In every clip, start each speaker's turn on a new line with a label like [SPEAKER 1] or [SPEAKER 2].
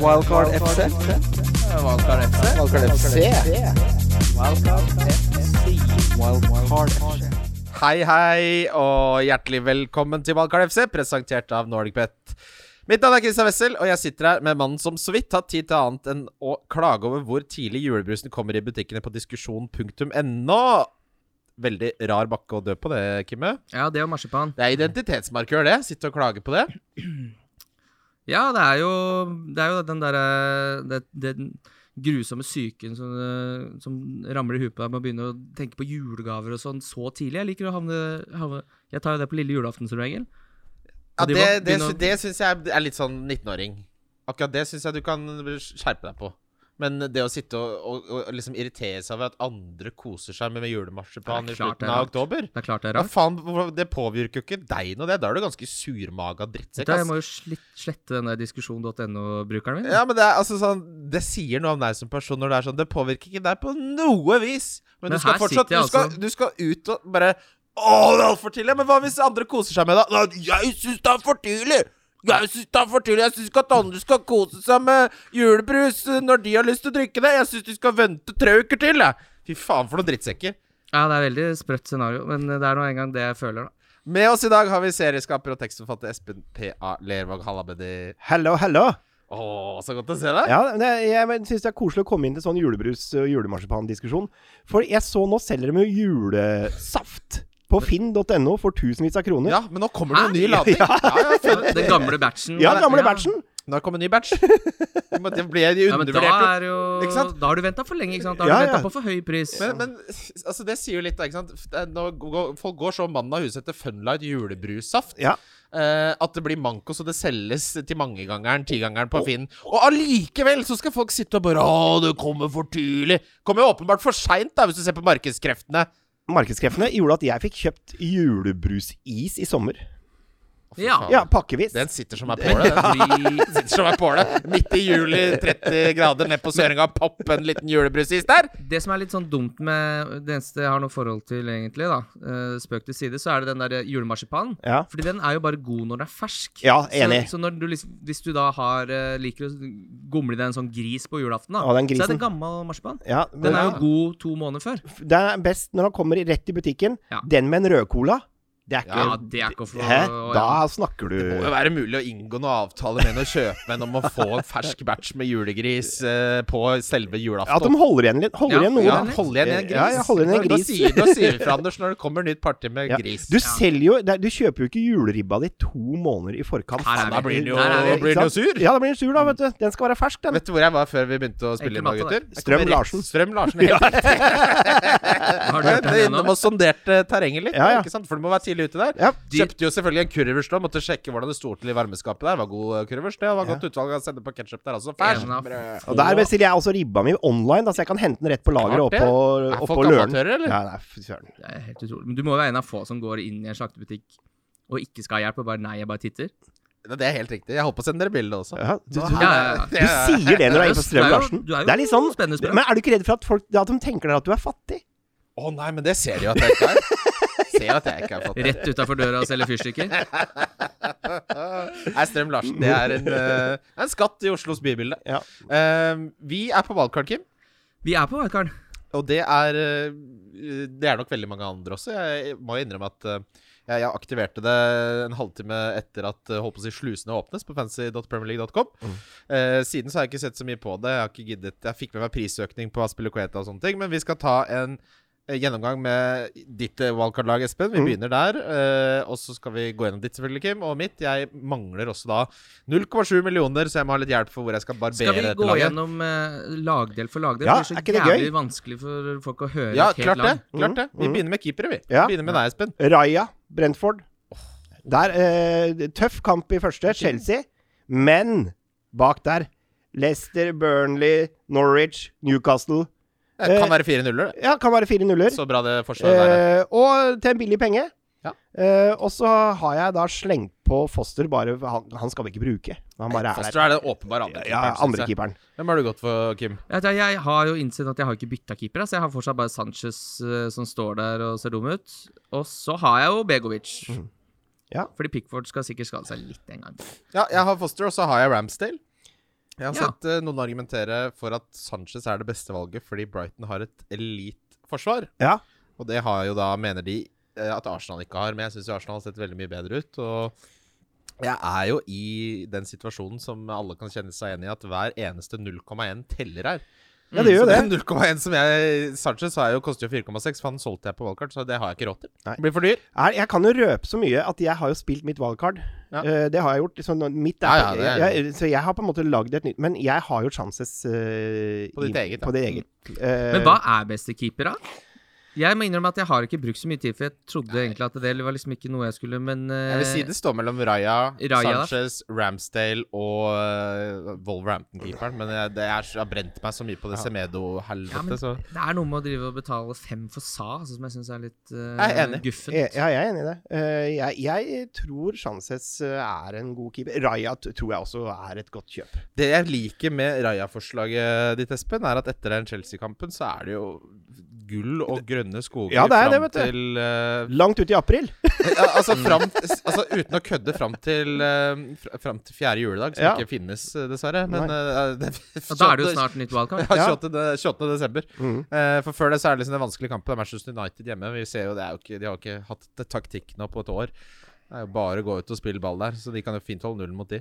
[SPEAKER 1] Wildcard FC.
[SPEAKER 2] Valgkar FC.
[SPEAKER 1] Wildcard FC. Wildcard FC.
[SPEAKER 2] Hei, hei, og hjertelig velkommen til Valgkar FC, presentert av NordicBet. Mitt navn er Christian Wessel, og jeg sitter her med mannen som så vidt har tid til annet enn å klage over hvor tidlig julebrusen kommer i butikkene på diskusjon.no. Veldig rar bakke å dø på det, Kimme.
[SPEAKER 3] Ja, det og marsipan.
[SPEAKER 2] Det er identitetsmarkør, det. Sitte og klage på det.
[SPEAKER 3] Ja, det er jo, det er jo den derre det, det grusomme psyken som, eh, som ramler i huet på deg med å begynne å tenke på julegaver og sånn så tidlig. Jeg liker å havne, havne Jeg tar jo det på lille julaften som regel.
[SPEAKER 2] Ja,
[SPEAKER 3] Og de
[SPEAKER 2] det,
[SPEAKER 3] må
[SPEAKER 2] det,
[SPEAKER 3] begynne å-
[SPEAKER 2] sy- det syns jeg er litt sånn 19-åring. Akkurat det syns jeg du kan skjerpe deg på. Men det å sitte og, og, og liksom irritere seg over at andre koser seg med, med julemarsipan
[SPEAKER 3] Ja, det er
[SPEAKER 2] i
[SPEAKER 3] klart det
[SPEAKER 2] slutten
[SPEAKER 3] er
[SPEAKER 2] av
[SPEAKER 3] rart.
[SPEAKER 2] oktober
[SPEAKER 3] Det er klart det er
[SPEAKER 2] ja,
[SPEAKER 3] rart.
[SPEAKER 2] faen, hvor- Det påvirker jo ikke deg noe, det. Da er du ganske surmaga drittsekk.
[SPEAKER 3] Vet du, jeg
[SPEAKER 2] ass.
[SPEAKER 3] må jo slitt, slette den der diskusjon.no-brukeren min.
[SPEAKER 2] Ja, men Det er altså sånn Det sier noe om deg som person når det er sånn. Det påvirker ikke deg på noe vis. Men,
[SPEAKER 3] Men
[SPEAKER 2] du skal
[SPEAKER 3] her
[SPEAKER 2] fortsatt
[SPEAKER 3] sitter jeg
[SPEAKER 2] du, skal,
[SPEAKER 3] altså-
[SPEAKER 2] du skal ut og bare Å, det er altfor tidlig! Men hva hvis andre koser seg med det? Nei, Jeg syns det er for tidlig! Jeg syns det er for tidlig Jeg syns ikke at andre skal kose seg med julebrus eh, når de har lyst til å drikke det. Jeg syns de skal vente tre uker til, jeg. Fy faen, for noen drittsekker.
[SPEAKER 3] Ja, det er veldig sprøtt scenario, men det er nå engang det jeg føler, da.
[SPEAKER 2] Med oss i dag har vi serieskaper og tekstforfatter Espen P.A. Lervåg Hallabedi.
[SPEAKER 4] Hallo, hallo.
[SPEAKER 2] Å, så godt å se deg.
[SPEAKER 4] Ja, men jeg, jeg syns det er koselig å komme inn til sånn julebrus- og julemarsipan-diskusjon. For jeg så nå selger de jo julesaft på finn.no for tusenvis av kroner.
[SPEAKER 2] Ja, men nå kommer det jo en ny
[SPEAKER 3] Hæ?
[SPEAKER 2] lading. Ja, ja,
[SPEAKER 3] Så Den gamle batchen.
[SPEAKER 4] Ja, gamle batchen.
[SPEAKER 2] Nå kommer en ny batch. Men Det ble de
[SPEAKER 3] Ja, men da
[SPEAKER 2] undervurdert.
[SPEAKER 3] er jo
[SPEAKER 2] Ikke sant?
[SPEAKER 3] Da har du venta for lenge, ikke sant? Da har
[SPEAKER 4] Ja,
[SPEAKER 3] du venta
[SPEAKER 4] ja.
[SPEAKER 3] på for høy pris.
[SPEAKER 2] Men, men, altså, det sier jo litt, da. ikke sant? Det er- Nå går, folk går så mannen av huset etter Funlight julebrussaft
[SPEAKER 4] Ja.
[SPEAKER 2] eh, at det blir manko, så det selges til mangegangeren, tigangeren på Finn. Og allikevel så skal folk sitte og bare Å, det kommer for tidlig. Kommer jo åpenbart for seint, da, hvis du ser på markedskreftene.
[SPEAKER 4] Markedskreftene gjorde at jeg fikk kjøpt julebrusis i sommer.
[SPEAKER 2] Å, fy
[SPEAKER 3] Ja.
[SPEAKER 2] faen.
[SPEAKER 4] Ja, pakkevis.
[SPEAKER 2] Den sitter som ei påle. den.
[SPEAKER 3] Drit.
[SPEAKER 2] Den Sitter som ei påle. Midt i juli, 30 grader ned på Sørenga, popp en liten julebrusis der.
[SPEAKER 3] Det som er litt sånn dumt med det eneste jeg har noe forhold til, egentlig, da, eh, spøk til side, så er det den der julemarsipanen.
[SPEAKER 4] Ja.
[SPEAKER 3] Fordi den er jo bare god når den er fersk.
[SPEAKER 4] Ja, enig.
[SPEAKER 3] Så, så når du, liksom- hvis du da har, eh, liker å gomle i deg en sånn gris på julaften, da,
[SPEAKER 4] Å, den
[SPEAKER 3] så er det
[SPEAKER 4] grisen.
[SPEAKER 3] en gammel marsipan.
[SPEAKER 4] Ja,
[SPEAKER 3] Den
[SPEAKER 4] den
[SPEAKER 3] er
[SPEAKER 4] er,
[SPEAKER 3] jo god to måneder før.
[SPEAKER 4] den er best når han kommer rett i butikken.
[SPEAKER 3] Ja.
[SPEAKER 4] Den med en rød cola, det er ikke
[SPEAKER 3] Ja, det er ikke å få
[SPEAKER 4] Hæ?
[SPEAKER 3] å-
[SPEAKER 4] Da
[SPEAKER 3] ja.
[SPEAKER 4] snakker du
[SPEAKER 2] Det må jo være mulig å inngå noen avtale med en og kjøpe en om å få en fersk batch med julegris eh, på selve
[SPEAKER 4] At de
[SPEAKER 2] julaften.
[SPEAKER 4] holder igjen litt. Holder
[SPEAKER 3] Ja,
[SPEAKER 4] igjen noe.
[SPEAKER 2] ja,
[SPEAKER 4] da.
[SPEAKER 2] hold igjen en gris.
[SPEAKER 4] Ja, ja, holder igjen en
[SPEAKER 2] Da
[SPEAKER 4] gris.
[SPEAKER 2] sier, da sier vi fra, Anders, når det kommer nytt parti med
[SPEAKER 4] Ja.
[SPEAKER 2] gris.
[SPEAKER 4] Du selger jo det er- Du kjøper jo ikke juleribba di to måneder i forkant.
[SPEAKER 3] Her er
[SPEAKER 2] da blir den jo,
[SPEAKER 3] Der er vi.
[SPEAKER 2] blir den jo
[SPEAKER 4] Ikke sant?
[SPEAKER 2] sur.
[SPEAKER 4] Ja, da blir den sur, da, vet du. Den skal være fersk, den.
[SPEAKER 2] Vet du hvor jeg var før vi begynte å spille
[SPEAKER 3] Enkel
[SPEAKER 2] inn, da,
[SPEAKER 3] matte,
[SPEAKER 2] gutter?
[SPEAKER 3] det.
[SPEAKER 2] Jeg kom
[SPEAKER 4] Strøm
[SPEAKER 2] rett-
[SPEAKER 4] Larsen.
[SPEAKER 2] Strøm Larsen. Helt riktig.
[SPEAKER 3] Har du
[SPEAKER 2] Jeg
[SPEAKER 3] hørt den
[SPEAKER 2] var
[SPEAKER 3] igjen
[SPEAKER 2] Innom
[SPEAKER 3] nå?
[SPEAKER 2] og sonderte terrenget litt,
[SPEAKER 4] Ja, ja.
[SPEAKER 2] Ikke sant? for du må være tidlig ute der.
[SPEAKER 4] Ja.
[SPEAKER 2] Kjøpte jo selvfølgelig en kurvers da, måtte sjekke hvordan det sto til i varmeskapet der. Var god kurvers, det. Og var
[SPEAKER 4] Ja.
[SPEAKER 2] godt utvalg av sende på ketsjup der altså.
[SPEAKER 3] En av-
[SPEAKER 2] Fersk brød.
[SPEAKER 4] Og der bestiller jeg også ribba mi online, da, så jeg kan hente den rett på lageret
[SPEAKER 2] Klart det.
[SPEAKER 4] oppå,
[SPEAKER 2] Er folk
[SPEAKER 4] oppå løren.
[SPEAKER 2] amatører, eller?
[SPEAKER 4] Ja, nei, fy søren.
[SPEAKER 3] Det er helt utrolig. Men du må jo være en av få som går inn i en slaktebutikk og ikke skal ha hjelp, og bare nei, jeg bare titter.
[SPEAKER 2] Ja, Det er helt riktig. Jeg holdt på å sende dere bilde også.
[SPEAKER 4] Ja, du,
[SPEAKER 2] Nå
[SPEAKER 4] du,
[SPEAKER 3] Ja, ja, ja.
[SPEAKER 2] her-
[SPEAKER 4] du sier det når du er inne på Strøm
[SPEAKER 3] Det er jo-
[SPEAKER 4] Larsen.
[SPEAKER 3] du er jo
[SPEAKER 4] Det er litt sånn
[SPEAKER 3] spennende sprø.
[SPEAKER 4] Men er du ikke redd for at folk at de tenker at du er fattig?
[SPEAKER 2] Å nei, men det ser de jo at jeg ikke er. Ser jo at jeg ikke har fått det.
[SPEAKER 3] Rett utafor døra og selger fyrstikker.
[SPEAKER 2] Nei, Strøm Larsen, det er en, eh, en skatt i Oslos bybilde.
[SPEAKER 4] Ja.
[SPEAKER 2] Eh, vi er på valgkart, Kim.
[SPEAKER 3] Vi er på Valkaren.
[SPEAKER 2] Og det er eh, Det er nok veldig mange andre også. Jeg må jo innrømme at eh, jeg, jeg aktiverte det en halvtime etter at eh, holdt på å si, slusene åpnes på fancy.premierleague.com.
[SPEAKER 3] Mm.
[SPEAKER 2] Eh, siden så har jeg ikke sett så mye på det. Jeg har ikke giddet Jeg fikk med meg prisøkning på Aspilicueta og sånne ting, men vi skal ta en eh, Gjennomgang med ditt eh, wildcard-lag, Espen.
[SPEAKER 3] Mm.
[SPEAKER 2] Vi begynner der. eh, og så skal vi gå gjennom ditt, selvfølgelig, Kim. Og mitt. Jeg mangler også da 0,7 millioner, så jeg må ha litt hjelp for hvor jeg skal barbere
[SPEAKER 3] Skal vi gå
[SPEAKER 2] laget.
[SPEAKER 3] gjennom eh, lagdel for lagdel?
[SPEAKER 4] Ja,
[SPEAKER 3] det er så
[SPEAKER 4] er ikke det
[SPEAKER 3] jævlig
[SPEAKER 4] gøy?
[SPEAKER 3] vanskelig for folk å høre
[SPEAKER 2] Ja,
[SPEAKER 3] et helt
[SPEAKER 2] klart det.
[SPEAKER 3] lag.
[SPEAKER 2] klart det Vi
[SPEAKER 4] Mhm.
[SPEAKER 2] begynner med keepere, vi.
[SPEAKER 4] Ja.
[SPEAKER 2] Begynner med deg, Espen.
[SPEAKER 4] Raja, Brentford. Der, eh, tøff kamp i første, Chelsea. Men bak der Leicester, Burnley, Norwich, Newcastle.
[SPEAKER 2] Det kan
[SPEAKER 4] Eh,
[SPEAKER 2] være fire nuller. det.
[SPEAKER 4] Ja, kan være fire nuller.
[SPEAKER 2] Så bra det forsvaret der er.
[SPEAKER 4] Eh, og til en billig penge.
[SPEAKER 2] Ja.
[SPEAKER 4] Eh, og så har jeg da slengt på Foster, bare han, han skal vi ikke bruke. Han bare er
[SPEAKER 2] Foster er det åpenbare andre
[SPEAKER 4] der. eh, Ja,
[SPEAKER 2] keeperen, synes
[SPEAKER 4] andre
[SPEAKER 2] jeg. Mm.
[SPEAKER 4] keeperen.
[SPEAKER 2] Hvem har du gått for, Kim?
[SPEAKER 3] Jeg, vet- altså, jeg har jo innsett at jeg har ikke bytta keeper. Så jeg har fortsatt bare Sanchez eh, som står der og ser dum ut. Og så har jeg jo Begovic.
[SPEAKER 4] Ja.
[SPEAKER 2] Mhm.
[SPEAKER 3] Fordi Pickford skal sikkert skade seg litt en gang.
[SPEAKER 2] Ja, jeg har Foster, og så har jeg Ramsdale. Jeg har
[SPEAKER 3] Ja.
[SPEAKER 2] sett eh, noen argumentere for at Sanchez er det beste valget fordi Brighton har et elite forsvar.
[SPEAKER 4] Ja.
[SPEAKER 2] Og det har jo da, mener de, eh, at Arsenal ikke har. Men jeg syns Arsenal har sett veldig mye bedre ut. Og jeg er jo i den situasjonen som alle kan kjenne seg igjen i, at hver eneste 0,1 teller her.
[SPEAKER 4] Ja, det gjør jo
[SPEAKER 2] så
[SPEAKER 4] det.
[SPEAKER 2] den 0,1 som jeg Sanchez har jo koster jo 4,6, for han solgte jeg på valgkart, så det har jeg ikke råd til.
[SPEAKER 4] Nei.
[SPEAKER 2] Det blir for dyr.
[SPEAKER 4] Er, jeg kan jo røpe så mye at jeg har jo spilt mitt valgkart.
[SPEAKER 2] Ja.
[SPEAKER 4] Eh, det har jeg gjort. Så, nå- mitt er,
[SPEAKER 2] Ja, ja, det er-
[SPEAKER 4] jeg, så jeg har på en måte lagd et nytt Men jeg har jo chances eh,
[SPEAKER 2] På ditt
[SPEAKER 4] i-
[SPEAKER 2] eget, ja. Mm.
[SPEAKER 4] På ditt eget. Eh,
[SPEAKER 3] Men hva er beste keeper, da? Jeg må innrømme at jeg har ikke brukt så mye tid, for jeg trodde egentlig at det var liksom ikke noe jeg skulle, men
[SPEAKER 2] Jeg vil si det står mellom Raja,
[SPEAKER 3] Raja, Eh, da.
[SPEAKER 2] Sanchez, Ramsdale og uh, Wolverhampton-keeperen. Men jeg, det er, jeg har brent meg så mye på det
[SPEAKER 3] Ja, men
[SPEAKER 2] Semedo-helvetet, så
[SPEAKER 3] det er noe med å drive og betale fem for SA, altså, som jeg syns er litt eh,
[SPEAKER 2] Jeg er enig.
[SPEAKER 3] guffent.
[SPEAKER 4] jeg- Ja, jeg er enig i det. Eh, jeg, jeg tror Chances eh, er en god keeper. Raja t- tror jeg også er et godt kjøp.
[SPEAKER 2] Det jeg liker med Raja-forslaget ditt, Espen, er at etter den Chelsea-kampen så er det jo gull og grønne skoger
[SPEAKER 4] Ja, det er det,
[SPEAKER 2] fram
[SPEAKER 4] vet du.
[SPEAKER 2] til eh,
[SPEAKER 4] Langt ut i april.
[SPEAKER 2] ja, altså,
[SPEAKER 4] Mm.
[SPEAKER 2] fram, altså uten å kødde fram til eh, fr- Fram til fjerde juledag, som
[SPEAKER 4] Ja.
[SPEAKER 2] ikke finnes, eh, dessverre. Men eh, det,
[SPEAKER 3] Og da er det jo snart nytt wildcard.
[SPEAKER 2] Ja,
[SPEAKER 4] Ja. Mm.
[SPEAKER 2] 28. de- 28. desember. Eh, for før det så er det liksom den vanskelige kampen. Det er Manchester United hjemme. Vi ser jo det er jo ikke, De har jo ikke hatt det taktikk nå på et år. Det er jo bare å gå ut og spille ball der, så de kan jo fint holde nullen mot de.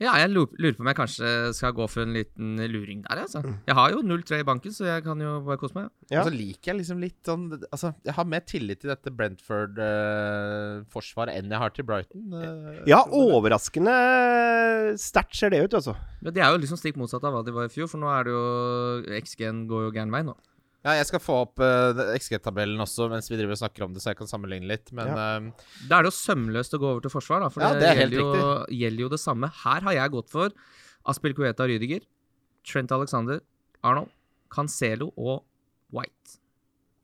[SPEAKER 3] Ja, jeg lu- lurer på om jeg kanskje skal gå for en liten luring der, altså.
[SPEAKER 4] Mm.
[SPEAKER 3] Jeg har jo 0-3 i banken, så jeg kan jo bare kose meg.
[SPEAKER 4] Ja.
[SPEAKER 2] Og så liker jeg liksom litt sånn Altså, jeg har mer tillit til dette Brentford-forsvaret enn jeg har til Brighton. eh,
[SPEAKER 4] Ja,
[SPEAKER 2] tror jeg.
[SPEAKER 4] overraskende sterkt ser det ut, altså.
[SPEAKER 3] Men det er jo liksom stikk motsatt av hva de var i fjor, for nå er det jo XG-en går jo gæren vei nå.
[SPEAKER 2] Ja, jeg skal få opp eh, XG-tabellen også mens vi driver og snakker om det, så jeg kan sammenligne litt, men eh,
[SPEAKER 3] Da er det jo sømløst å gå over til forsvar, da, for
[SPEAKER 2] Ja,
[SPEAKER 3] det,
[SPEAKER 2] det er helt
[SPEAKER 3] gjelder, jo, gjelder jo det samme. Her har jeg gått for Aspil Kueta Rydiger, Trent Alexander, Arnold, Cancelo og White.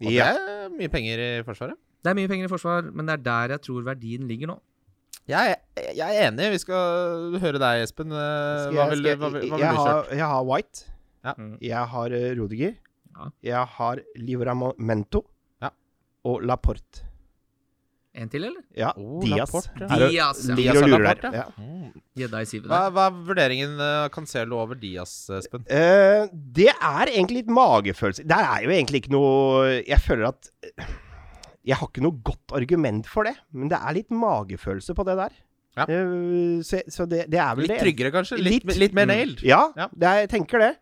[SPEAKER 2] Og det er mye penger i Forsvaret.
[SPEAKER 3] Det er mye penger i forsvar, men det er der jeg tror verdien ligger nå.
[SPEAKER 2] Jeg, er- jeg er enig. Vi skal høre deg, Espen. Eh,
[SPEAKER 4] Skal
[SPEAKER 2] Hva
[SPEAKER 4] jeg-
[SPEAKER 2] vil,
[SPEAKER 4] skal
[SPEAKER 2] hva, vil- hva vil du
[SPEAKER 4] jeg,
[SPEAKER 2] kjøre?
[SPEAKER 4] har, jeg har White.
[SPEAKER 2] Ja.
[SPEAKER 3] Mm.
[SPEAKER 4] Jeg har eh, Rudiger.
[SPEAKER 3] Ja.
[SPEAKER 4] Jeg har Livramento.
[SPEAKER 2] Ja.
[SPEAKER 4] Og Laporte.
[SPEAKER 3] En til, eller?
[SPEAKER 4] Ja,
[SPEAKER 2] Oh,
[SPEAKER 4] Diaz.
[SPEAKER 2] Laporte, ja.
[SPEAKER 4] Er det-
[SPEAKER 3] Diaz, ja.
[SPEAKER 4] ligger
[SPEAKER 2] Diaz
[SPEAKER 4] og
[SPEAKER 2] og
[SPEAKER 4] lurer
[SPEAKER 2] Laporte,
[SPEAKER 4] der. Ja.
[SPEAKER 2] Mm.
[SPEAKER 3] Gjedda i sivet
[SPEAKER 2] Hva,
[SPEAKER 3] der.
[SPEAKER 2] hva er vurderingen eh, Cancelo over Diaz, Espen?
[SPEAKER 4] Eh, det er egentlig litt magefølelse. Der er jo egentlig ikke noe Jeg føler at eh, Jeg har ikke noe godt argument for det, men det er litt magefølelse på det der.
[SPEAKER 2] Ja.
[SPEAKER 4] Eh, så så det, det er vel
[SPEAKER 2] Litt
[SPEAKER 4] det.
[SPEAKER 2] tryggere, kanskje? Litt,
[SPEAKER 4] Litt.
[SPEAKER 2] litt mer
[SPEAKER 4] Mm.
[SPEAKER 2] nailed?
[SPEAKER 4] Ja,
[SPEAKER 2] Ja.
[SPEAKER 4] Det er, jeg tenker det.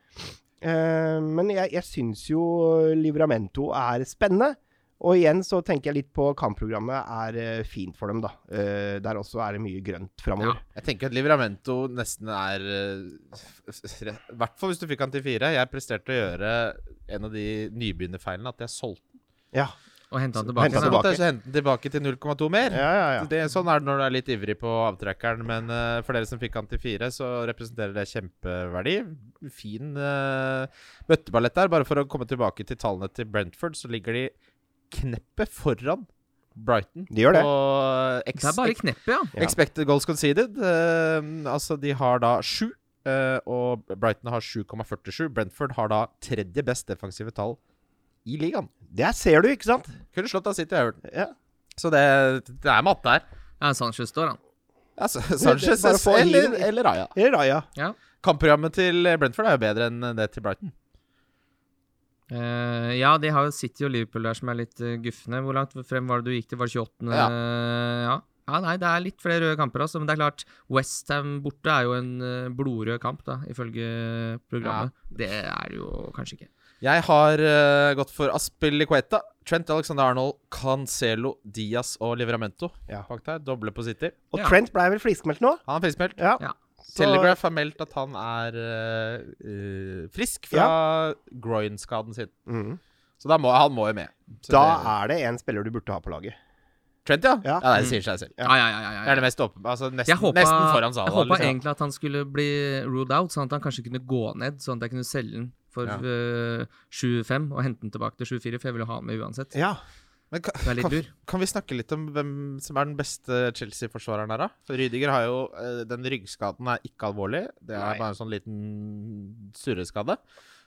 [SPEAKER 4] Eh, men jeg, jeg syns jo Livramento er spennende. Og igjen så tenker jeg litt på kampprogrammet er eh, fint for dem, da. Eh, der også er det mye grønt framover.
[SPEAKER 2] Jeg tenker at Livramento nesten er I hvert fall hvis du fikk han til fire. Jeg presterte å gjøre en av de nybegynnerfeilene, at jeg solgte
[SPEAKER 4] Ja.
[SPEAKER 3] Og hente han
[SPEAKER 4] Hente
[SPEAKER 2] den.
[SPEAKER 3] tilbake. da.
[SPEAKER 4] han
[SPEAKER 2] Så
[SPEAKER 4] tilbake.
[SPEAKER 2] måtte jeg så hente den tilbake til 0,2 mer.
[SPEAKER 4] Ja, ja, ja.
[SPEAKER 2] Det, sånn er det når du er litt ivrig på avtrekkeren. Men eh, for dere som fikk han til fire, så representerer det kjempeverdi. Fin eh, bøtteballett der. Bare for å komme tilbake til tallene til Brentford, så ligger de kneppet foran Brighton.
[SPEAKER 4] De gjør det.
[SPEAKER 2] Og
[SPEAKER 3] Det er bare kneppet, ja.
[SPEAKER 4] Ja.
[SPEAKER 2] Expected goals conceded. eh, altså, de har da sju. eh, og Brighton har 7,47. Brentford har da tredje best defensive tall i ligaen.
[SPEAKER 4] Der ser du, ikke sant?
[SPEAKER 2] Kunne slått av City og Everton.
[SPEAKER 4] Ja.
[SPEAKER 2] Så det, det er matte her.
[SPEAKER 3] ja Sanchez står, han.
[SPEAKER 2] Altså,
[SPEAKER 4] det- bare
[SPEAKER 2] Sanchez
[SPEAKER 4] få
[SPEAKER 2] eller,
[SPEAKER 4] hiven i-
[SPEAKER 2] eller Raja.
[SPEAKER 4] Eller Raja.
[SPEAKER 2] Kampprogrammet til Brentford er jo bedre enn det til Brighton.
[SPEAKER 3] Eh, ja, de har jo City og Liverpool der som er litt eh, gufne. Hvor langt frem var det du gikk til? Var det 28.?
[SPEAKER 2] Ja.
[SPEAKER 3] Eh, ja. ja, nei, det er litt flere røde kamper, altså. Men det er klart, Westham borte er jo en eh, blodrød kamp, da, ifølge programmet. Det er det jo kanskje ikke.
[SPEAKER 2] Jeg har eh, gått for Aspilicueta, Trent Alexander Arnold, Cancelo, Diaz og Livramento.
[SPEAKER 4] Ja.
[SPEAKER 2] Bak der, Doble på City.
[SPEAKER 4] Og
[SPEAKER 3] Ja.
[SPEAKER 4] Trent blei vel friskmeldt nå?
[SPEAKER 2] Han er friskmeldt.
[SPEAKER 4] Ja.
[SPEAKER 3] Ja.
[SPEAKER 4] Så-
[SPEAKER 2] Telegraph har meldt at han er eh, eh, frisk fra groin-skaden sin.
[SPEAKER 4] Mhm.
[SPEAKER 2] Så da må, han må jo med. Så det,
[SPEAKER 4] Da er det en spiller du burde ha på laget.
[SPEAKER 2] Trent, ja? ja?
[SPEAKER 4] Ja. Mm.
[SPEAKER 2] det sier seg selv.
[SPEAKER 3] Ja, ja, ja. ja, ja,
[SPEAKER 2] Det er det mest åpenbare. Altså, nesten,
[SPEAKER 3] Jeg håpa,
[SPEAKER 2] nesten foran Salah.
[SPEAKER 3] jeg håpa
[SPEAKER 2] liksom.
[SPEAKER 3] egentlig at han skulle bli ruled out, sånn at han kanskje kunne gå ned, sånn at jeg kunne selge den for
[SPEAKER 2] Ja.
[SPEAKER 3] eh, 7-5 og hente den tilbake til 7-4, for jeg ville ha den med uansett.
[SPEAKER 4] Ja.
[SPEAKER 2] Men kan,
[SPEAKER 3] Det er litt
[SPEAKER 2] kan,
[SPEAKER 3] dur.
[SPEAKER 2] kan vi snakke litt om hvem som er den beste Chelsea-forsvareren her, da? For Rydiger har jo eh, Den ryggskaden er ikke alvorlig. Det er
[SPEAKER 4] Nei.
[SPEAKER 2] bare en sånn liten surreskade.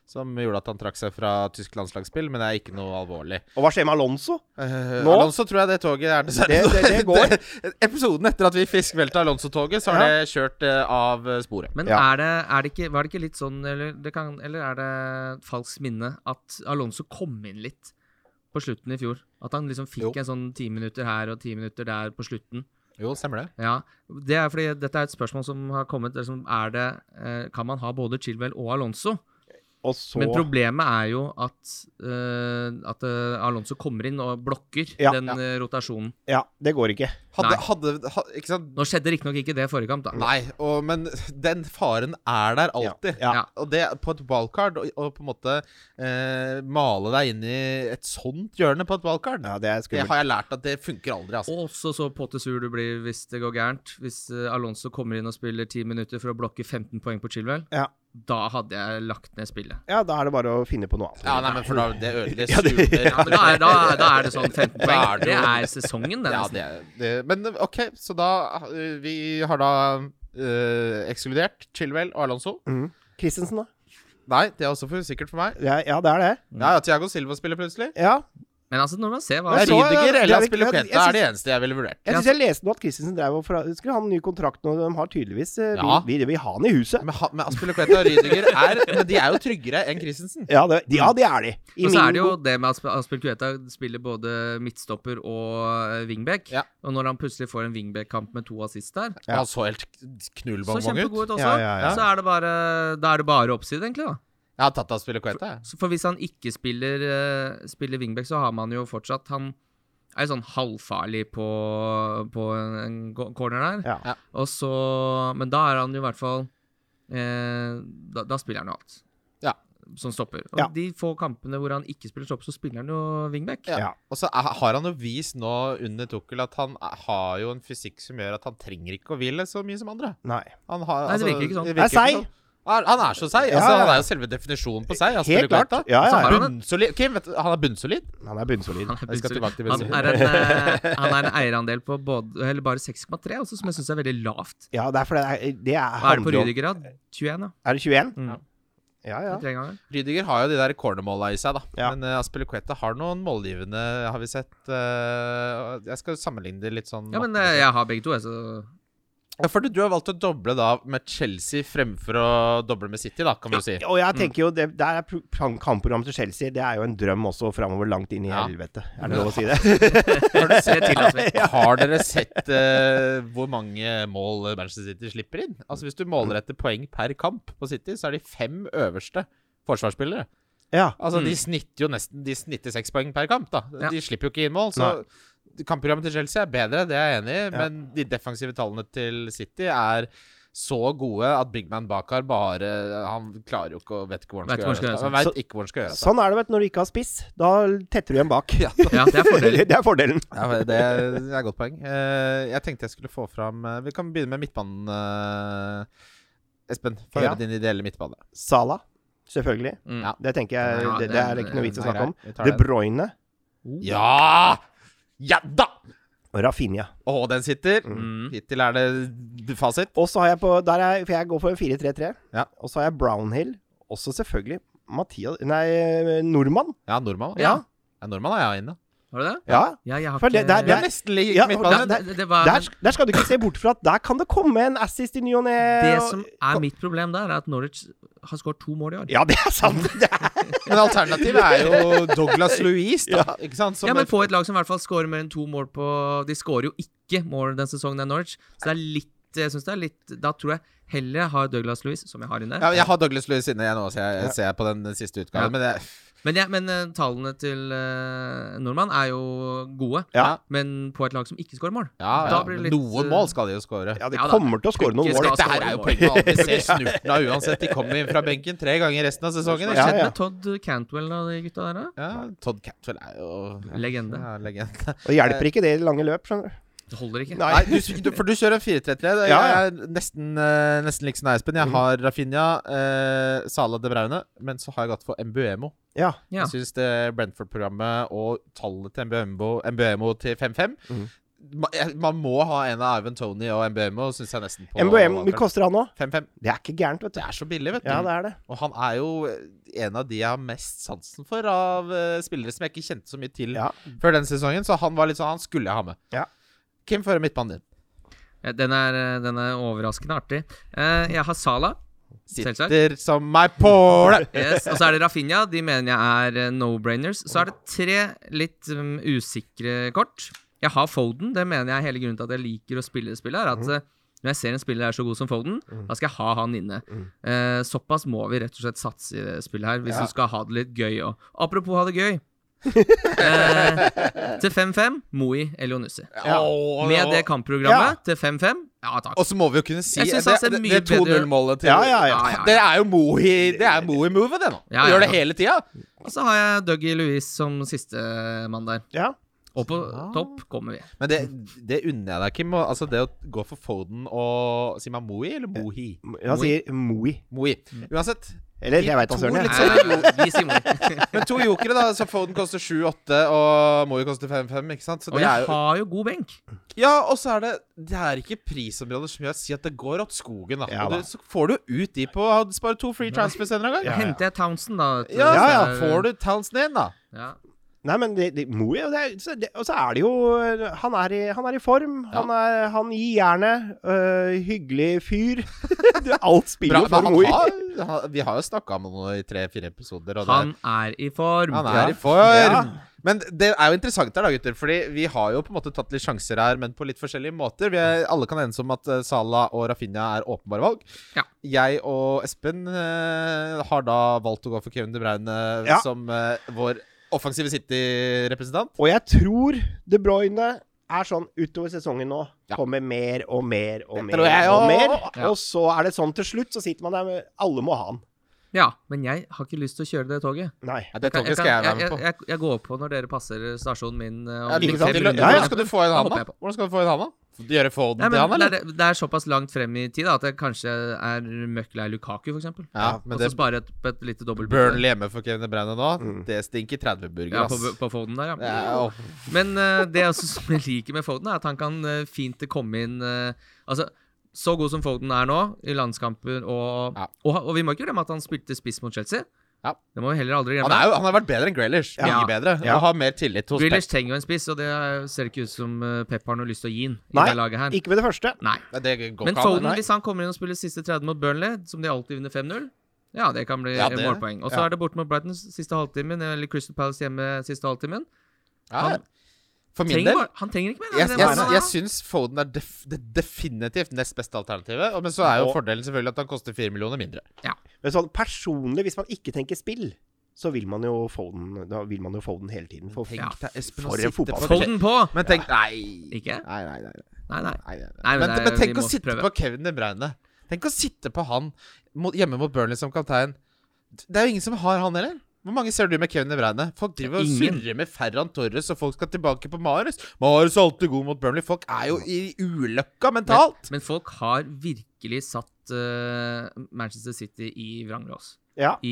[SPEAKER 2] Som gjorde at han trakk seg fra tysk landslagsspill, men det er ikke noe alvorlig.
[SPEAKER 4] Og hva skjer med Alonso?
[SPEAKER 2] Eh,
[SPEAKER 4] Nå?
[SPEAKER 2] Alonso tror jeg det toget er dessverre
[SPEAKER 4] Det- det- det går.
[SPEAKER 2] Episoden etter at vi fiskvelta Alonso-toget, så har
[SPEAKER 4] Ja.
[SPEAKER 2] det kjørt eh, av eh, sporet.
[SPEAKER 3] Men
[SPEAKER 4] Ja.
[SPEAKER 3] er det, er det ikke, var det ikke litt sånn, eller, det kan, eller er det et falskt minne, at Alonso kom inn litt på slutten i fjor? At han liksom fikk
[SPEAKER 2] Jo.
[SPEAKER 3] en sånn ti minutter her og ti minutter der på slutten?
[SPEAKER 2] Jo, stemmer det.
[SPEAKER 3] Ja, det er fordi dette er et spørsmål som har kommet. Liksom, er det, eh, kan man ha både Chilwell og Alonso?
[SPEAKER 4] Og så
[SPEAKER 3] Men problemet er jo at, eh, at eh, Alonso kommer inn og blokker
[SPEAKER 4] Ja.
[SPEAKER 3] den
[SPEAKER 2] Ja.
[SPEAKER 3] eh, rotasjonen.
[SPEAKER 4] Ja, det går ikke.
[SPEAKER 2] Hadde,
[SPEAKER 3] Nei.
[SPEAKER 2] hadde, ha, ikke sant?
[SPEAKER 3] Nå skjedde riktignok ikke det forrige kamp, da.
[SPEAKER 2] Nei, og, men den faren er der alltid.
[SPEAKER 4] Ja.
[SPEAKER 3] Ja.
[SPEAKER 2] Og det på et wildcard, og, og på en måte eh, male deg inn i et sånt hjørne på et wildcard,
[SPEAKER 4] Ja, det er
[SPEAKER 2] det
[SPEAKER 4] skummelt.
[SPEAKER 2] har jeg lært at det funker aldri, altså.
[SPEAKER 3] Og så så pottesur du blir hvis det går gærent. Hvis eh, Alonso kommer inn og spiller 10 minutter for å blokke 15 poeng på Chilwell,
[SPEAKER 4] Ja.
[SPEAKER 3] da hadde jeg lagt ned spillet.
[SPEAKER 4] Ja, da er det bare å finne på noe annet.
[SPEAKER 2] Ja, nei, men for da det ødelegger
[SPEAKER 4] Ja, det-
[SPEAKER 2] suger.
[SPEAKER 3] Ja, men da, er, da, da er det sånn 15 poeng.
[SPEAKER 2] Da er det
[SPEAKER 3] Det
[SPEAKER 2] jo-
[SPEAKER 3] er sesongen, det.
[SPEAKER 2] Ja,
[SPEAKER 3] nesten.
[SPEAKER 2] det, det, men OK, så da eh, Vi har da eh, ekskludert Chilwell og Alonso.
[SPEAKER 4] Mhm. Christensen, da?
[SPEAKER 2] Nei, det er også for sikkert for meg.
[SPEAKER 4] Ja, ja, det er det.
[SPEAKER 2] Ja, ja, Thiago Silva spiller plutselig.
[SPEAKER 4] Mm. Ja.
[SPEAKER 3] Men altså, når man ser hva
[SPEAKER 4] Ja,
[SPEAKER 2] Jeg
[SPEAKER 4] så- ja,
[SPEAKER 2] Rydiger
[SPEAKER 4] det er
[SPEAKER 2] eller han
[SPEAKER 4] ikke-
[SPEAKER 2] spiller
[SPEAKER 4] jeg-
[SPEAKER 2] Kenta,
[SPEAKER 4] jeg
[SPEAKER 2] er det eneste jeg ville vurdert.
[SPEAKER 4] Jeg
[SPEAKER 3] Ja,
[SPEAKER 4] syns jeg leste nå at Christensen drev og fra... Skulle han ny kontrakt nå? De har tydeligvis eh,
[SPEAKER 2] Ja.
[SPEAKER 4] Vi, vi, vi har han i huset.
[SPEAKER 2] Men, ha- men Aspilicueta og Rydiger er Men de er jo tryggere enn Christensen.
[SPEAKER 4] Ja, det, ja, det er de. I
[SPEAKER 3] Mm. Og så
[SPEAKER 4] min
[SPEAKER 3] er det jo
[SPEAKER 4] bok-
[SPEAKER 3] det med at Asp- Aspilicueta spiller både midtstopper og eh, wingback.
[SPEAKER 2] Ja.
[SPEAKER 3] Og når han plutselig får en wingback-kamp med to assist der,
[SPEAKER 4] Ja.
[SPEAKER 2] Han så helt
[SPEAKER 3] så
[SPEAKER 2] knullbongbong ut.
[SPEAKER 3] kjempegod ut også.
[SPEAKER 4] Ja, ja, ja.
[SPEAKER 3] Så er det bare, da er det bare oppside, egentlig. da.
[SPEAKER 2] Jeg har tatt Aspilicueta, jeg.
[SPEAKER 3] Så For hvis han ikke spiller, eh, spiller wingback, så har man jo fortsatt Han er jo sånn halvfarlig på, på en, en go- corner der.
[SPEAKER 4] Ja.
[SPEAKER 2] Ja.
[SPEAKER 3] Og så, men da er han jo i hvert fall eh, da, da spiller han jo alt.
[SPEAKER 2] Ja.
[SPEAKER 3] Som stopper. Og
[SPEAKER 4] Ja.
[SPEAKER 3] de få kampene hvor han ikke spiller stopper, så spiller han jo wingback.
[SPEAKER 4] Ja.
[SPEAKER 2] Og så er- har han jo vist nå under Tukkel at han er- har jo en fysikk som gjør at han trenger ikke å hvile så mye som andre.
[SPEAKER 4] Nei.
[SPEAKER 2] Han har, altså,
[SPEAKER 3] Nei, det virker ikke sånn.
[SPEAKER 4] Er seig.
[SPEAKER 2] Han han er så seig.
[SPEAKER 4] Ja,
[SPEAKER 2] Altså,
[SPEAKER 4] ja.
[SPEAKER 2] Han er jo selve definisjonen på seig.
[SPEAKER 4] Helt klart.
[SPEAKER 2] Aspilicueta.
[SPEAKER 4] Ja, ja,
[SPEAKER 3] Så har
[SPEAKER 4] ja.
[SPEAKER 3] han en-
[SPEAKER 2] Bunnsolid. Kim, vet du, han er bunnsolid.
[SPEAKER 4] Han er bunnsolid.
[SPEAKER 3] Han er,
[SPEAKER 2] Jeg skal
[SPEAKER 3] plutselig-
[SPEAKER 2] tilbake til
[SPEAKER 3] han, er en, eh, han er en eierandel på både, eller bare 6,3, også, altså, som jeg syns er veldig lavt.
[SPEAKER 4] Ja, det er fordi det er, det er,
[SPEAKER 3] Hva er det på
[SPEAKER 4] handler om-
[SPEAKER 3] Rydiger, da? 21, ja.
[SPEAKER 4] Er det 21?
[SPEAKER 3] Mm.
[SPEAKER 4] Ja, ja.
[SPEAKER 3] Tre ganger.
[SPEAKER 2] Rydiger har jo de der cornermåla i seg, da.
[SPEAKER 4] Ja.
[SPEAKER 2] Men uh, Aspilicueta har noen målgivende, har vi sett. eh, jeg skal sammenligne det litt sånn.
[SPEAKER 3] Ja, men
[SPEAKER 2] matematisk.
[SPEAKER 3] eh, jeg har begge to, jeg, så
[SPEAKER 2] Ja, for du, du har valgt å doble da med Chelsea fremfor å doble med City, da, kan du si.
[SPEAKER 4] Og
[SPEAKER 3] Mm.
[SPEAKER 4] jeg tenker jo, det, der er pro- kam- kampprogrammet til Chelsea Det er jo en drøm også framover langt inn i
[SPEAKER 2] Ja.
[SPEAKER 4] helvete. Er det lov å si det?
[SPEAKER 2] Har, du sett,
[SPEAKER 3] Det tillater vi.
[SPEAKER 2] har dere sett eh, hvor mange mål Manchester City slipper inn? Altså Hvis du måler etter poeng per kamp på City, så er de fem øverste forsvarsspillere.
[SPEAKER 4] Ja.
[SPEAKER 2] Altså
[SPEAKER 3] Mm.
[SPEAKER 2] De snitter jo nesten De snitter seks poeng per kamp, da.
[SPEAKER 3] Ja.
[SPEAKER 2] De slipper jo ikke inn mål. Så kampprogrammet til Chelsea er bedre, det er jeg enig i,
[SPEAKER 4] Ja.
[SPEAKER 2] men de defensive tallene til City er så gode at Big Man Bakar bare Han klarer jo ikke å Vet ikke hvor han
[SPEAKER 3] Vet
[SPEAKER 2] skal
[SPEAKER 3] ikke
[SPEAKER 2] gjøre
[SPEAKER 3] hvor han
[SPEAKER 2] av
[SPEAKER 3] skal
[SPEAKER 2] seg. Han vet ikke hvor han skal gjøre av seg.
[SPEAKER 4] Sånn er det vet, du, når du ikke har spiss. Da tetter du igjen bak.
[SPEAKER 3] Ja, det er fordelen.
[SPEAKER 4] det er fordelen.
[SPEAKER 2] Ja, men det er det er et godt poeng. Eh, jeg tenkte jeg skulle få fram eh, Vi kan begynne med midtbanen, eh, Espen. Få
[SPEAKER 4] Ja.
[SPEAKER 2] høre din ideelle midtbane.
[SPEAKER 4] Sala, selvfølgelig.
[SPEAKER 3] Mm.
[SPEAKER 2] Ja.
[SPEAKER 4] Det tenker jeg,
[SPEAKER 3] Ja,
[SPEAKER 4] det, det
[SPEAKER 3] den-
[SPEAKER 4] er ikke noe vits å
[SPEAKER 2] Den er
[SPEAKER 4] snakke om.
[SPEAKER 2] grei. Mm, Vi tar
[SPEAKER 4] De
[SPEAKER 2] den.
[SPEAKER 4] Bruyne
[SPEAKER 3] Oh.
[SPEAKER 2] Ja! Ja da!
[SPEAKER 4] og Rafinha.
[SPEAKER 2] Å, den sitter.
[SPEAKER 3] Mm.
[SPEAKER 2] Hittil er det fasit.
[SPEAKER 4] Og så har jeg på der er, For jeg går for en 4-3-3.
[SPEAKER 2] Ja.
[SPEAKER 4] Og så har jeg Brownhill. Også selvfølgelig Mathias Nei, nordmann.
[SPEAKER 2] Ja, nordmann. da.
[SPEAKER 3] Ja.
[SPEAKER 2] ja nordmann er jeg inne.
[SPEAKER 3] Har du det?
[SPEAKER 4] Ja.
[SPEAKER 3] Ja, jeg har
[SPEAKER 4] For
[SPEAKER 3] ikke
[SPEAKER 4] det- det er-
[SPEAKER 2] Vi
[SPEAKER 4] det
[SPEAKER 2] er nesten lik
[SPEAKER 4] Ja,
[SPEAKER 2] midtbane.
[SPEAKER 4] det-
[SPEAKER 3] det, det, var,
[SPEAKER 4] Der,
[SPEAKER 3] men
[SPEAKER 4] sk- der skal du ikke se bort fra at der kan det komme en assist i ny og ne.
[SPEAKER 3] det
[SPEAKER 4] og-
[SPEAKER 3] som er mitt problem der, er at Norwich har skåret to mål i år.
[SPEAKER 4] Ja, det er sant! Det er,
[SPEAKER 2] Men alternativet er jo Douglas Louise, da. Ikke sant? Som
[SPEAKER 3] Ja, men
[SPEAKER 2] er-
[SPEAKER 3] På et lag som i hvert fall skårer mer enn to mål på De skårer jo ikke mål den sesongen, det er Norwich. Så det er litt jeg synes det er litt, Da tror jeg heller jeg har Douglas Louis, som jeg har inne.
[SPEAKER 2] ja, jeg har Douglas Louise inne, jeg nå, ser jeg, ser jeg på den siste
[SPEAKER 3] Ja.
[SPEAKER 2] utgaven. Men det,
[SPEAKER 3] Men, jeg, men eh, tallene til eh, nordmann er jo gode.
[SPEAKER 4] ja.
[SPEAKER 3] Men på et lag som ikke skårer mål.
[SPEAKER 2] ja, ja.
[SPEAKER 3] Da blir det litt,
[SPEAKER 2] Noen
[SPEAKER 3] eh,
[SPEAKER 2] mål skal de jo score.
[SPEAKER 4] ja, de
[SPEAKER 3] Ja da.
[SPEAKER 4] kommer til å score noen
[SPEAKER 3] Ikke
[SPEAKER 4] mål.
[SPEAKER 3] skal-
[SPEAKER 2] Dette her er jo poenget med alle ser snurten av uansett. De kommer inn fra benken tre ganger resten av sesongen.
[SPEAKER 3] Hva
[SPEAKER 2] ikke
[SPEAKER 4] Ja,
[SPEAKER 2] sant?
[SPEAKER 3] skjedde
[SPEAKER 4] ja.
[SPEAKER 3] med Todd Cantwell og de gutta der, da?
[SPEAKER 2] Ja, Todd Cantwell er jo
[SPEAKER 3] Legende.
[SPEAKER 2] Ja, legende.
[SPEAKER 4] Og hjelper ikke det i lange løp, skjønner du.
[SPEAKER 3] Det holder ikke.
[SPEAKER 4] Nei.
[SPEAKER 2] Nei, du, du, for du kjører 4-3-3. Jeg
[SPEAKER 4] Ja, ja.
[SPEAKER 2] er nesten, eh, nesten liksom deg, Espen. Jeg har Rafinha, eh, Sala de Braune, men så har jeg gått for Mbuemo.
[SPEAKER 4] Ja.
[SPEAKER 3] Ja.
[SPEAKER 2] Jeg syns Brentford-programmet og tallet til Mbuemo, Mbuemo til 5-5
[SPEAKER 4] Mhm.
[SPEAKER 2] ma- jeg- Man må ha en av Ivan Tony og MBMO, syns jeg nesten. på
[SPEAKER 4] MBM, mye koster han òg?
[SPEAKER 2] 5-5.
[SPEAKER 4] Det er ikke gærent, vet du.
[SPEAKER 2] Det er så billig, vet du.
[SPEAKER 4] Ja, det er det.
[SPEAKER 2] Og han er jo eh, en av de jeg har mest sansen for av eh, spillere som jeg ikke kjente så mye til
[SPEAKER 4] Ja.
[SPEAKER 2] før den sesongen, så han var litt sånn Han skulle jeg ha med.
[SPEAKER 4] Ja.
[SPEAKER 2] Kim fører midtbanen din.
[SPEAKER 3] Eh, Den er, eh, den er overraskende artig. Eh, jeg har Sala. Selvsagt.
[SPEAKER 2] Sitter som meg påle!
[SPEAKER 3] Yes. Og så er det Rafinha. De mener jeg er eh, no-brainers. Så er det tre litt um, usikre kort. Jeg har Foden. Det mener jeg er hele grunnen til at jeg liker å spille det spillet. Er
[SPEAKER 4] Mhm.
[SPEAKER 3] at eh, når jeg ser en spiller er så god som Foden, da skal jeg ha han inne. Eh, såpass må vi rett og slett satse i det spillet her, hvis
[SPEAKER 4] Mhm. Ja.
[SPEAKER 3] du skal ha det litt gøy òg. Apropos ha det gøy. eh, til 5-5, Moi Elionussi.
[SPEAKER 4] Ja.
[SPEAKER 2] Åh,
[SPEAKER 3] Med det
[SPEAKER 4] Ja.
[SPEAKER 3] kampprogrammet til 5-5, ja takk.
[SPEAKER 2] Og så må vi jo kunne si
[SPEAKER 3] Jeg synes
[SPEAKER 2] det,
[SPEAKER 3] han ser
[SPEAKER 2] det,
[SPEAKER 3] mye
[SPEAKER 2] det
[SPEAKER 3] bedre-
[SPEAKER 2] 2-0-målet til
[SPEAKER 4] Ja, ja,
[SPEAKER 3] Ja,
[SPEAKER 4] ja.
[SPEAKER 3] ja, ja.
[SPEAKER 2] Det er jo Mohi- Det er Mohi-movet, det nå.
[SPEAKER 3] Ja,
[SPEAKER 2] Du Gjør
[SPEAKER 3] ja,
[SPEAKER 2] det
[SPEAKER 3] ja.
[SPEAKER 2] hele tida.
[SPEAKER 3] Og så har jeg Dougie Louise som sistemann der.
[SPEAKER 4] Ja.
[SPEAKER 3] Og på
[SPEAKER 2] Ja.
[SPEAKER 3] topp kommer vi.
[SPEAKER 2] Men det, det unner jeg deg, Kim. og- Altså Det å gå for Foden og Sier man Mohi eller Mohi?
[SPEAKER 4] Han sier Moi.
[SPEAKER 2] Moi. Uansett.
[SPEAKER 4] Eller
[SPEAKER 2] De
[SPEAKER 4] jeg veit da
[SPEAKER 2] to
[SPEAKER 4] søren. jeg.
[SPEAKER 2] litt-
[SPEAKER 3] Nei, nei, nei, vi sier Moi.
[SPEAKER 2] Men to jokere, da. Så Foden koster 7-8, og Moi koster 5-5. Ikke sant? Så
[SPEAKER 3] Og
[SPEAKER 2] det er
[SPEAKER 3] jeg
[SPEAKER 2] jo
[SPEAKER 3] har jo god benk.
[SPEAKER 2] Ja, og så er det Det er ikke prisområder som gjør si at det går åt skogen, da.
[SPEAKER 4] Ja,
[SPEAKER 2] Og
[SPEAKER 4] da.
[SPEAKER 2] det, så får du ut de på Spare to free transfers en eller annen gang.
[SPEAKER 4] Ja, ja.
[SPEAKER 3] Henter jeg Townsend, da? vet du,
[SPEAKER 2] Ja, ja,
[SPEAKER 3] så er-
[SPEAKER 2] får du Townsend inn, da.
[SPEAKER 3] Ja.
[SPEAKER 4] Nei, men det, det, Moi og det, er- så det, Og så er det jo Han er i, han er i form. Han, er, han gir jernet. øh, hyggelig fyr. Du, Alt
[SPEAKER 2] Bra,
[SPEAKER 4] spiller jo for
[SPEAKER 2] men
[SPEAKER 4] Moi.
[SPEAKER 2] han har, han, vi har jo snakka om han i tre-fire episoder, og det
[SPEAKER 3] Han er i form.
[SPEAKER 2] Han
[SPEAKER 3] Ja.
[SPEAKER 2] er i form!
[SPEAKER 4] Ja.
[SPEAKER 2] Men det er jo interessant her, da, gutter. Fordi vi har jo på en måte tatt litt sjanser her, men på litt forskjellige måter. Vi er, alle kan enes om at eh, Salah og Rafinha er åpenbare valg.
[SPEAKER 3] Ja.
[SPEAKER 2] Jeg og Espen eh, har da valgt å gå for Kevin De Bruyne eh,
[SPEAKER 4] Ja.
[SPEAKER 2] som eh, vår offensive City-representant.
[SPEAKER 4] Og jeg tror De Bruyne er sånn utover sesongen nå.
[SPEAKER 2] Ja.
[SPEAKER 4] Kommer mer og mer og mer.
[SPEAKER 2] tror jeg
[SPEAKER 4] og
[SPEAKER 2] også.
[SPEAKER 4] mer.
[SPEAKER 3] Ja.
[SPEAKER 4] Og så er det sånn til slutt, så sitter man der med Alle må ha han.
[SPEAKER 3] ja, men jeg har ikke lyst til å kjøre det toget.
[SPEAKER 4] Nei.
[SPEAKER 2] Ja, det
[SPEAKER 3] Kan-
[SPEAKER 2] toget
[SPEAKER 3] kan-
[SPEAKER 2] skal jeg være med
[SPEAKER 3] jeg,
[SPEAKER 2] på.
[SPEAKER 3] jeg, jeg går på når dere passer stasjonen min. eh, om
[SPEAKER 2] Ja,
[SPEAKER 4] ikke
[SPEAKER 2] ikke sant?
[SPEAKER 4] sant?
[SPEAKER 3] fem
[SPEAKER 2] Til,
[SPEAKER 3] runder.
[SPEAKER 4] Ja, ja.
[SPEAKER 2] Hvordan skal du få en
[SPEAKER 3] Da
[SPEAKER 2] han,
[SPEAKER 3] hopper jeg
[SPEAKER 2] da?
[SPEAKER 3] på.
[SPEAKER 2] Hvordan skal du få en han, da? Gjøre Foden
[SPEAKER 3] Nei,
[SPEAKER 2] til han,
[SPEAKER 3] men
[SPEAKER 2] eller?
[SPEAKER 3] det, er, det er såpass langt frem i tid da, at jeg kanskje er møkk lei Lukaku, for eksempel.
[SPEAKER 2] Ja,
[SPEAKER 3] Og
[SPEAKER 2] men
[SPEAKER 3] så
[SPEAKER 2] det
[SPEAKER 3] sparer jeg et- på et lite dobbelt
[SPEAKER 2] Burnley hjemme for Kevin De Bruyne nå,
[SPEAKER 4] Mm.
[SPEAKER 2] det stinker 30-burger,
[SPEAKER 3] Ja, på,
[SPEAKER 2] ass.
[SPEAKER 3] på Foden der, ja.
[SPEAKER 2] Ja, åh.
[SPEAKER 3] Men eh, det jeg også som jeg liker med Foden, er at han kan eh, fint komme inn eh, Altså, så god som Foden er nå, i landskamper og,
[SPEAKER 2] Ja.
[SPEAKER 3] og Og vi må ikke glemme at han spilte spiss mot Chelsea.
[SPEAKER 2] Ja.
[SPEAKER 3] Det må vi heller aldri
[SPEAKER 2] Han,
[SPEAKER 3] glemme.
[SPEAKER 2] er jo, han har vært bedre enn Grealish.
[SPEAKER 3] Ja.
[SPEAKER 2] Mye bedre.
[SPEAKER 4] Ja.
[SPEAKER 2] Og har mer tillit hos
[SPEAKER 3] Grealish trenger jo en spiss, og det er- ser ikke ut som eh, Pep har noe lyst til å gi han i
[SPEAKER 4] Nei,
[SPEAKER 3] det laget her.
[SPEAKER 4] Ikke med det første.
[SPEAKER 3] Nei.
[SPEAKER 2] Pep. Det går
[SPEAKER 3] Men
[SPEAKER 2] ikke an,
[SPEAKER 3] Foden,
[SPEAKER 2] nei.
[SPEAKER 3] hvis han kommer inn og spiller siste 30 mot Burnley, som de alltid vinner 5-0 ja, det kan bli
[SPEAKER 2] Ja, det-
[SPEAKER 3] målpoeng. Og så
[SPEAKER 2] ja.
[SPEAKER 3] er det borte mot Brighton siste halvtimen, eller Crystal Palace hjemme siste halvtimen.
[SPEAKER 2] ja.
[SPEAKER 3] han
[SPEAKER 2] For min
[SPEAKER 3] Trenger,
[SPEAKER 2] del
[SPEAKER 3] bare- han trenger ikke mer.
[SPEAKER 2] jeg,
[SPEAKER 3] det er
[SPEAKER 2] jeg,
[SPEAKER 3] bare-
[SPEAKER 2] jeg syns Foden er def, det definitivt nest beste alternativet. og- Men så er jo
[SPEAKER 4] Og-
[SPEAKER 2] fordelen selvfølgelig at han koster fire millioner mindre.
[SPEAKER 4] Men sånn personlig, hvis man ikke tenker spill, så vil man jo få den, da vil man jo få den hele tiden. For
[SPEAKER 3] Ja.
[SPEAKER 2] deg Espen
[SPEAKER 4] For
[SPEAKER 2] å
[SPEAKER 4] en
[SPEAKER 2] sitte på-
[SPEAKER 4] fotball-
[SPEAKER 3] Foden på!
[SPEAKER 2] Men tenk Nei.
[SPEAKER 3] Ikke?
[SPEAKER 2] Nei, nei, nei, nei,
[SPEAKER 3] Nei, nei.
[SPEAKER 2] nei, nei.
[SPEAKER 3] Nei, men
[SPEAKER 2] men,
[SPEAKER 3] det er-
[SPEAKER 2] men tenk
[SPEAKER 3] vi
[SPEAKER 2] å
[SPEAKER 3] må
[SPEAKER 2] sitte
[SPEAKER 3] prøve.
[SPEAKER 2] på Kevin De Bruyne. Tenk å sitte på han mot, hjemme mot Burnley som kaptein. Det er jo ingen som har han heller. Hvor mange ser du med Kevin De Bruyne? Folk driver og
[SPEAKER 3] Ingen.
[SPEAKER 2] surrer med Ferran Torres, og folk skal tilbake på Marius. Marius er alltid god mot Burnley. Folk er jo i ulykka mentalt.
[SPEAKER 3] Men folk har virkelig satt eh, Manchester City i vranglås.
[SPEAKER 4] Ja.
[SPEAKER 3] I,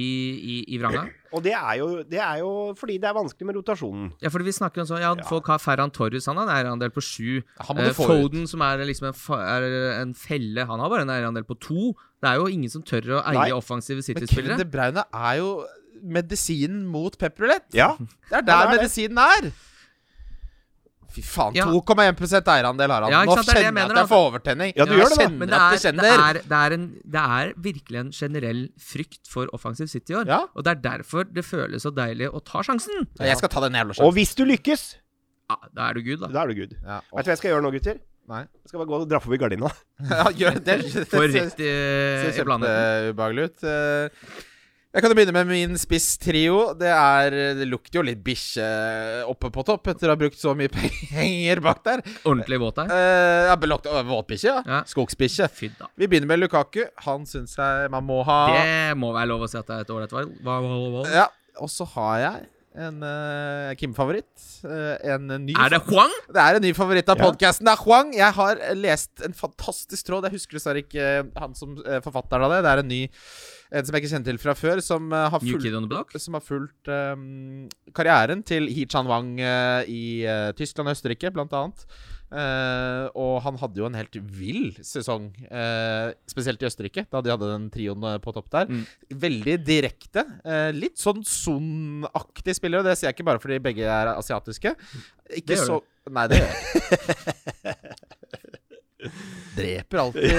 [SPEAKER 3] i, i vranga.
[SPEAKER 4] Og det er, jo, det er jo fordi det er vanskelig med rotasjonen.
[SPEAKER 3] Ja, fordi vi snakker om sånn Ja,
[SPEAKER 4] Ja.
[SPEAKER 3] folk har Ferran Torres, han har en eierandel på sju.
[SPEAKER 2] Han må
[SPEAKER 3] Eh,
[SPEAKER 2] du få ut.
[SPEAKER 3] Foden, som er liksom en, fa er en felle, han har bare en eierandel på to. Det er jo ingen som tør å eie
[SPEAKER 4] Nei.
[SPEAKER 3] offensive
[SPEAKER 2] Men Kevin De
[SPEAKER 3] City-spillere.
[SPEAKER 2] Bruyne er jo medisinen mot pepperulett.
[SPEAKER 4] Ja.
[SPEAKER 2] Det er der
[SPEAKER 4] det er det.
[SPEAKER 2] medisinen er! Fy faen,
[SPEAKER 3] Ja.
[SPEAKER 2] 2,1 eierandel har han.
[SPEAKER 3] Ja,
[SPEAKER 2] Nå
[SPEAKER 3] ikke sant, det er
[SPEAKER 2] kjenner
[SPEAKER 3] det jeg
[SPEAKER 2] jeg
[SPEAKER 3] mener, altså.
[SPEAKER 2] at jeg får overtenning.
[SPEAKER 4] Ja, du
[SPEAKER 2] Jeg
[SPEAKER 4] gjør det da.
[SPEAKER 2] kjenner
[SPEAKER 3] Men det
[SPEAKER 2] at
[SPEAKER 3] er,
[SPEAKER 2] jeg
[SPEAKER 3] det,
[SPEAKER 2] kjenner.
[SPEAKER 3] er, det, er en, det er virkelig en generell frykt for offensiv City i år.
[SPEAKER 2] Ja.
[SPEAKER 3] Og det er derfor det føles så deilig å ta sjansen.
[SPEAKER 2] Ja, Jeg skal ta den jævla
[SPEAKER 4] Og
[SPEAKER 2] sjansen.
[SPEAKER 4] hvis du lykkes,
[SPEAKER 3] Ja, da er du good, da.
[SPEAKER 4] da er du good.
[SPEAKER 2] Ja,
[SPEAKER 4] Vet du hva jeg skal gjøre nå, gutter?
[SPEAKER 2] Nei.
[SPEAKER 4] Jeg skal bare gå og dra forbi gardina.
[SPEAKER 2] Ja, gjør det. Det
[SPEAKER 3] For
[SPEAKER 2] ser-
[SPEAKER 3] rett i,
[SPEAKER 2] ser
[SPEAKER 3] i planeten.
[SPEAKER 2] kjempeubehagelig ut. Eh, Jeg kan jo begynne med min spisstrio. Det, er- det lukter jo litt bikkje eh, oppe på topp etter å ha brukt så mye penger bak der.
[SPEAKER 3] Ordentlig våt der.
[SPEAKER 2] Uh, Våtbikkje, ja.
[SPEAKER 3] Ja.
[SPEAKER 2] Skogsbikkje.
[SPEAKER 3] Fy da.
[SPEAKER 2] Vi begynner med Lukaku. Han syns jeg man må ha
[SPEAKER 3] Det må være lov å si at det er et ålreit valg. Hva, hva, hva, hva?
[SPEAKER 2] Ja, Og så har jeg en eh, Kim-favoritt. Eh, en ny
[SPEAKER 3] Er det Huang?
[SPEAKER 2] Det er en ny favoritt av
[SPEAKER 4] Ja.
[SPEAKER 2] podkasten. Det er Huang. Jeg har eh, lest en fantastisk tråd. Jeg husker dessverre ikke eh, han som eh, forfatteren av det. Det er en ny en som jeg ikke kjenner til fra før, som eh, har
[SPEAKER 3] New
[SPEAKER 2] fulgt
[SPEAKER 3] Kid on the Block?
[SPEAKER 2] som har fulgt ehm, karrieren til He Chan Wang eh, i eh, Tyskland og eh, Østerrike, blant annet. Eh, og han hadde jo en helt vill sesong, eh, spesielt i Østerrike, da de hadde den trioen eh, på topp der.
[SPEAKER 3] Mm.
[SPEAKER 2] Veldig direkte. eh, litt sånn Son-aktig spiller, og det sier jeg ikke bare fordi begge er asiatiske. Ikke
[SPEAKER 3] Det gjør
[SPEAKER 2] så Nei, det gjør jeg ikke. Dreper alltid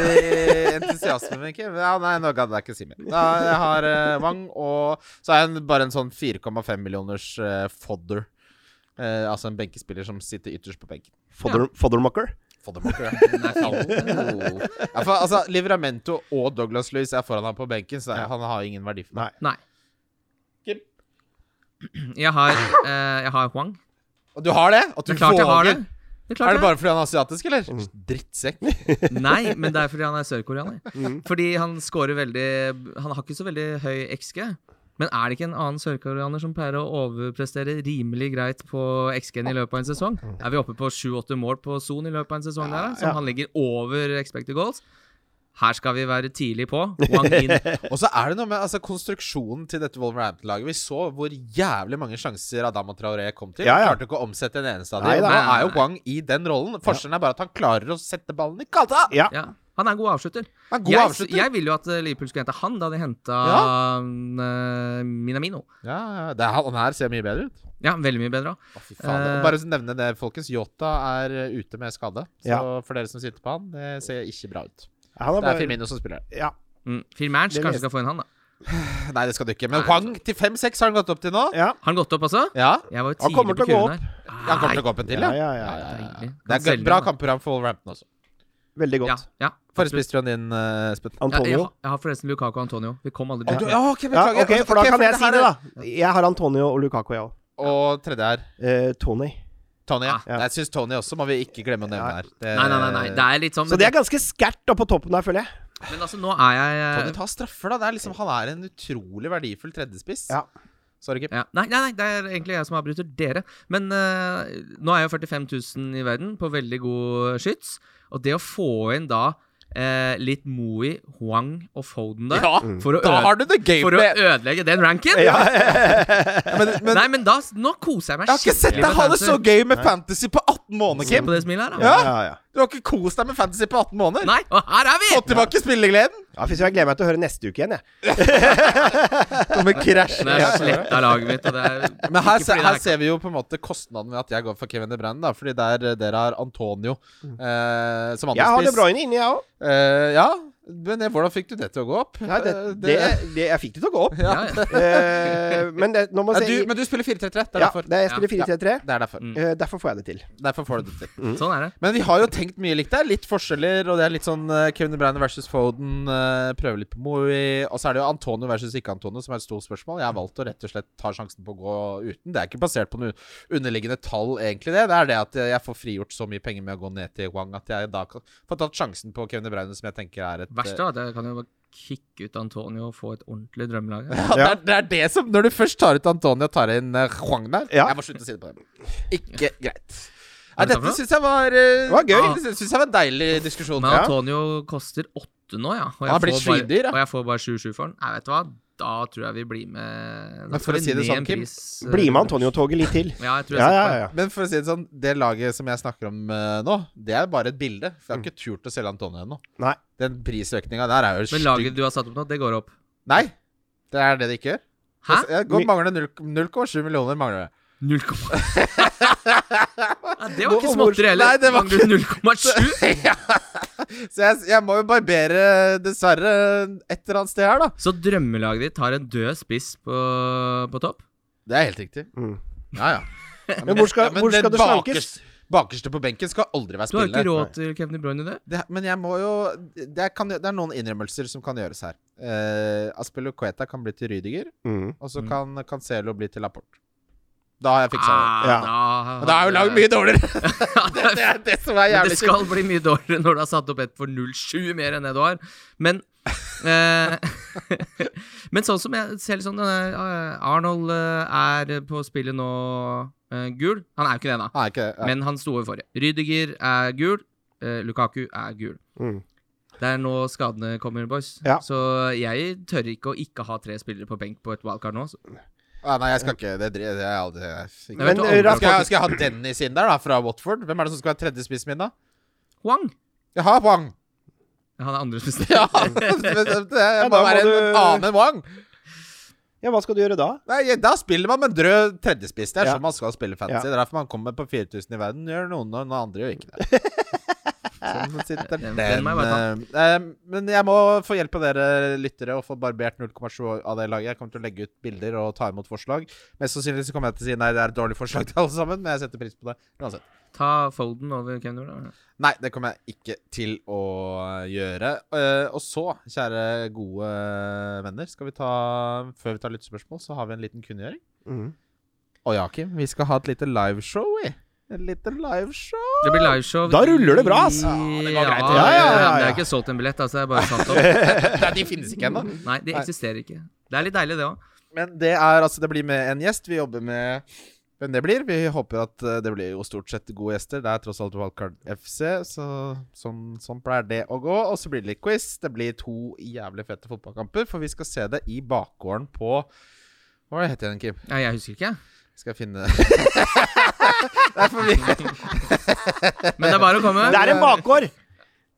[SPEAKER 2] entusiasmen min. Kim. Ja, nei, nå gadd jeg ikke si mer. Da, jeg har eh, Wang, og så er jeg en, bare en sånn 4,5 millioners eh, fodder. Eh, altså en benkespiller som sitter ytterst på benken.
[SPEAKER 5] Fodder, Foddermucker.
[SPEAKER 2] Foddermokker, ja.
[SPEAKER 3] Den er fin.
[SPEAKER 2] Ja, for, altså, Livramento og Douglas Lewis er foran ham på benken, så han har ingen verdi for meg.
[SPEAKER 4] Nei.
[SPEAKER 3] Nei.
[SPEAKER 2] Kim?
[SPEAKER 3] Jeg har, eh, jeg har Huang.
[SPEAKER 2] Og du har det? At du
[SPEAKER 3] Det er klart jeg har det.
[SPEAKER 2] våger?
[SPEAKER 3] Det er, klart
[SPEAKER 2] Er det
[SPEAKER 3] jeg-
[SPEAKER 2] bare fordi han er asiatisk, eller? Drittsekk.
[SPEAKER 3] Nei, men det er fordi han er sørkoreaner.
[SPEAKER 2] Mm.
[SPEAKER 3] Fordi han scorer veldig Han har ikke så veldig høy XG. Men er det ikke en annen sørkoreaner som pleier å overprestere rimelig greit på XG-en i løpet av en sesong? Er vi oppe på 7-8 mål på Son i løpet av en sesong der, da, som
[SPEAKER 4] ja.
[SPEAKER 3] han ligger over expected goals? Her skal vi være tidlig på. Wang inn.
[SPEAKER 2] Og så er det noe med altså, konstruksjonen til dette Wolverhampton-laget. Vi så hvor jævlig mange sjanser Adama Traoré kom til.
[SPEAKER 4] Ja, ja.
[SPEAKER 2] Klarte ikke å omsette en eneste av
[SPEAKER 4] Nei,
[SPEAKER 2] dem. Nå
[SPEAKER 4] nei,
[SPEAKER 3] nei,
[SPEAKER 2] er jo
[SPEAKER 3] nei.
[SPEAKER 2] Wang i den rollen. Forskjellen er bare at han klarer å sette ballen i kassa.
[SPEAKER 4] Ja.
[SPEAKER 3] Ja. Han er en god avslutter.
[SPEAKER 2] Han er god
[SPEAKER 3] Jeg,
[SPEAKER 2] avslutter.
[SPEAKER 3] jeg ville jo at eh, Liverpool skulle hente han da de henta
[SPEAKER 2] Ja.
[SPEAKER 3] eh, Minamino.
[SPEAKER 2] Ja, ja, det er, han her ser mye bedre ut.
[SPEAKER 3] Ja, veldig mye bedre. også.
[SPEAKER 2] Å, fy faen.
[SPEAKER 3] Eh.
[SPEAKER 2] Bare nevne det, folkens. Yota er eh, ute med skade. Så
[SPEAKER 4] Ja.
[SPEAKER 2] for dere som sitter på han, det ser ikke bra ut.
[SPEAKER 4] Han
[SPEAKER 2] Det er Firmino som spiller.
[SPEAKER 4] Ja.
[SPEAKER 3] Mm. Firmans
[SPEAKER 4] Det
[SPEAKER 3] kanskje
[SPEAKER 4] vet-
[SPEAKER 3] skal få inn han, da.
[SPEAKER 2] Nei, det skal du ikke. Men Wang til 5-6 har han gått opp til nå.
[SPEAKER 4] ja.
[SPEAKER 3] Har han gått opp, altså?
[SPEAKER 2] Ja.
[SPEAKER 3] Jeg var jo
[SPEAKER 4] Han
[SPEAKER 3] tidlig
[SPEAKER 4] kommer
[SPEAKER 3] på
[SPEAKER 4] til å gå
[SPEAKER 3] kurven her.
[SPEAKER 2] Han kommer til å gå opp en til,
[SPEAKER 4] Ja, ja, ja, ja.
[SPEAKER 3] Deilig.
[SPEAKER 2] Det
[SPEAKER 3] Kan
[SPEAKER 2] er
[SPEAKER 3] selge
[SPEAKER 2] bra
[SPEAKER 3] den, da.
[SPEAKER 2] kampprogram for Wolverhampton også.
[SPEAKER 4] Veldig
[SPEAKER 3] Ja,
[SPEAKER 4] godt.
[SPEAKER 3] ja.
[SPEAKER 2] Forrige spiste du din, eh, Spøtten?
[SPEAKER 3] Ja, jeg,
[SPEAKER 4] Antonio.
[SPEAKER 3] jeg har forresten Lukaku og Antonio. Vi kom aldri
[SPEAKER 2] Å,
[SPEAKER 3] dit.
[SPEAKER 2] du-
[SPEAKER 3] ned.
[SPEAKER 2] ja, ok,
[SPEAKER 4] Ja,
[SPEAKER 2] beklager. altså,
[SPEAKER 4] ok,
[SPEAKER 3] Altså,
[SPEAKER 4] for da
[SPEAKER 2] Ok,
[SPEAKER 4] kan jeg si
[SPEAKER 2] her
[SPEAKER 4] det,
[SPEAKER 2] er-
[SPEAKER 4] da. Jeg har Antonio og Lukaku, jeg òg.
[SPEAKER 2] Og tredje her.
[SPEAKER 4] Eh, Tony.
[SPEAKER 2] Tony. Ja.
[SPEAKER 4] Ja.
[SPEAKER 2] Jeg syns Tony også må vi ikke glemme å nevne
[SPEAKER 4] Nei.
[SPEAKER 2] her. Det-
[SPEAKER 3] Nei, nei, nei, nei. Det er litt sånn
[SPEAKER 4] Så
[SPEAKER 3] men,
[SPEAKER 4] det er ganske skært oppe på toppen der, føler jeg.
[SPEAKER 3] men altså, nå er jeg
[SPEAKER 2] Tony
[SPEAKER 3] eh,
[SPEAKER 2] tar straffer, da. Det er liksom, han er en utrolig verdifull tredjespiss.
[SPEAKER 4] Ja.
[SPEAKER 2] Sorry, Kim.
[SPEAKER 3] ja. Nei, nei, nei, det er egentlig jeg som avbryter dere. Men eh, nå er jo 45 000 i verden på veldig god skyts. Og det å få inn da eh, litt Moey, Huang og Foden der
[SPEAKER 2] Ja,
[SPEAKER 3] for, å
[SPEAKER 2] da har du
[SPEAKER 3] øde,
[SPEAKER 2] the game
[SPEAKER 3] for å
[SPEAKER 2] plan.
[SPEAKER 3] ødelegge den ranken
[SPEAKER 2] Ja, men, men
[SPEAKER 3] Nei, men da Nå koser jeg meg
[SPEAKER 2] jeg har ikke sett deg
[SPEAKER 3] med
[SPEAKER 2] ha det
[SPEAKER 3] fantasy.
[SPEAKER 2] så gøy med fantasy på 18 måneder,
[SPEAKER 3] Se
[SPEAKER 2] Kim.
[SPEAKER 3] på det smilet her, da.
[SPEAKER 2] Ja.
[SPEAKER 4] ja, ja.
[SPEAKER 2] Du har ikke kost deg med fantasy på 18 måneder.
[SPEAKER 3] Nei, og her er vi!
[SPEAKER 2] Få tilbake spillegleden.
[SPEAKER 4] Ja, fy søren, jeg gleder meg til å høre neste uke igjen, jeg.
[SPEAKER 2] Kommer krasj.
[SPEAKER 3] Det er slett av laget mitt, og det er
[SPEAKER 2] Men her,
[SPEAKER 3] ikke
[SPEAKER 2] se,
[SPEAKER 3] fordi det
[SPEAKER 2] her
[SPEAKER 3] er-
[SPEAKER 2] ser vi jo på en måte kostnaden ved at jeg går for Kevin De Bruyne, da. Fordi der eh, dere har Antonio
[SPEAKER 3] Mm.
[SPEAKER 2] eh, som
[SPEAKER 4] Jeg har De
[SPEAKER 2] andrespiss.
[SPEAKER 4] Bruyne inni, jeg òg.
[SPEAKER 2] Eh, ja, men eh, hvordan fikk du det til å gå opp?
[SPEAKER 4] Nei, det,
[SPEAKER 2] Eh,
[SPEAKER 4] det, det, jeg fikk det til å gå opp.
[SPEAKER 3] ja, Altså, ja.
[SPEAKER 4] Eh, men det, nå må
[SPEAKER 2] Ja,
[SPEAKER 4] jeg
[SPEAKER 2] du,
[SPEAKER 4] se
[SPEAKER 2] men du spiller 4-3-3. Det er
[SPEAKER 4] ja,
[SPEAKER 2] derfor.
[SPEAKER 4] det, Jeg spiller 4-3-3.
[SPEAKER 2] Det er
[SPEAKER 3] Mm.
[SPEAKER 2] derfor.
[SPEAKER 4] Eh, derfor får jeg det til.
[SPEAKER 2] Derfor får du det til.
[SPEAKER 3] Sånn er det.
[SPEAKER 2] Men vi har jo tenkt mye likt der. Litt forskjeller, og det er litt sånn eh, Kevin De Bruyne versus Foden. eh, prøver litt på Moey. Og så er det jo Antonio versus ikke-Antonio, som er et stort spørsmål. Jeg har valgt å rett og slett ta sjansen på å gå uten. Det er ikke basert på noe underliggende tall, egentlig, det. Det er det at jeg får frigjort så mye penger med å gå ned til Wang at jeg da kan får tatt sjansen på Kevin De Bruyne, som jeg tenker er et eh,
[SPEAKER 3] Verst er at jeg kan jo bare kicke ut Antonio og få et ordentlig drømmelag. her.
[SPEAKER 2] Ja, Det, er, det er det som Når du først tar ut Antonio og tar inn eh, Juan der
[SPEAKER 4] Ja.
[SPEAKER 2] Jeg må slutte å si det på den. Ikke greit. Nei,
[SPEAKER 3] det samme?
[SPEAKER 2] dette syns jeg var Det
[SPEAKER 4] var gøy.
[SPEAKER 2] Det syns jeg var en deilig diskusjon.
[SPEAKER 3] Men
[SPEAKER 2] Ja.
[SPEAKER 3] Antonio koster åtte nå, ja. Og
[SPEAKER 2] Han har blitt
[SPEAKER 3] får
[SPEAKER 2] skydyr,
[SPEAKER 3] bare,
[SPEAKER 2] ja.
[SPEAKER 3] og jeg får bare 7-7 for den. Nei, vet du hva, da tror jeg vi blir med
[SPEAKER 2] Men
[SPEAKER 3] Da
[SPEAKER 2] for å
[SPEAKER 3] skal vi
[SPEAKER 2] si det
[SPEAKER 3] ned
[SPEAKER 2] sånn,
[SPEAKER 3] en
[SPEAKER 2] Kim,
[SPEAKER 3] pris, eh,
[SPEAKER 4] Bli med Antonio-toget litt til.
[SPEAKER 3] Ja, jeg tror jeg
[SPEAKER 4] Ja, ja,
[SPEAKER 3] setter på
[SPEAKER 4] ja.
[SPEAKER 2] Men for å si det sånn, det laget som jeg snakker om eh, nå, det er bare et bilde. For jeg har ikke turt å selge Antonio ennå.
[SPEAKER 4] Mm. Nei.
[SPEAKER 2] Den prisøkninga der er jo
[SPEAKER 3] den. Men
[SPEAKER 2] stygg.
[SPEAKER 3] laget du har satt opp nå, det går opp.
[SPEAKER 2] Nei, det er det det ikke gjør.
[SPEAKER 3] Hæ?
[SPEAKER 2] Jeg- jeg- Godt mangler null- 0,7 millioner. mangler det
[SPEAKER 3] 0,7 ja, Det var ikke
[SPEAKER 2] Hvor-
[SPEAKER 3] småtteri heller.
[SPEAKER 2] Nei, det var
[SPEAKER 3] Mangler 0,7.
[SPEAKER 2] ja. Så jeg, jeg må jo barbere, dessverre, et eller annet sted her, da.
[SPEAKER 3] Så drømmelaget ditt har en død spiss på, på topp?
[SPEAKER 2] Det er helt riktig.
[SPEAKER 4] Mm.
[SPEAKER 2] Ja, ja.
[SPEAKER 4] Men hvor skal,
[SPEAKER 2] Ja, men
[SPEAKER 4] hvor skal
[SPEAKER 2] den
[SPEAKER 4] det slankes?
[SPEAKER 2] bakers- Bakerste på benken skal aldri være
[SPEAKER 3] Du har jo
[SPEAKER 2] spillende.
[SPEAKER 3] ikke råd til Kevin De Bruyne, du.
[SPEAKER 2] Det, men jeg må jo det, er- kan, det er noen innrømmelser som kan gjøres her. Uh, Aspello Queta kan bli til Rydiger,
[SPEAKER 4] Mm.
[SPEAKER 2] og så
[SPEAKER 3] Mm.
[SPEAKER 2] kan Cancelo bli til Laporte. Da har jeg fiksa det.
[SPEAKER 3] Ah,
[SPEAKER 4] Ja.
[SPEAKER 3] da-
[SPEAKER 2] Men Da er jo laget mye dårligere! det, det er det som er
[SPEAKER 3] Men
[SPEAKER 2] jævlig
[SPEAKER 3] det skal bli mye dårligere når du har satt opp et for 0,7 mer enn det du har. Men eh, Men sånn som jeg ser litt sånn eh, Arnold eh, er på spillet nå eh, gul. Han er jo ikke det, da,
[SPEAKER 2] Nei, Ah, ikke, det. ja.
[SPEAKER 3] men han sto over forrige. Rydiger er gul. eh, Lukaku er gul.
[SPEAKER 4] Mm.
[SPEAKER 3] Det er nå skadene kommer, boys.
[SPEAKER 4] Ja.
[SPEAKER 3] Så jeg tør ikke å ikke ha tre spillere på benk på et wildcard nå. Så.
[SPEAKER 2] Ah, nei, jeg skal ikke Det, dri- det er aldri jeg, ikke.
[SPEAKER 3] Nei, vet
[SPEAKER 4] Men
[SPEAKER 3] du, andre
[SPEAKER 4] Rafa-
[SPEAKER 2] skal, jeg, skal jeg ha Dennis inn der, da, fra Watford? Hvem er det som skal være tredje spissen min, da?
[SPEAKER 3] Huang!
[SPEAKER 2] Jeg har Wang!
[SPEAKER 3] Ja, Han er andre spist.
[SPEAKER 2] Ja, det, det, det, jeg må
[SPEAKER 4] da må
[SPEAKER 2] være en,
[SPEAKER 4] du-
[SPEAKER 2] annen enn Wang.
[SPEAKER 4] Ja, hva skal du gjøre da?
[SPEAKER 2] Nei, da spiller man med en drød tredjespiss. Det er
[SPEAKER 4] Ja.
[SPEAKER 2] sånn man skal spille fantasy.
[SPEAKER 4] Ja.
[SPEAKER 2] Det er derfor man kommer på 4000 i verden. Gjør noen, og noen andre gjør ikke det. Sånn sitter
[SPEAKER 3] Den-
[SPEAKER 2] den.
[SPEAKER 3] den må jeg
[SPEAKER 2] Eh, men jeg må få hjelp av dere lyttere og få barbert 0,7 av det laget. Jeg kommer til å legge ut bilder og ta imot forslag. Mest sannsynlig så kommer jeg til å si nei, det er et dårlig forslag til alle sammen, men jeg setter pris på det uansett.
[SPEAKER 3] Ta Folden over Kevin Jordan.
[SPEAKER 2] Nei, det kommer jeg ikke til å gjøre. Eh, og så, kjære gode venner, skal vi ta Før vi tar lyttespørsmål, så har vi en liten kunngjøring.
[SPEAKER 4] Mm.
[SPEAKER 2] Å ja, Kim. Vi skal ha et lite liveshow, vi. Et lite liveshow.
[SPEAKER 3] Det blir liveshow.
[SPEAKER 4] Da ruller det bra, ass.
[SPEAKER 3] Ja,
[SPEAKER 2] det går greit.
[SPEAKER 3] Ja,
[SPEAKER 4] Ja, ja, ja, ja.
[SPEAKER 3] Det er ikke solgt en billett, altså. Jeg bare satt opp.
[SPEAKER 2] Nei, de finnes ikke ennå.
[SPEAKER 3] Nei, det eksisterer ikke. Det er litt deilig, det òg.
[SPEAKER 2] Men det er altså Det blir med en gjest. Vi jobber med hvem det blir. Vi håper at eh, det blir jo stort sett gode gjester. Det er tross alt Wildcard FC, så sånn, sånn pleier det å gå. Og så blir det litt quiz. Det blir to jævlig fete fotballkamper, for vi skal se det i bakgården på Hva var det het igjen, Kim?
[SPEAKER 3] Ja, jeg husker ikke.
[SPEAKER 2] Skal jeg finne Det er for mye.
[SPEAKER 3] Men det er bare å komme.
[SPEAKER 4] Det er en bakgård!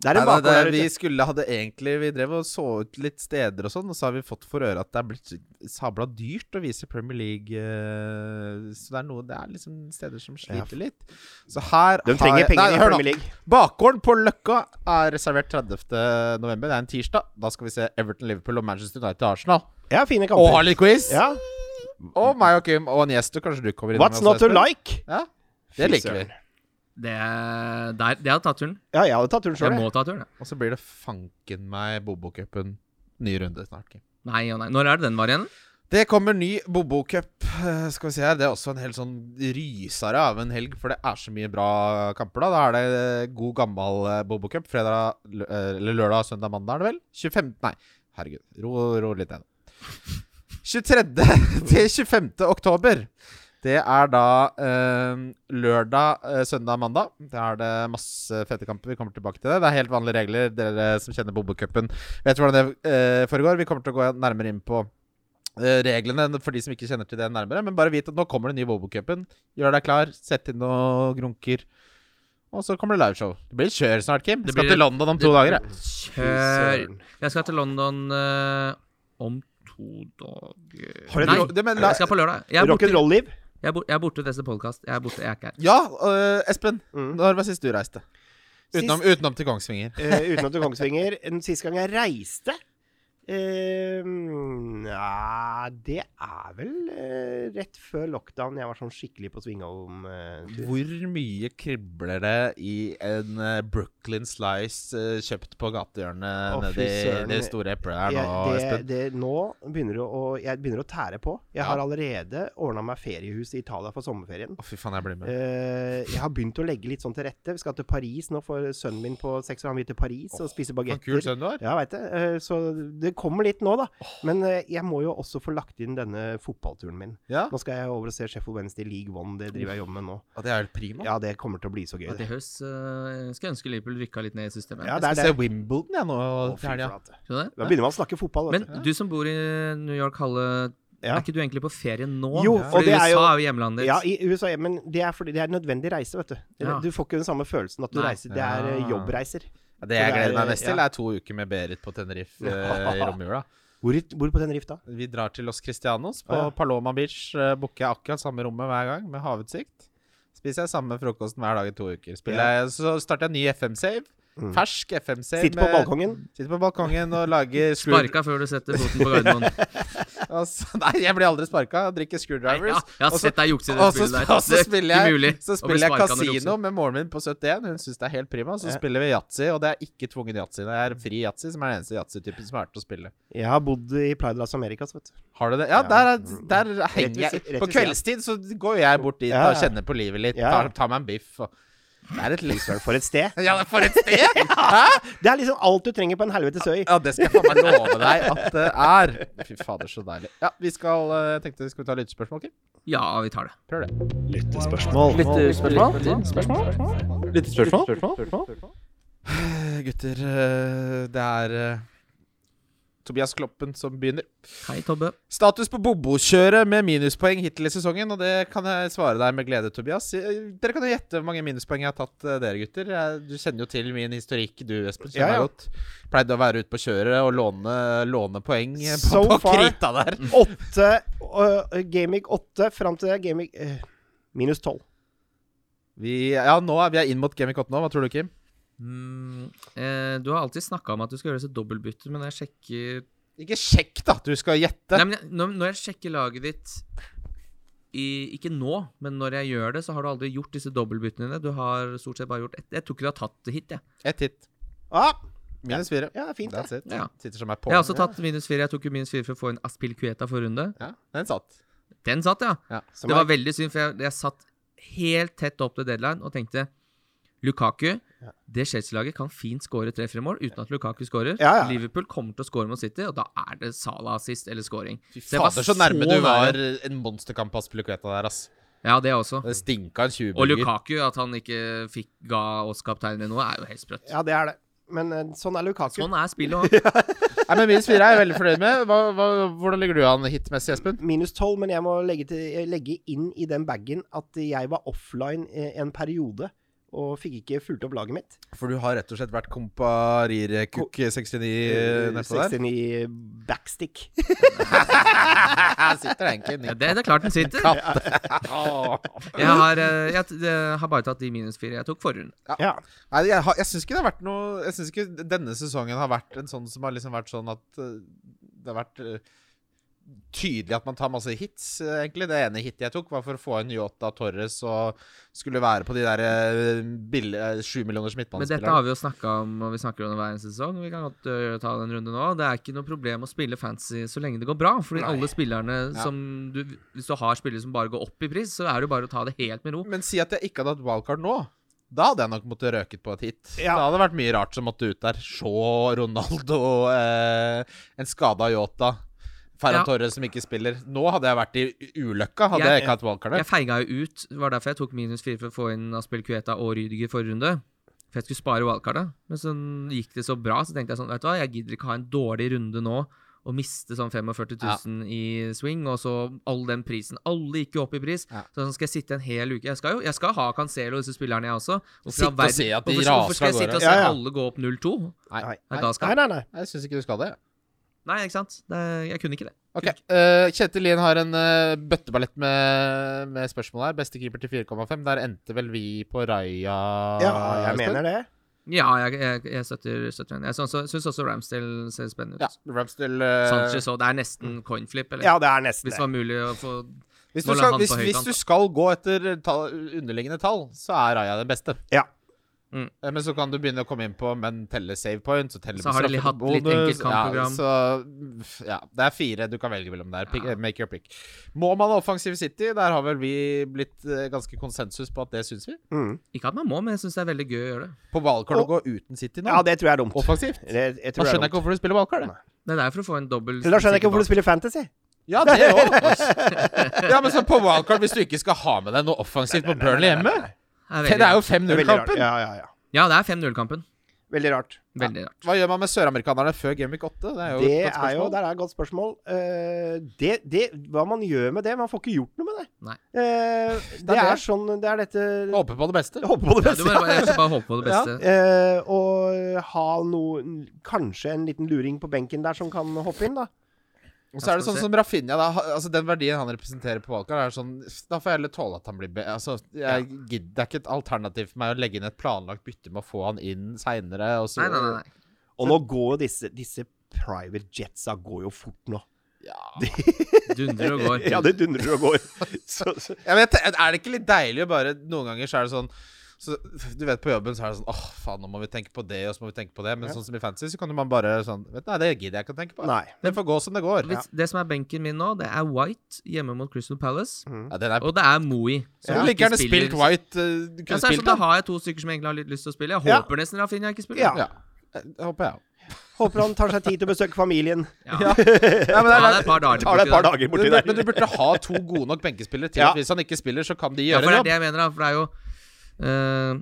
[SPEAKER 4] Det er
[SPEAKER 2] Nei,
[SPEAKER 4] en
[SPEAKER 2] nei,
[SPEAKER 4] bakgård der
[SPEAKER 2] det, vi
[SPEAKER 4] ute.
[SPEAKER 2] skulle hadde egentlig Vi drev og så ut litt steder og sånn, og så har vi fått for øre at det er blitt sabla dyrt å vise Premier League eh, Så det er noe Det er liksom steder som sliter litt. Så her
[SPEAKER 4] De trenger
[SPEAKER 2] har jeg-
[SPEAKER 4] penger
[SPEAKER 2] Nei,
[SPEAKER 4] i
[SPEAKER 2] hør nå.
[SPEAKER 4] Premier League.
[SPEAKER 2] Bakgården på Løkka er reservert 30. november. Det er en tirsdag. Da skal vi se Everton, Liverpool og Manchester United til Arsenal.
[SPEAKER 4] Ja,
[SPEAKER 2] Og
[SPEAKER 4] fine
[SPEAKER 2] ha
[SPEAKER 4] kamper.
[SPEAKER 2] litt quiz!
[SPEAKER 4] Ja.
[SPEAKER 2] Og meg og Kim og en gjest. Og kanskje du kommer innom.
[SPEAKER 4] What's not to like?
[SPEAKER 2] Ja, det liker vi.
[SPEAKER 3] Det er der, det er å ta turen.
[SPEAKER 4] Ja, jeg hadde tatt turen
[SPEAKER 3] Jeg
[SPEAKER 4] sjøl.
[SPEAKER 3] må ta turen. jeg.
[SPEAKER 2] Og så blir det fanken meg Bobokupen ny runde snart, Kim.
[SPEAKER 3] Nei og nei. Når er det den var igjen?
[SPEAKER 2] Det kommer ny Bobo-cup. eh, Skal vi se her. Det er også en helt sånn rysere av en helg, for det er så mye bra kamper da. Da er det eh, god gammel eh, Bobo-cup. Fredag, lø- eh, eller lørdag, søndag, mandag er det vel? 25. Nei, herregud. Ro, ro litt ned. 23. til 25. oktober. Det er da eh, lørdag, eh, søndag, mandag. Da er det masse fete kamper. Vi kommer tilbake til det. Det er helt vanlige regler. Dere som kjenner Bobo-cupen, vet hvordan det eh, foregår. Vi kommer til å gå nærmere inn på eh, reglene for de som ikke kjenner til det nærmere. Men bare vit at nå kommer den nye Bobo-cupen. Gjør deg klar, sett inn noen grunker. Og så kommer det liveshow. Det blir kjør snart, Kim.
[SPEAKER 3] Det
[SPEAKER 2] Jeg skal
[SPEAKER 3] blir-
[SPEAKER 2] til London om to dager. jeg.
[SPEAKER 3] Kjør. Jeg skal til London eh, om to dager
[SPEAKER 2] Har du-
[SPEAKER 3] Nei,
[SPEAKER 2] det- men la-
[SPEAKER 3] jeg skal på lørdag. Jeg er borte,
[SPEAKER 4] Rock'n'roll-liv.
[SPEAKER 3] jeg er borte, jeg er borte til neste podkast. Jeg er borte, jeg er ikke her.
[SPEAKER 2] Ja, øh, Espen.
[SPEAKER 4] Mm.
[SPEAKER 2] Når var sist du reiste? Utenom, utenom til Kongsvinger.
[SPEAKER 4] Eh, utenom til Kongsvinger. Den siste gang jeg reiste eh, Nja, det er vel eh, rett før lockdown jeg var sånn skikkelig på Svingholm. Eh,
[SPEAKER 2] Hvor mye kribler det i en eh, Brooklyn Slice eh, kjøpt på gatehjørnet
[SPEAKER 4] Å, fy
[SPEAKER 2] nede i
[SPEAKER 4] søren.
[SPEAKER 2] det store eplet her
[SPEAKER 4] jeg,
[SPEAKER 2] nå,
[SPEAKER 4] det,
[SPEAKER 2] Espen?
[SPEAKER 4] det, nå begynner det å, jeg begynner å tære på. Jeg har
[SPEAKER 2] Ja.
[SPEAKER 4] allerede ordna meg feriehus i Italia for sommerferien.
[SPEAKER 2] Å, fy faen, jeg blir med.
[SPEAKER 4] Eh, jeg har begynt å legge litt sånn til rette. Vi skal til Paris nå, for sønnen min på seks år han vil til Paris og spise
[SPEAKER 2] Så kul
[SPEAKER 4] bagetter.
[SPEAKER 2] sønn du har.
[SPEAKER 4] Ja, jeg vet det. Eh, Så det kommer litt nå, da. Men eh, jeg må jo også få lagt inn denne fotballturen min.
[SPEAKER 2] Ja.
[SPEAKER 4] Nå skal jeg over og se Sheffield Wednesday League One. Det driver jeg og jobber med nå.
[SPEAKER 2] Og det er helt prima.
[SPEAKER 4] Ja, det kommer til å bli så gøy.
[SPEAKER 3] Og til
[SPEAKER 4] Det.
[SPEAKER 3] høst eh, skal jeg ønske Liverpool rykka litt ned i systemet.
[SPEAKER 4] Ja, det
[SPEAKER 2] Jeg
[SPEAKER 4] er
[SPEAKER 2] skal
[SPEAKER 4] det.
[SPEAKER 2] se Wimbledon, jeg, nå.
[SPEAKER 4] Å, fy
[SPEAKER 2] til helga.
[SPEAKER 4] flate.
[SPEAKER 3] Skjønner du
[SPEAKER 4] Da
[SPEAKER 3] det?
[SPEAKER 4] begynner man å snakke fotball.
[SPEAKER 3] Men
[SPEAKER 4] Vet du.
[SPEAKER 3] du som bor i New York, Halle,
[SPEAKER 4] Ja.
[SPEAKER 3] er ikke du egentlig på ferie nå?
[SPEAKER 4] Jo,
[SPEAKER 3] Fordi
[SPEAKER 4] og det er
[SPEAKER 3] USA er jo,
[SPEAKER 4] jo-
[SPEAKER 3] hjemlandet ditt.
[SPEAKER 4] Ja, i USA, ja, men det er fordi det er nødvendig reise, vet du.
[SPEAKER 3] Ja.
[SPEAKER 4] Du får ikke den samme følelsen at du
[SPEAKER 3] Nei.
[SPEAKER 4] reiser. Det er eh,
[SPEAKER 2] Ja.
[SPEAKER 4] jobbreiser.
[SPEAKER 2] Ja, Det jeg
[SPEAKER 4] Så det er,
[SPEAKER 2] gleder meg mest til,
[SPEAKER 4] ja.
[SPEAKER 2] er to uker med Berit på Tenerife eh, i romjula.
[SPEAKER 4] Hvor, i- hvor på Tenerife da?
[SPEAKER 2] Vi drar til Los Cristianos. På
[SPEAKER 4] Å, ja.
[SPEAKER 2] Paloma Beach eh, booker jeg akkurat samme rommet hver gang, med havutsikt. Spiser jeg samme frokosten hver dag i to uker. Spiller jeg, så starter jeg ny FM-save.
[SPEAKER 4] Mm.
[SPEAKER 2] Fersk FM-save.
[SPEAKER 4] Sitter på
[SPEAKER 2] med-
[SPEAKER 4] balkongen.
[SPEAKER 2] Sitter på balkongen og lager screw-
[SPEAKER 3] Sparka før du setter foten på Gardermoen.
[SPEAKER 2] Altså, nei, jeg blir aldri sparka. Jeg Drikker
[SPEAKER 3] Nei,
[SPEAKER 2] screwdrivers.
[SPEAKER 3] ja, jeg har
[SPEAKER 2] og så-
[SPEAKER 3] sett deg jukse i det
[SPEAKER 2] og så-
[SPEAKER 3] spillet der.
[SPEAKER 2] Og så
[SPEAKER 3] Det er
[SPEAKER 2] spiller
[SPEAKER 3] ikke
[SPEAKER 2] jeg,
[SPEAKER 3] mulig å
[SPEAKER 2] så
[SPEAKER 3] bli
[SPEAKER 2] spiller jeg
[SPEAKER 3] sparket når du jukser.
[SPEAKER 2] kasino med moren min på 71. Hun syns det er helt prima. Så
[SPEAKER 4] Ja.
[SPEAKER 2] spiller vi yatzy, og det er ikke tvungen yatzy. Det er fri yatzy som er den eneste yatzy-typen som er til å spille.
[SPEAKER 4] Jeg har bodd i Playa de las Americas, vet du.
[SPEAKER 2] Har du det? Ja,
[SPEAKER 4] Ja.
[SPEAKER 2] der, er- der
[SPEAKER 4] ved
[SPEAKER 2] henger
[SPEAKER 4] si-
[SPEAKER 2] jeg
[SPEAKER 4] rett
[SPEAKER 2] På
[SPEAKER 4] ved siden.
[SPEAKER 2] kveldstid så går jo jeg bort dit
[SPEAKER 4] Ja,
[SPEAKER 2] og
[SPEAKER 4] ja.
[SPEAKER 2] kjenner på livet litt.
[SPEAKER 4] Ja.
[SPEAKER 2] Tar, tar meg en biff og Det er et liv.
[SPEAKER 4] For et sted.
[SPEAKER 2] Ja, det er for et sted! Hæ?
[SPEAKER 4] Det er liksom alt du trenger på en helvetes øy.
[SPEAKER 2] Ja, det skal jeg faen meg love deg at det er. Fy fader, så deilig. Ja, vi skal eh, Jeg tenkte skal vi ta lyttespørsmål, Kim?
[SPEAKER 3] Ja, vi tar det.
[SPEAKER 2] Prøv det.
[SPEAKER 4] eh,
[SPEAKER 2] Gutter, eh, det er eh, Tobias Kloppen som begynner.
[SPEAKER 3] Hei, Tobbe.
[SPEAKER 2] Status på Bobo-kjøret med minuspoeng hittil i sesongen, og det kan jeg svare deg med glede, Tobias. Eh, Dere kan jo gjette hvor mange minuspoeng jeg har tatt, eh, dere gutter. Jeg- Du kjenner jo til min historikk, du Espen.
[SPEAKER 4] Ja,
[SPEAKER 2] Kjenner meg
[SPEAKER 4] ja.
[SPEAKER 2] godt. Pleide å være ute på kjøret og låne, låne poeng eh, på,
[SPEAKER 4] So
[SPEAKER 2] på
[SPEAKER 4] far.
[SPEAKER 2] krita der.
[SPEAKER 4] Åtte uh, Gamic 8 fram til Gamic eh, minus 12.
[SPEAKER 2] Vi, ja, nå er vi er inn mot Gaming 8 nå. Hva tror du, Kim?
[SPEAKER 3] Mm, eh, du har alltid snakka om at du skal gjøre disse dobbeltbytter, men når jeg sjekker
[SPEAKER 2] Ikke sjekk, da! Du skal gjette.
[SPEAKER 3] Nei, men jeg, når, når jeg sjekker laget ditt i, Ikke nå, men når jeg gjør det, så har du aldri gjort disse dobbeltbyttene dine. Du har stort sett bare gjort ett. Jeg tror ikke du har tatt det hit, jeg.
[SPEAKER 2] Ett hit.
[SPEAKER 4] Ah,
[SPEAKER 2] Minus fire.
[SPEAKER 4] ja, fint, det.
[SPEAKER 2] That's it.
[SPEAKER 3] Ja.
[SPEAKER 2] Sitter som ei
[SPEAKER 3] Jeg
[SPEAKER 2] påle.
[SPEAKER 3] har også tatt minus fire. Jeg tok jo minus fire for å få en Aspil Cueta forrige runde.
[SPEAKER 2] Ja, den satt.
[SPEAKER 3] Den satt, ja.
[SPEAKER 4] Som
[SPEAKER 3] Det var
[SPEAKER 4] er,
[SPEAKER 3] veldig synd, for jeg, jeg satt helt tett opp til deadline og tenkte Lukaku, det Chelsea-laget kan fint skåre tre fremover uten at Lukaku skårer.
[SPEAKER 4] Ja, ja.
[SPEAKER 3] Liverpool kommer til å skåre mot City, og da er det Salah assist eller scoring.
[SPEAKER 2] Fy
[SPEAKER 3] Så jeg var
[SPEAKER 2] fader, så nærme
[SPEAKER 3] så
[SPEAKER 2] du var
[SPEAKER 3] nære.
[SPEAKER 2] en monsterkamp av Spilukveta der, ass.
[SPEAKER 3] Ja, det også.
[SPEAKER 2] Det stinka en 20
[SPEAKER 3] Og Lukaku, at han ikke fikk ga oss kapteinen eller noe, er jo helt sprøtt.
[SPEAKER 4] ja, det er det. Men eh, sånn er Lukaku.
[SPEAKER 3] Sånn er spillet òg.
[SPEAKER 2] Nei, men Minus fire er jeg veldig fornøyd med. Hva, hva, hvordan ligger du an hitmessig, Espen?
[SPEAKER 4] Minus 12, men jeg må legge, til, legge inn i den bagen at jeg var offline eh, en periode og fikk ikke fulgt opp laget mitt.
[SPEAKER 2] For du har rett og slett vært komparirkukk69
[SPEAKER 3] Eh,
[SPEAKER 2] nedpå der.
[SPEAKER 4] 69 Eh, backstick.
[SPEAKER 2] Her sitter det egentlig
[SPEAKER 3] Ja,
[SPEAKER 2] en
[SPEAKER 3] det, det er klart den sitter. Jeg har, eh, jeg, t- jeg har bare tatt de minus fire jeg tok forrige runde.
[SPEAKER 4] Ja.
[SPEAKER 2] Nei, jeg, har- jeg syns ikke det har vært noe Jeg syns ikke denne sesongen har vært en sånn som har liksom vært sånn at eh, det har vært eh, tydelig at man tar masse hits, eh, egentlig. Det ene hitet jeg tok, var for å få inn Yota Torres og skulle være på de der eh, bill- eh, sju millioners
[SPEAKER 3] Men dette har
[SPEAKER 2] midtbanespillerne.
[SPEAKER 3] vi jo snakka om, og vi snakker om det hver eneste sesong. Vi kan godt øh, ta den runden nå. Det er ikke noe problem å spille fancy så lenge det går bra. Fordi alle spillerne
[SPEAKER 2] Ja.
[SPEAKER 3] som du Hvis du har spillere som bare går opp i pris, så er det jo bare å ta det helt med ro.
[SPEAKER 2] Men si at jeg ikke hadde hatt wildcard nå. Da hadde jeg nok måttet røket på et hit.
[SPEAKER 4] Ja.
[SPEAKER 2] Da hadde det vært mye rart som måtte ut der. Shaw, Ronaldo, eh, en skada Yota. Ferran
[SPEAKER 3] Ja.
[SPEAKER 2] Torres som ikke spiller. Nå hadde jeg vært i ulykka, hadde jeg,
[SPEAKER 3] Jeg-
[SPEAKER 2] ikke hatt wildcardet.
[SPEAKER 3] Jeg feiga jo ut. Det var derfor jeg tok minus fire for å få inn Aspel Kueta og Rydiger forrige runde. For jeg skulle spare wildcardet. Men så gikk det så bra, så tenkte jeg sånn, vet du hva, jeg gidder ikke ha en dårlig runde nå og miste sånn 45 000 i swing, og så all den prisen. Alle gikk jo opp i pris.
[SPEAKER 2] Ja.
[SPEAKER 3] Så sånn skal jeg sitte en hel uke. Jeg skal jo jeg skal ha Cancelo og disse spillerne, jeg også. Hvorfor i
[SPEAKER 2] Sitte
[SPEAKER 3] all
[SPEAKER 2] og
[SPEAKER 3] verden-
[SPEAKER 2] se at de
[SPEAKER 3] hvorfor, skal- hvorfor
[SPEAKER 2] raser av
[SPEAKER 3] skal jeg sitte
[SPEAKER 2] gårde?
[SPEAKER 3] og se
[SPEAKER 4] Ja, ja.
[SPEAKER 3] alle gå opp 0-2?
[SPEAKER 2] Nei.
[SPEAKER 4] Nei.
[SPEAKER 3] Nei, da skal
[SPEAKER 4] Nei, nei, nei.
[SPEAKER 2] Jeg syns ikke du skal det.
[SPEAKER 3] Nei, ikke sant? Det, jeg kunne ikke det.
[SPEAKER 2] Ok, eh, Kjetil Lien har en eh, bøtteballett med, med spørsmål her. Beste keeper til 4,5. Der endte vel vi på Raja
[SPEAKER 4] Ja,
[SPEAKER 2] Ah,
[SPEAKER 4] jeg mener det.
[SPEAKER 3] Ja, jeg, jeg, jeg støtter, støtter henne. Jeg syns også, synes også Ramsdale ser spennende ut.
[SPEAKER 2] Ja, Ramsdale eh,
[SPEAKER 3] Sanchez òg. Det er nesten coinflip, eller?
[SPEAKER 4] Ja, det er nesten
[SPEAKER 3] Hvis det
[SPEAKER 4] det.
[SPEAKER 3] var mulig å få
[SPEAKER 2] Hvis du,
[SPEAKER 3] Nå la
[SPEAKER 2] skal,
[SPEAKER 3] han
[SPEAKER 2] hvis,
[SPEAKER 3] på høykant,
[SPEAKER 2] hvis du
[SPEAKER 3] da.
[SPEAKER 2] skal gå etter tall, underliggende tall, så er Raja den beste.
[SPEAKER 4] Ja.
[SPEAKER 3] Mm.
[SPEAKER 2] Eh, Men så kan du begynne å komme inn på Men telle save points og telle
[SPEAKER 3] Så har de
[SPEAKER 2] straffebonus.
[SPEAKER 3] hatt litt enkelt kampprogram.
[SPEAKER 2] Ja, så, ja, det er fire du kan velge mellom der. Pick,
[SPEAKER 3] Ja.
[SPEAKER 2] eh, Make your pick. Må man ha offensiv City? Der har vel vi blitt eh, ganske konsensus på at det syns vi.
[SPEAKER 4] Mm.
[SPEAKER 3] Ikke at man må, men jeg syns det er veldig gøy å gjøre det.
[SPEAKER 2] På valgkart å gå uten City nå?
[SPEAKER 4] Ja, det tror jeg er dumt.
[SPEAKER 2] Offensivt?
[SPEAKER 4] Det,
[SPEAKER 2] Da
[SPEAKER 4] jeg tror det er
[SPEAKER 2] skjønner jeg ikke
[SPEAKER 4] dumt.
[SPEAKER 2] hvorfor du spiller valgkart. det.
[SPEAKER 3] Det er for å få en dobbel
[SPEAKER 4] Da skjønner jeg ikke hvorfor du spiller Fantasy.
[SPEAKER 2] Ja, det òg. Ja, men så på valgkart, hvis du ikke skal ha med deg noe offensivt på Burnley hjemme
[SPEAKER 3] er
[SPEAKER 2] Det
[SPEAKER 3] veldig
[SPEAKER 2] er jo
[SPEAKER 4] Det er veldig rart.
[SPEAKER 2] 5-0-kampen.
[SPEAKER 4] Ja, ja, ja.
[SPEAKER 3] Ja, det er 5-0-kampen.
[SPEAKER 4] Veldig rart.
[SPEAKER 3] Veldig rart.
[SPEAKER 2] Hva gjør man med søramerikanerne før Gameweek 8? Det er jo
[SPEAKER 4] Det
[SPEAKER 2] et godt
[SPEAKER 4] er jo,
[SPEAKER 2] spørsmål.
[SPEAKER 4] der er et godt spørsmål. Eh, det, det, hva man gjør med det Man får ikke gjort noe med det.
[SPEAKER 3] Nei.
[SPEAKER 4] Eh, det
[SPEAKER 2] er
[SPEAKER 4] er
[SPEAKER 2] det.
[SPEAKER 4] sånn Det er dette
[SPEAKER 2] Håper på det beste.
[SPEAKER 4] Håpe på
[SPEAKER 3] Ja,
[SPEAKER 4] det
[SPEAKER 3] du
[SPEAKER 4] beste.
[SPEAKER 3] må bare, jeg skal bare håpe på det
[SPEAKER 2] Ja.
[SPEAKER 3] beste.
[SPEAKER 4] Eh, og ha noe Kanskje en liten luring på benken der som kan hoppe inn, da.
[SPEAKER 2] Og så er det sånn
[SPEAKER 3] skal vi se.
[SPEAKER 2] som Rafinha, da. ha- Altså, den verdien han representerer på valgkart, er sånn Da får jeg heller tåle at han blir be... Altså, jeg gidder, det er ikke et alternativ for meg å legge inn et planlagt bytte med å få han inn seinere, og så
[SPEAKER 3] Nei, nei, nei. nei.
[SPEAKER 4] Og nå går jo disse, disse private jetsa går jo fort nå.
[SPEAKER 2] Ja.
[SPEAKER 3] Dundrer og går.
[SPEAKER 4] Ja, det dundrer og går. Så, så.
[SPEAKER 2] Jeg vet, er det ikke litt deilig å bare Noen ganger så er det sånn så, du vet På jobben så er det sånn Åh, faen, nå må vi tenke på det, og så må vi tenke på det. Men
[SPEAKER 4] Ja.
[SPEAKER 2] sånn som i fantasy, så kan man bare sånn vet, du, Nei, det gidder jeg ikke å tenke på.
[SPEAKER 4] Nei.
[SPEAKER 2] Det får gå som det går.
[SPEAKER 3] Hvis- Det som er benken min nå, det er White hjemme mot Crystal Palace.
[SPEAKER 2] Ja, den er
[SPEAKER 3] Og det er Moey.
[SPEAKER 2] Så
[SPEAKER 3] som
[SPEAKER 2] Mm. du
[SPEAKER 3] ikke
[SPEAKER 2] liker gjerne
[SPEAKER 3] spiller-
[SPEAKER 2] spilt White. eh, Du
[SPEAKER 3] Ja,
[SPEAKER 2] kunne
[SPEAKER 3] så er det
[SPEAKER 2] spilt
[SPEAKER 3] sånn, da
[SPEAKER 2] den.
[SPEAKER 3] har jeg to stykker som egentlig har litt lyst til å spille. Jeg
[SPEAKER 4] Ja.
[SPEAKER 3] håper nesten Rafinha ikke spiller.
[SPEAKER 4] Ja.
[SPEAKER 2] Ja. Eh, det Håper jeg òg.
[SPEAKER 4] Håper han tar seg tid til å besøke familien.
[SPEAKER 3] Ja. Ta deg et par dager
[SPEAKER 4] Tar det et
[SPEAKER 3] borti der.
[SPEAKER 4] par dager
[SPEAKER 2] Men
[SPEAKER 4] borti
[SPEAKER 2] du-
[SPEAKER 4] der.
[SPEAKER 2] Men du burde ha to gode nok benkespillere til
[SPEAKER 4] Ja.
[SPEAKER 2] at hvis han ikke spiller, så kan de
[SPEAKER 3] Ja,
[SPEAKER 2] gjøre
[SPEAKER 3] for det er
[SPEAKER 2] en
[SPEAKER 3] det
[SPEAKER 2] jobb.
[SPEAKER 3] jeg mener, da. For det er jo eh,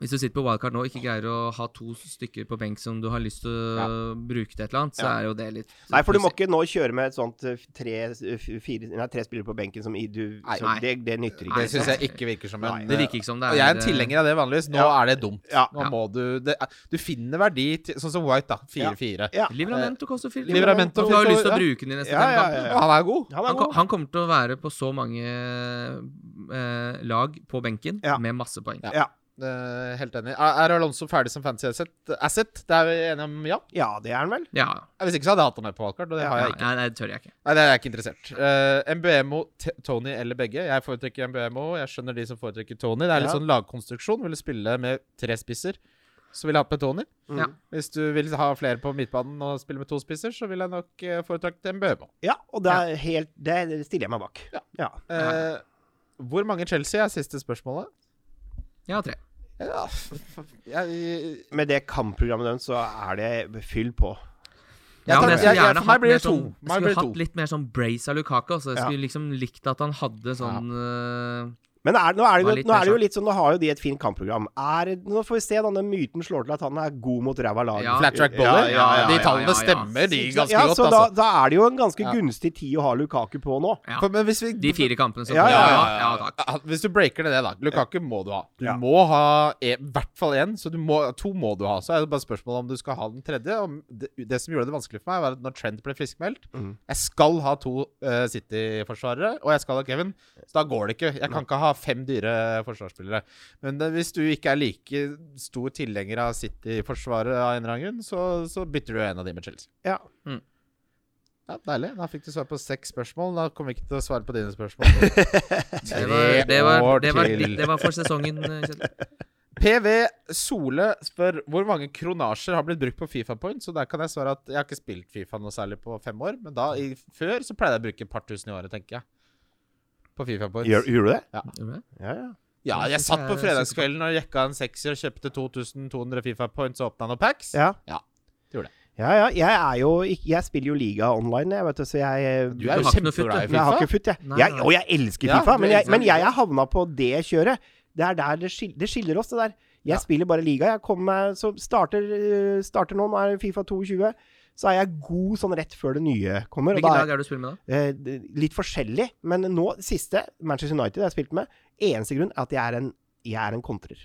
[SPEAKER 3] Hvis du sitter på wildcard nå og ikke greier å ha to stykker på benk som du har lyst til å bruke til et eller annet, så
[SPEAKER 4] Ja.
[SPEAKER 3] er jo det litt
[SPEAKER 4] Nei, for du må ikke nå kjøre med et sånt eh, tre, f- fire, nei, tre spillere på benken som i du
[SPEAKER 2] Nei.
[SPEAKER 4] så det, det nytter
[SPEAKER 2] Det
[SPEAKER 4] ikke.
[SPEAKER 3] Nei,
[SPEAKER 2] syns
[SPEAKER 3] sant.
[SPEAKER 2] jeg ikke virker som en
[SPEAKER 3] Det virker ikke som det
[SPEAKER 2] Og
[SPEAKER 3] er eh,
[SPEAKER 2] jeg er en tilhenger av det vanligvis. Nå
[SPEAKER 4] Ja.
[SPEAKER 2] er det dumt.
[SPEAKER 4] Ja.
[SPEAKER 2] Nå
[SPEAKER 3] Ja.
[SPEAKER 2] må du det, er- Du finner verdi til Sånn som White, da. 4-4.
[SPEAKER 4] Ja.
[SPEAKER 3] Livramento koster fire.
[SPEAKER 2] Livramento
[SPEAKER 3] Du har jo
[SPEAKER 2] koster-
[SPEAKER 3] lyst til å
[SPEAKER 2] ja.
[SPEAKER 3] bruke den i neste
[SPEAKER 4] Ja,
[SPEAKER 3] fem
[SPEAKER 4] ja,
[SPEAKER 3] kamper.
[SPEAKER 4] ja,
[SPEAKER 2] Og
[SPEAKER 4] ja.
[SPEAKER 2] han er god.
[SPEAKER 4] Han
[SPEAKER 3] Han,
[SPEAKER 4] er
[SPEAKER 3] kom-
[SPEAKER 4] god.
[SPEAKER 3] han kommer til å være på så mange eh, lag på benken
[SPEAKER 4] Ja.
[SPEAKER 3] med masse poeng.
[SPEAKER 2] Ja.
[SPEAKER 4] Ja.
[SPEAKER 2] Eh, helt enig. Er er Alonso ferdig som fancy asset? asset? Det er vi enige om, ja?
[SPEAKER 4] ja, det er han vel.
[SPEAKER 3] Ja,
[SPEAKER 2] Hvis ikke så hadde jeg hatt han med på valgkart, og det har
[SPEAKER 3] ja
[SPEAKER 2] jeg ikke.
[SPEAKER 3] nei, nei, det tør jeg ikke.
[SPEAKER 2] Nei, det er jeg ikke interessert. Uh, MBMO, T Tony eller begge. Jeg foretrekker MBMO. Jeg skjønner de som foretrekker Tony. Det er litt
[SPEAKER 4] Ja.
[SPEAKER 2] sånn lagkonstruksjon. Vil du spille med tre spisser, så vil jeg ha med Tony.
[SPEAKER 4] Mm.
[SPEAKER 3] Ja.
[SPEAKER 2] Hvis du vil ha flere på midtbanen og spille med to spisser, så vil jeg nok eh, foretrekke MBMO.
[SPEAKER 4] Ja, og det, er helt, det stiller jeg meg bak.
[SPEAKER 2] Ja.
[SPEAKER 4] Ja.
[SPEAKER 2] Eh, hvor mange Chelsea er siste spørsmålet?
[SPEAKER 3] Jeg har tre.
[SPEAKER 2] Ja, f- f- jeg,
[SPEAKER 4] Med det kampprogrammet deres, så er det fyll på.
[SPEAKER 2] Jeg
[SPEAKER 3] Ja,
[SPEAKER 2] tar-
[SPEAKER 3] men jeg skulle
[SPEAKER 2] jeg- jeg-
[SPEAKER 3] gjerne
[SPEAKER 2] for meg blir
[SPEAKER 3] hatt
[SPEAKER 2] det
[SPEAKER 3] mer sånn-
[SPEAKER 2] to. Meg blir
[SPEAKER 3] Jeg
[SPEAKER 2] det
[SPEAKER 3] skulle
[SPEAKER 2] to.
[SPEAKER 3] hatt litt mer sånn brace av Lukaku. Altså. Jeg
[SPEAKER 4] Ja.
[SPEAKER 3] skulle liksom likt at han hadde sånn eh,
[SPEAKER 4] Men er, nå, er det
[SPEAKER 3] Det var
[SPEAKER 4] jo,
[SPEAKER 3] litt
[SPEAKER 4] nå er det jo
[SPEAKER 3] mer
[SPEAKER 4] litt sånn, nå har jo de et fint kampprogram. Er, nå får vi se da, når myten slår til at han er god mot ræva lag.
[SPEAKER 3] Ja.
[SPEAKER 2] Flat track baller?
[SPEAKER 4] Ja, ja, ja,
[SPEAKER 2] de
[SPEAKER 4] ja,
[SPEAKER 2] tallene
[SPEAKER 3] ja, ja.
[SPEAKER 2] stemmer, de, ganske
[SPEAKER 4] ja,
[SPEAKER 2] godt,
[SPEAKER 4] så
[SPEAKER 2] altså.
[SPEAKER 4] da, da er det jo en ganske
[SPEAKER 2] Ja.
[SPEAKER 4] gunstig tid å ha Lukaku på nå.
[SPEAKER 3] ja.
[SPEAKER 2] For, men hvis vi
[SPEAKER 3] De fire kampene som
[SPEAKER 4] Ja,
[SPEAKER 2] ja,
[SPEAKER 3] kommer.
[SPEAKER 2] ja,
[SPEAKER 3] Ja,
[SPEAKER 2] ja,
[SPEAKER 3] ja, takk.
[SPEAKER 2] ja. Hvis du breaker ned det, da. Lukaku må du ha. Du
[SPEAKER 4] Ja.
[SPEAKER 2] må ha e, i hvert fall én, så du må, to må du ha. Så er det bare spørsmålet om du skal ha den tredje. Og det, det som gjorde det vanskelig for meg, var at når Trent ble friskmeldt
[SPEAKER 4] Mhm.
[SPEAKER 2] Jeg skal ha to eh, City-forsvarere, og jeg skal ha Kevin. Så da går det ikke. Jeg kan ikke ha fem dyre forsvarsspillere. Men eh, hvis du ikke er like stor tilhenger av City-forsvaret av en eller annen grunn, så, så bytter du en av de med Chelsea.
[SPEAKER 4] Ja.
[SPEAKER 2] Ja, Deilig. Da fikk du svar på seks spørsmål. Da kommer vi ikke til å svare på dine spørsmål.
[SPEAKER 3] Det var, det, var,
[SPEAKER 2] år
[SPEAKER 3] det, var,
[SPEAKER 2] til.
[SPEAKER 3] det var for sesongen, eh, Kjetil.
[SPEAKER 2] PV Sole spør hvor mange kronasjer har blitt brukt på Fifa Points. Og der kan jeg svare at jeg har ikke spilt Fifa noe særlig på fem år. Men da, i, før så pleide jeg å bruke et par tusen i året, tenker jeg. På Fifa Points.
[SPEAKER 4] Gjør, gjør du det?
[SPEAKER 3] Gjorde du det?
[SPEAKER 4] Ja, ja.
[SPEAKER 2] Ja, jeg satt på fredagskvelden og jekka en sekser og kjøpte 2200 Fifa Points og åpna noen packs.
[SPEAKER 4] Ja.
[SPEAKER 2] Ja, det gjorde jeg.
[SPEAKER 4] Ja, ja. Jeg, er jo, ikke- jeg spiller jo liga online, jeg, vet du, så jeg
[SPEAKER 2] Du er
[SPEAKER 3] Du
[SPEAKER 2] jo
[SPEAKER 3] har ikke noe futt,
[SPEAKER 2] kjempeglad i
[SPEAKER 4] Men jeg har
[SPEAKER 2] Fifa.
[SPEAKER 4] ikke futt, jeg.
[SPEAKER 3] Nei,
[SPEAKER 4] jeg
[SPEAKER 3] nei.
[SPEAKER 4] og jeg elsker
[SPEAKER 2] Ja,
[SPEAKER 4] Fifa,
[SPEAKER 2] du
[SPEAKER 4] men jeg,
[SPEAKER 2] elsker
[SPEAKER 4] men
[SPEAKER 2] det.
[SPEAKER 4] jeg er havna på det kjøret. Det er der det skiller, det skiller oss, det der. Jeg
[SPEAKER 2] Ja.
[SPEAKER 4] spiller bare liga. Jeg kommer meg, så starter, øh, starter nå, nå er det Fifa 22. Så er jeg god sånn rett før det nye kommer. Og
[SPEAKER 3] Hvilken
[SPEAKER 4] da
[SPEAKER 3] dag er det du spiller med, da?
[SPEAKER 4] Eh, det- litt forskjellig, men nå, siste, Manchester United jeg har spilt med, eneste grunn er at jeg er en, jeg er en kontrer.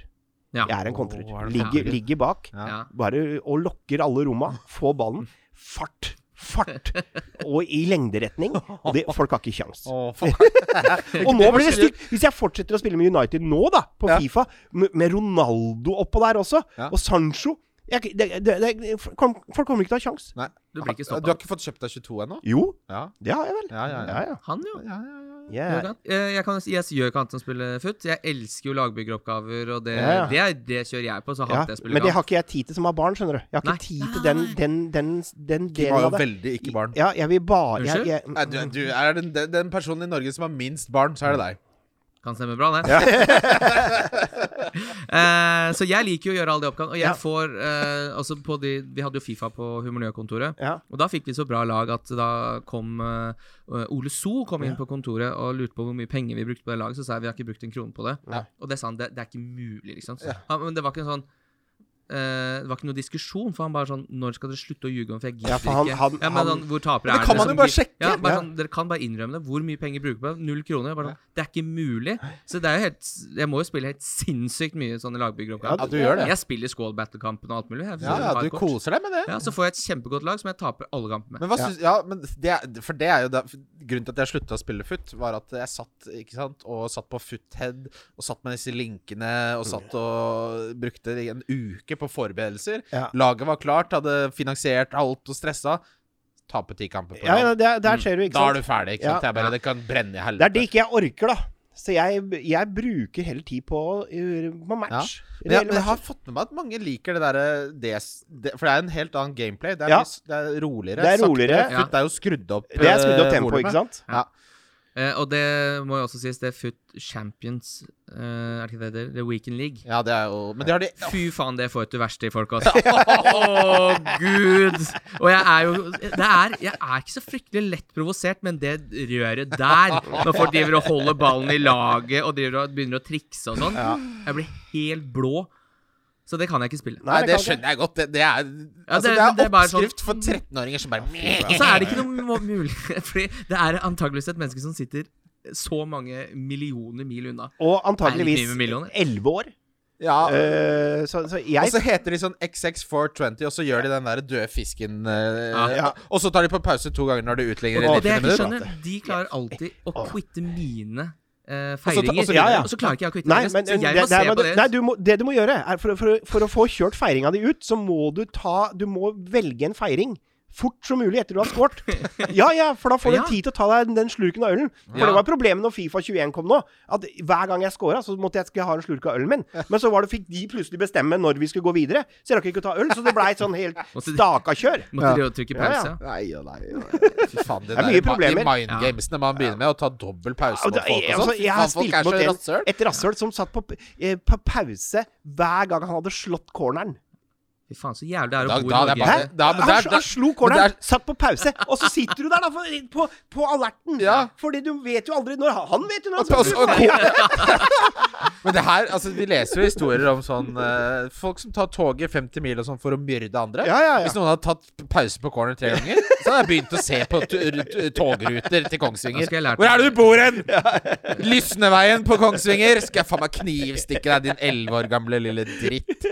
[SPEAKER 3] Ja.
[SPEAKER 4] Jeg er en
[SPEAKER 2] Åh,
[SPEAKER 4] kontrer.
[SPEAKER 2] er det
[SPEAKER 4] Ligger,
[SPEAKER 2] farlig?
[SPEAKER 4] ligger bak,
[SPEAKER 2] Ja.
[SPEAKER 3] Ja.
[SPEAKER 4] bare og lokker alle romma, få ballen. Fart! Fart! Og i lengderetning. Og det, folk har ikke kjangs.
[SPEAKER 2] Å, faen.
[SPEAKER 4] Og nå blir det stygt! Hvis jeg fortsetter å spille med United nå, da, på
[SPEAKER 2] Ja.
[SPEAKER 4] Fifa, med med Ronaldo oppå der også,
[SPEAKER 2] Ja.
[SPEAKER 4] og Sancho jeg, det, det, det, Folk kommer ikke til å ha kjangs.
[SPEAKER 2] Nei.
[SPEAKER 3] Du blir ikke
[SPEAKER 2] Du har
[SPEAKER 3] stoppa.
[SPEAKER 2] ikke fått kjøpt deg 22 ennå?
[SPEAKER 4] Jo,
[SPEAKER 2] Ja.
[SPEAKER 4] det har jeg vel.
[SPEAKER 2] Ja, ja, ja.
[SPEAKER 4] ja.
[SPEAKER 3] Han, jo.
[SPEAKER 2] Ja, ja, ja.
[SPEAKER 4] Jeg er-
[SPEAKER 3] Gjør kant. Eh, Jeg, kan, jeg gjør ikke annet enn å spille foot. Jeg elsker jo lagbyggeroppgaver, og det,
[SPEAKER 4] Ja, ja.
[SPEAKER 3] det, er- det kjører jeg på. Så
[SPEAKER 4] Ja,
[SPEAKER 3] hater jeg å spille
[SPEAKER 4] men det
[SPEAKER 3] kant.
[SPEAKER 4] har ikke jeg tid til som har barn, skjønner du. Jeg har ikke
[SPEAKER 3] Nei.
[SPEAKER 4] tid til den, den, den, den
[SPEAKER 2] Du var
[SPEAKER 4] delen
[SPEAKER 2] jo
[SPEAKER 4] av det.
[SPEAKER 2] veldig ikke barn.
[SPEAKER 4] Ja, jeg vil bare jeg, jeg,
[SPEAKER 2] Nei, du, du er den, den- den personen i Norge som har minst barn, så er det deg.
[SPEAKER 3] Kan stemme bra, det. eh, så jeg liker jo å gjøre alle de oppgavene. Og jeg
[SPEAKER 4] Ja.
[SPEAKER 3] får eh, altså på de, Vi hadde jo Fifa på humornøkontoret.
[SPEAKER 4] Ja.
[SPEAKER 3] Og da fikk vi så bra lag at da kom eh, Ole So kom inn på kontoret og lurte på hvor mye penger vi brukte på det laget. Så sa jeg vi har ikke brukt en krone på det.
[SPEAKER 4] Nei.
[SPEAKER 3] Og det sa han, det, det er ikke mulig, liksom. Han, men det var ikke en sånn eh, det var ikke noe diskusjon, for han bare sånn Når skal dere slutte å ljuge om for jeg gidder
[SPEAKER 4] Ja, for han-
[SPEAKER 3] ikke.
[SPEAKER 4] han-
[SPEAKER 3] ja,
[SPEAKER 4] han-
[SPEAKER 3] men sånn, hvor tapere
[SPEAKER 2] Men det
[SPEAKER 3] er
[SPEAKER 2] kan man
[SPEAKER 3] som
[SPEAKER 2] jo bare
[SPEAKER 3] gir-
[SPEAKER 2] sjekke.
[SPEAKER 3] Ja, bare
[SPEAKER 4] Ja.
[SPEAKER 3] sånn, dere kan bare innrømme det. Hvor mye penger bruker dere på? Null kroner. Bare sånn, det er ikke mulig. Så det er jo helt Jeg må jo spille helt sinnssykt mye sånne
[SPEAKER 2] Ja,
[SPEAKER 3] lagbyggeroppgaver.
[SPEAKER 2] du gjør det.
[SPEAKER 3] jeg spiller Squall Battle-kampen og alt mulig. Jeg,
[SPEAKER 2] Ja, ja, du
[SPEAKER 3] hardcore.
[SPEAKER 2] koser deg med det.
[SPEAKER 3] ja, så får jeg et kjempegodt lag som jeg taper alle kampene med.
[SPEAKER 2] Men hva syns Ja, men det, er- for det er jo da, Grunnen til at jeg slutta å spille foot, var at jeg satt ikke sant, og satt på foothead og satt med disse linkene
[SPEAKER 4] Mm.
[SPEAKER 2] og satt og brukte en uke på forberedelser.
[SPEAKER 4] Ja.
[SPEAKER 2] Laget var klart, hadde finansiert alt og stressa. Tape ti kamper på
[SPEAKER 4] ja, ja,
[SPEAKER 2] rad.
[SPEAKER 4] der,
[SPEAKER 3] Mm.
[SPEAKER 4] der ser du, ikke
[SPEAKER 2] Da er
[SPEAKER 4] sant.
[SPEAKER 2] du ferdig. ikke
[SPEAKER 4] Ja.
[SPEAKER 2] sant? Det er
[SPEAKER 3] Ja.
[SPEAKER 2] bare, det kan brenne i
[SPEAKER 4] Det er
[SPEAKER 2] helvete.
[SPEAKER 4] det ikke jeg orker, da. Så jeg, jeg bruker hele tid på, eh, på match.
[SPEAKER 2] Men jeg,
[SPEAKER 4] Reelle
[SPEAKER 2] men jeg har
[SPEAKER 4] matcher.
[SPEAKER 2] fått med meg at mange liker det derre DS det- For det er en helt annen gameplay. Det er,
[SPEAKER 4] Ja.
[SPEAKER 2] mye s- det er roligere.
[SPEAKER 4] Det er
[SPEAKER 2] saktere.
[SPEAKER 4] roligere.
[SPEAKER 2] Foot er jo skrudd opp.
[SPEAKER 4] Det er skrudd opp
[SPEAKER 2] eh,
[SPEAKER 4] tempoet,
[SPEAKER 2] volumet.
[SPEAKER 4] ikke sant?
[SPEAKER 3] Eh, og det må jo også sies, det er Foot Champions, eh, er det ikke det det heter? The Weekend League.
[SPEAKER 2] Ja, det er jo Men det har de
[SPEAKER 3] Fy faen, det får et du verste i folk, altså. Å, gud! Og jeg er jo det er, Jeg er ikke så fryktelig lett provosert, men det røret der, når folk driver og holder ballen i laget og driver og begynner å trikse og sånn Jeg blir helt blå. Så det kan jeg ikke spille.
[SPEAKER 4] Nei,
[SPEAKER 2] Nei,
[SPEAKER 4] det
[SPEAKER 2] det
[SPEAKER 4] kan
[SPEAKER 2] skjønner jeg godt. Det, det, er, altså,
[SPEAKER 3] det-
[SPEAKER 2] det er
[SPEAKER 3] det er bare sånn-
[SPEAKER 2] oppskrift for 13-åringer som bare
[SPEAKER 3] Og så er det ikke noe må- mulighet, fordi det er antageligvis et menneske som sitter så mange millioner mil unna.
[SPEAKER 4] Og antageligvis
[SPEAKER 3] Nei, mye millioner.
[SPEAKER 4] elleve år.
[SPEAKER 2] Ja,
[SPEAKER 4] Eh, så, så
[SPEAKER 2] og
[SPEAKER 4] jeg
[SPEAKER 2] så heter de sånn XX420, og så gjør de den der døde fisken eh,
[SPEAKER 3] Ja.
[SPEAKER 4] Ja.
[SPEAKER 2] Og så tar de på pause to ganger når det utligner i
[SPEAKER 4] Og-
[SPEAKER 3] Og det
[SPEAKER 2] 90
[SPEAKER 3] jeg ikke
[SPEAKER 2] minutter.
[SPEAKER 4] minutter.
[SPEAKER 3] skjønner, de klarer alltid å quitte mine eh,
[SPEAKER 2] så ta-
[SPEAKER 3] feiringer.
[SPEAKER 2] og så-
[SPEAKER 4] ja, ja.
[SPEAKER 3] Og så klarer ikke jeg å quitte
[SPEAKER 4] Nei,
[SPEAKER 3] deres,
[SPEAKER 4] men eh,
[SPEAKER 3] så jeg
[SPEAKER 4] det-
[SPEAKER 3] må
[SPEAKER 4] det-
[SPEAKER 3] se
[SPEAKER 4] men
[SPEAKER 3] på
[SPEAKER 4] du-
[SPEAKER 3] det.
[SPEAKER 4] Nei, du må, det du må gjøre, er for, å- for, å- for å få kjørt feiringa di ut, så må du ta Du må velge en feiring fort som mulig etter du har scoret. Ja, ja, for da får du
[SPEAKER 3] Ja.
[SPEAKER 4] tid til å ta deg den- den slurken av ølen. For
[SPEAKER 3] Ja.
[SPEAKER 4] det var problemet når Fifa 21 kom nå, at hver gang jeg scora, så måtte jeg skulle ha en slurk av ølen min. Men så var det, fikk de plutselig bestemme når vi skulle gå videre, så jeg rakk ikke å ta øl, så det blei sånn helt
[SPEAKER 3] så-
[SPEAKER 4] staka kjør.
[SPEAKER 3] Måtte de jo trykke
[SPEAKER 4] Ja, ja.
[SPEAKER 3] pause?
[SPEAKER 2] Nei og nei og nei. Fy faen, det
[SPEAKER 4] Det er
[SPEAKER 2] der ma-
[SPEAKER 4] mye
[SPEAKER 2] de
[SPEAKER 4] problemer.
[SPEAKER 2] mindgamesene man begynner med, å ta dobbel pause mot
[SPEAKER 4] Og da-
[SPEAKER 2] folk og
[SPEAKER 4] altså,
[SPEAKER 2] sånn. Fy
[SPEAKER 4] jeg har
[SPEAKER 2] faen, folk
[SPEAKER 4] spilt
[SPEAKER 2] er
[SPEAKER 4] mot
[SPEAKER 2] så
[SPEAKER 4] en,
[SPEAKER 2] rasshøl.
[SPEAKER 4] et rasshøl som satt på, p- eh, på pause hver gang han hadde slått corneren.
[SPEAKER 3] Fy faen, så jævlig det er å
[SPEAKER 2] Da-
[SPEAKER 3] bo i
[SPEAKER 2] da- det er
[SPEAKER 3] Norge.
[SPEAKER 2] bare-
[SPEAKER 4] Hæ?
[SPEAKER 2] da- men
[SPEAKER 4] han,
[SPEAKER 2] det er- da-
[SPEAKER 4] sl- han slo
[SPEAKER 2] men
[SPEAKER 4] corneren,
[SPEAKER 2] det
[SPEAKER 4] satt på pause, og så sitter du der da for, på, på alerten.
[SPEAKER 2] Ja.
[SPEAKER 4] Fordi du vet jo aldri når han- Han vet jo når han
[SPEAKER 2] Og- og- og-
[SPEAKER 4] skal ja,
[SPEAKER 2] Men det her, altså Vi leser jo historier om sånn eh, folk som tar toget 50 mil og sånn for å myrde andre.
[SPEAKER 4] Ja, ja, ja.
[SPEAKER 2] Hvis noen hadde tatt pause på corner tre ganger, så hadde jeg begynt å se på t- r- t- togruter til
[SPEAKER 3] Da
[SPEAKER 2] Kongsvinger.
[SPEAKER 3] skulle jeg lært
[SPEAKER 2] Hvor
[SPEAKER 3] meg
[SPEAKER 2] er det du bor hen?! Lysneveien på Kongsvinger! Skal jeg faen meg knivstikke deg, din elleve år gamle lille dritt.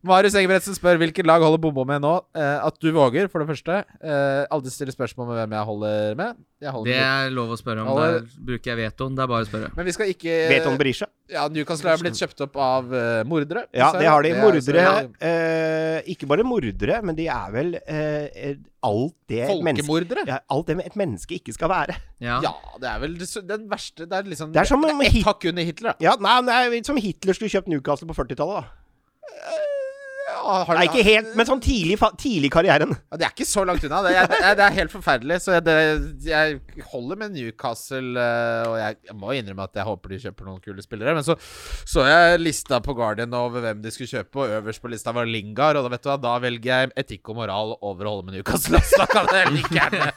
[SPEAKER 2] Marius Engebretsen spør hvilket lag holder bombo med nå. Eh, at du våger, for det første. Eh, aldri stille spørsmål med hvem jeg holder med. Jeg holder
[SPEAKER 3] Det
[SPEAKER 2] med.
[SPEAKER 3] er lov å spørre om.
[SPEAKER 2] Alle-
[SPEAKER 3] Der bruker jeg vetoen. Det er bare å spørre.
[SPEAKER 2] Men vi skal ikke
[SPEAKER 4] Vet om Berisha.
[SPEAKER 2] Ja, Newcastle har blitt kjøpt opp av eh, mordere.
[SPEAKER 4] Ja,
[SPEAKER 2] Så
[SPEAKER 4] det har de.
[SPEAKER 2] er
[SPEAKER 4] Mordere.
[SPEAKER 2] altså-
[SPEAKER 4] eh, ikke bare mordere, men de er vel eh, eh, alt det et menneske,
[SPEAKER 2] Folkemordere?
[SPEAKER 4] ja, alt det et menneske ikke skal være.
[SPEAKER 3] Ja.
[SPEAKER 2] Ja, det er vel det s- den verste Det er liksom
[SPEAKER 4] Det er som om
[SPEAKER 2] ett
[SPEAKER 4] Hit-
[SPEAKER 2] hakk under Hitler, da.
[SPEAKER 4] ja, nei, nei, som Hitler skulle kjøpt Newcastle på 40-tallet, da.
[SPEAKER 2] Ja, har-
[SPEAKER 4] Nei, ikke helt, men sånn tidlig, fa- tidlig i karrieren.
[SPEAKER 2] Ja, Det er ikke så langt unna. Det er, det er, det er helt forferdelig. Så jeg, det, jeg holder med Newcastle, eh, og jeg, jeg må innrømme at jeg håper de kjøper noen kule spillere. Men så så jeg lista på Guardian over hvem de skulle kjøpe, og øverst på lista var Lingard. Og da vet du hva, da velger jeg etikk og moral over å holde med Newcastle. Så da kan jeg like gjerne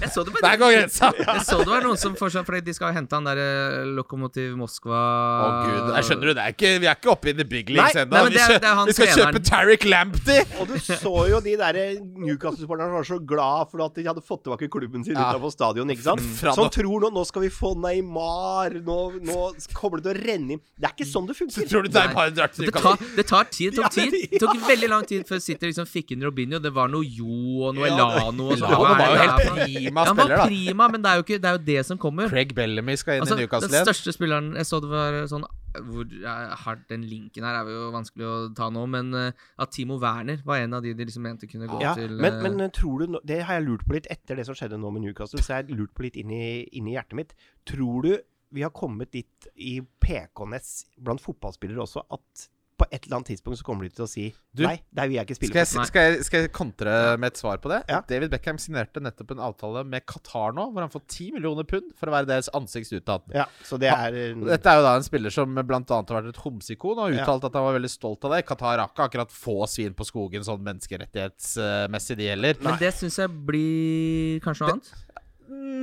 [SPEAKER 3] Jeg så det på
[SPEAKER 2] Der går grensa!
[SPEAKER 3] Jeg så det var noen som fortsatt Fordi de skal hente han der eh, Lokomotiv Moskva
[SPEAKER 2] Å gud, jeg skjønner du, det er ikke, Vi er ikke oppe i the big leagues
[SPEAKER 4] Nei,
[SPEAKER 2] ennå.
[SPEAKER 3] nei, men
[SPEAKER 2] Vi,
[SPEAKER 3] det er-
[SPEAKER 2] kjø-
[SPEAKER 3] det er han
[SPEAKER 2] vi skal
[SPEAKER 3] treneren.
[SPEAKER 2] kjøpe Tariq Lamptey!
[SPEAKER 4] Og du så jo de der Newcastle-supporterne som var så glad for at de hadde fått tilbake klubben sin
[SPEAKER 2] Ja.
[SPEAKER 4] utenfor stadion. ikke sant?
[SPEAKER 2] Fra
[SPEAKER 4] Som
[SPEAKER 2] nå-
[SPEAKER 4] tror nå nå skal vi få Neymar, nå, nå kommer det til å renne inn Det er ikke sånn det funker.
[SPEAKER 2] Tror du det er bare en drakt
[SPEAKER 3] Det
[SPEAKER 2] Newcastle?
[SPEAKER 3] tar, det tar tid. Det tok
[SPEAKER 4] Ja,
[SPEAKER 3] tid Det tok veldig lang tid før City liksom fikk inn Robinho. Det var noe Jo og noe
[SPEAKER 4] Ja, det-
[SPEAKER 3] Elano og sånn.
[SPEAKER 2] Lano
[SPEAKER 3] Hva er
[SPEAKER 2] var jo
[SPEAKER 3] det her
[SPEAKER 2] helt
[SPEAKER 3] for noe?
[SPEAKER 2] prima
[SPEAKER 3] Ja, Han
[SPEAKER 2] spiller,
[SPEAKER 3] var
[SPEAKER 2] da.
[SPEAKER 3] prima, men det er jo, ikke, det, er jo det som kommer.
[SPEAKER 2] Craig Bellamy skal inn
[SPEAKER 3] Altså,
[SPEAKER 2] i
[SPEAKER 3] den
[SPEAKER 2] Newcastle igjen.
[SPEAKER 3] største spilleren Jeg så det var sånn hvor eh, hardt Den linken her er jo vanskelig å ta nå, men eh, at Timo Werner var en av de de liksom mente kunne gå
[SPEAKER 4] Ja,
[SPEAKER 3] til
[SPEAKER 4] men,
[SPEAKER 3] eh,
[SPEAKER 4] men tror du nå- Det har jeg lurt på litt etter det som skjedde nå med Newcastle. Så jeg har lurt på litt inn i, inn i hjertet mitt. Tror du vi har kommet dit i PK-ness blant fotballspillere også at på et eller annet tidspunkt så kommer de til å si
[SPEAKER 2] Du,
[SPEAKER 4] Nei, der vil jeg ikke
[SPEAKER 2] Skal
[SPEAKER 4] spille.
[SPEAKER 2] jeg,
[SPEAKER 3] Nei.
[SPEAKER 2] skal, jeg, skal jeg kontre med et svar på det?
[SPEAKER 4] Ja.
[SPEAKER 2] David Beckham signerte nettopp en avtale med Qatar nå, hvor han får 10 millioner pund for å være deres ansikt utad.
[SPEAKER 4] på. Ja, så det er eh,
[SPEAKER 2] Dette er jo da en spiller som bl.a. har vært et homseikon og uttalt at han var veldig stolt av det. Qatar har ikke akkurat få svin på skogen sånn menneskerettighetsmessig, de heller.
[SPEAKER 3] men det syns jeg blir kanskje noe annet.